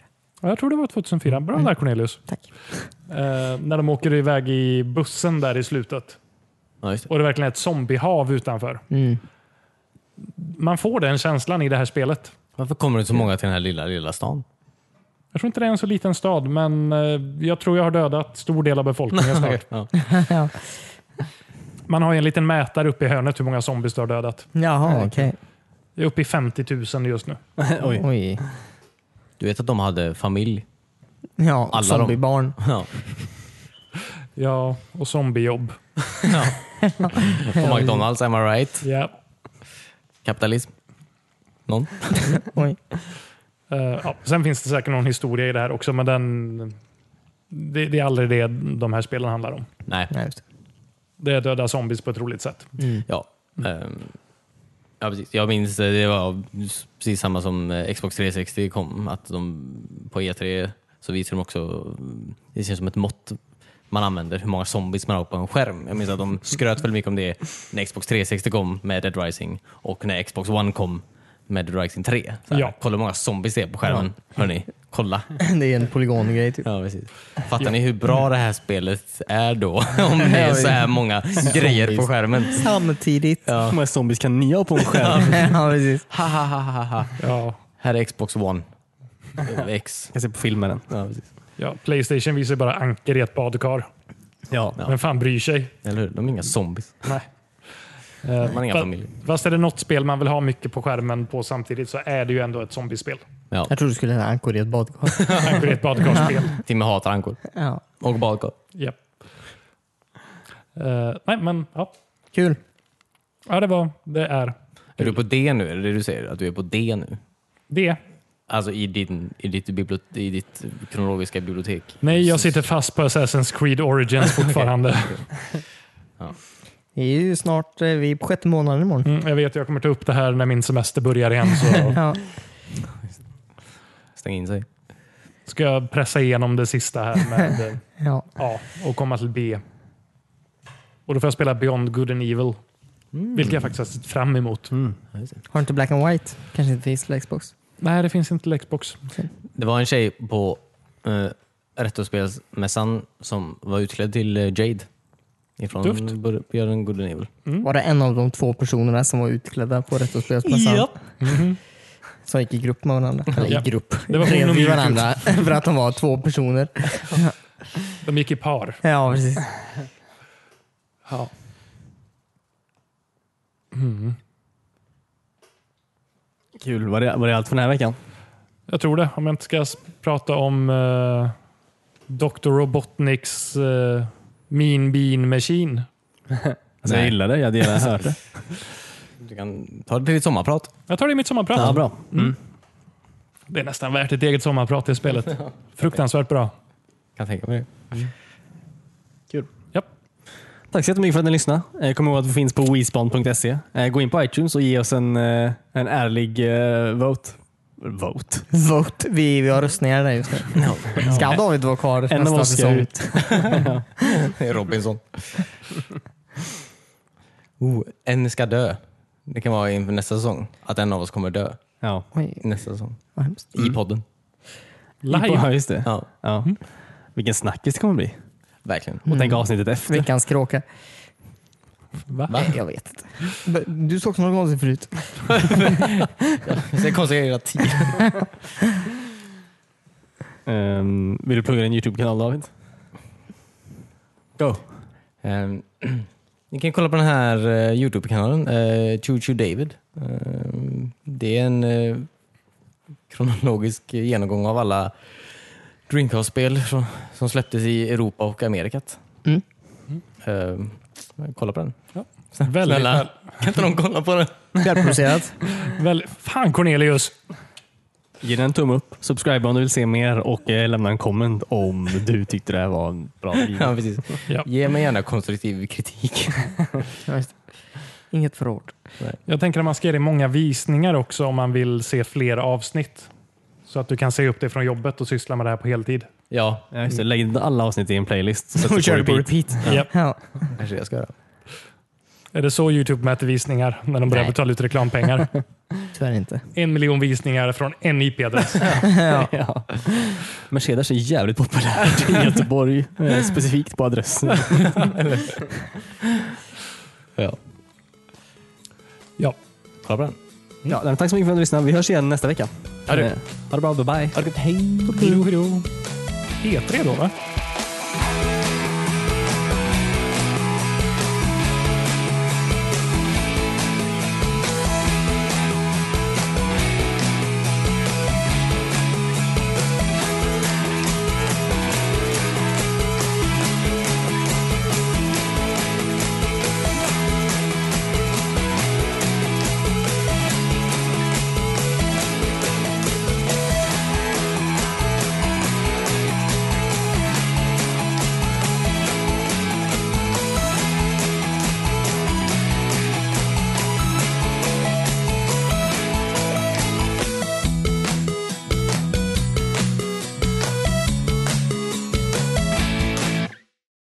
Speaker 3: Ja, Jag tror det var 2004. Bra där Cornelius.
Speaker 1: Tack.
Speaker 3: Eh, när de åker iväg i bussen där i slutet
Speaker 2: Ja, just det.
Speaker 3: och det verkligen är ett zombiehav utanför.
Speaker 1: <laughs> Mm.
Speaker 3: Man får den känslan i det här spelet.
Speaker 2: Varför kommer det så många till den här lilla, lilla stan?
Speaker 3: Jag tror inte det är en så liten stad, men eh, jag tror jag har dödat stor del
Speaker 2: <laughs>
Speaker 3: av befolkningen snart.
Speaker 2: Ja.
Speaker 3: Man har ju en liten mätare uppe i hörnet hur många zombies du har dödat.
Speaker 1: Jaha, okej.
Speaker 3: Jag är uppe i 50 000 just nu.
Speaker 1: Oj.
Speaker 2: Du vet att de hade familj?
Speaker 1: Ja,
Speaker 2: Alla
Speaker 1: zombiebarn.
Speaker 2: Ja.
Speaker 3: Ja, och zombiejobb.
Speaker 2: På McDonalds, am I right?
Speaker 3: Ja.
Speaker 2: Kapitalism? Någon?
Speaker 1: Oj.
Speaker 3: Eh, ja. Sen finns det säkert någon historia i det här också, men den, det, det är aldrig det de här spelen handlar om.
Speaker 2: Nej.
Speaker 1: Nej, just det.
Speaker 3: Det är döda zombies på ett roligt sätt.
Speaker 2: Ja. ehm, ja precis. Jag minns eh, det var precis samma som eh, Xbox 360 kom. Att de, på E3 så visade de också, mm, det känns som ett mått man använder hur många zombies man har på en skärm. Jag minns att de skröt väldigt mycket om det när Xbox 360 kom med Dead Rising och när Xbox One kom med Dead Rising 3. Så här,
Speaker 3: Ja.
Speaker 2: Kolla hur många zombies det är på skärmen. Hörni, kolla.
Speaker 1: Det är en polygongrej typ.
Speaker 2: <laughs> Ja, precis. Fattar ni hur bra det här spelet är då? <laughs> Om det är så här många grejer på skärmen.
Speaker 1: Samtidigt. <laughs> Ja.
Speaker 4: Hur många zombies kan ni ha på en <laughs> skärm?
Speaker 1: precis.
Speaker 2: Ha, ha, ha, ha, ha.
Speaker 3: Ja,
Speaker 2: Här är Xbox One. Eh, X.
Speaker 4: Jag ser på film med den.
Speaker 2: Ja, precis.
Speaker 3: ja. Playstation visar bara anker i ett badkar.
Speaker 4: Ja.
Speaker 3: Vem fan bryr sig?
Speaker 2: Eller hur? De är inga zombies.
Speaker 3: Nej.
Speaker 2: Man har inga
Speaker 3: Fa-
Speaker 2: familjer.
Speaker 3: Fast är det något spel man vill ha mycket på skärmen på samtidigt så är det ju ändå ett zombiespel.
Speaker 2: Ja.
Speaker 1: Jag trodde du skulle ha ankor i ett badkar.
Speaker 3: Kanske det är
Speaker 2: <laughs>
Speaker 3: ett badkarsspel.
Speaker 2: Timmy hatar ankor.
Speaker 1: Ja.
Speaker 2: Och badkar.
Speaker 3: Japp. Eh, nej, men ja.
Speaker 1: Kul.
Speaker 3: ja, det var det är
Speaker 2: Är du på D nu? Är det det du säger? Att du är på D nu?
Speaker 3: det.
Speaker 2: Alltså i, din, i, ditt, bibliot- i ditt kronologiska bibliotek?
Speaker 3: Nej, jag sitter fast på Assassin's
Speaker 2: <laughs>
Speaker 3: Creed Origins fortfarande.
Speaker 1: Det är ju snart, eh, vi är på sjätte månaden imorgon.
Speaker 3: Mm, jag vet, jag kommer ta upp det här när min semester börjar igen. Så
Speaker 1: <laughs> Ja.
Speaker 2: Stäng in sig.
Speaker 3: ska jag pressa igenom det sista här med eh,
Speaker 1: Ja.
Speaker 3: A och komma till B. Och då får jag spela Beyond Good and Evil. Vilket jag faktiskt har sett fram emot.
Speaker 4: Mm.
Speaker 1: Har du inte Black and White? Kanske inte finns till Xbox?
Speaker 3: Nej, det finns inte till Xbox.
Speaker 2: Det var en tjej på uh, Retrospelsmässan som var utklädd till eh, Jade. Ifrån
Speaker 3: Tufft.
Speaker 2: Bur- Björn Good and Evil.
Speaker 1: Mm. Var det en av de två personerna som var utklädda på Retrospelsmässan? Som gick i grupp med varandra. Eller
Speaker 3: Ja.
Speaker 1: i grupp.
Speaker 3: Det var hon och
Speaker 1: Bredvid
Speaker 3: Mewtwo.
Speaker 1: varandra. <laughs> För att de var två personer.
Speaker 3: De gick i par.
Speaker 1: Ja, precis.
Speaker 3: Ja.
Speaker 4: Kul. Var det, var det allt för den här veckan?
Speaker 3: Jag tror det. Om jag inte ska s- prata om eh, Dr. Robotniks eh, Mean Bean Machine.
Speaker 4: Alltså, jag
Speaker 2: Nej.
Speaker 4: gillar det. Jag hade gärna hört det.
Speaker 2: Du kan ta det till ditt sommarprat.
Speaker 3: Jag tar det i mitt sommarprat.
Speaker 4: <laughs> Ja, bra.
Speaker 3: Det är nästan värt ett eget sommarprat i spelet. Fruktansvärt bra.
Speaker 2: Kan tänka mig det.
Speaker 3: Japp.
Speaker 4: Tack så jättemycket för att ni lyssnade. Eh, Kom ihåg att vi finns på wespawn.se. Eh, Gå in på iTunes och ge oss en, eh, en ärlig eh, vote. Vote?
Speaker 1: Vote. Vi, vi har röstningar där just nu. Ska David vara kvar
Speaker 4: av
Speaker 1: nästa
Speaker 4: oss ska
Speaker 1: säsong?
Speaker 4: ut.
Speaker 2: Det är Robinson. oh, en ska dö. Det kan vara inför nästa säsong. Att en av oss kommer dö
Speaker 4: Ja,
Speaker 1: Oj,
Speaker 2: nästa säsong.
Speaker 1: vad hemskt.
Speaker 2: I podden.
Speaker 4: ja
Speaker 3: Live.
Speaker 4: just det.
Speaker 2: Ja,
Speaker 4: Ja.
Speaker 1: Mm.
Speaker 4: Vilken snackis det kommer bli. Och
Speaker 2: verkligen.
Speaker 4: tänk avsnittet efter.
Speaker 1: Veckans kråka.
Speaker 3: Va?
Speaker 1: Nej, jag vet inte. B- Du såg något konstigt förut.
Speaker 2: Jag ska koncentrera tiden.
Speaker 4: Ehm, vill du plugga din YouTube-kanal David? Go!
Speaker 2: Ehm, <clears throat> Ni kan kolla på den här eh, Youtube-kanalen, eh, Choo Choo David. Ehm, det är en eh, kronologisk genomgång av alla Dreamcast-spel som, som släpptes i Europa och Amerikat.
Speaker 1: Mm.
Speaker 2: Ehm, kolla på den.
Speaker 3: Väldigt,
Speaker 2: Snälla, kan inte någon kolla på den?
Speaker 1: Välproducerat.
Speaker 3: väl, väl, fan Cornelius!
Speaker 4: Ge den en tumme upp, subscribe om du vill se mer och eh, lämna en comment om du tyckte det här var en bra
Speaker 1: <laughs>
Speaker 4: video.
Speaker 2: Ja, precis.
Speaker 3: Ja.
Speaker 2: Ge mig gärna konstruktiv kritik.
Speaker 1: Ja, just det. Inget för hårt.
Speaker 3: Jag tänker att man ska ge dig många visningar också om man vill se fler avsnitt. Så att du kan se upp det från jobbet och syssla med det här på heltid.
Speaker 2: Ja,
Speaker 4: Ja, just det. Lägg in alla avsnitt i en playlist. Så
Speaker 1: Och <laughs> kör på
Speaker 3: Japp.
Speaker 1: Ja.
Speaker 2: kanske jag ska göra.
Speaker 3: Är det så Youtube mäter visningar när de börjar
Speaker 1: Nej.
Speaker 3: betala
Speaker 1: <laughs>
Speaker 3: ut reklampengar?
Speaker 1: Tyvärr inte.
Speaker 3: en miljon visningar från en IP-adress.
Speaker 4: <laughs> Ja. Mercedes är jävligt populärt i <laughs> Göteborg. eh, Specifikt på adressen.
Speaker 2: Ja.
Speaker 3: ja.
Speaker 4: Ha bra. Ja, nej, men tack så mycket för att du lyssnade. Vi hörs igen nästa vecka.
Speaker 2: Ha det.
Speaker 4: Eh, Ha det bra. Bye bye.
Speaker 2: Ha det gott, hej!
Speaker 3: Hejdå. P3 då va?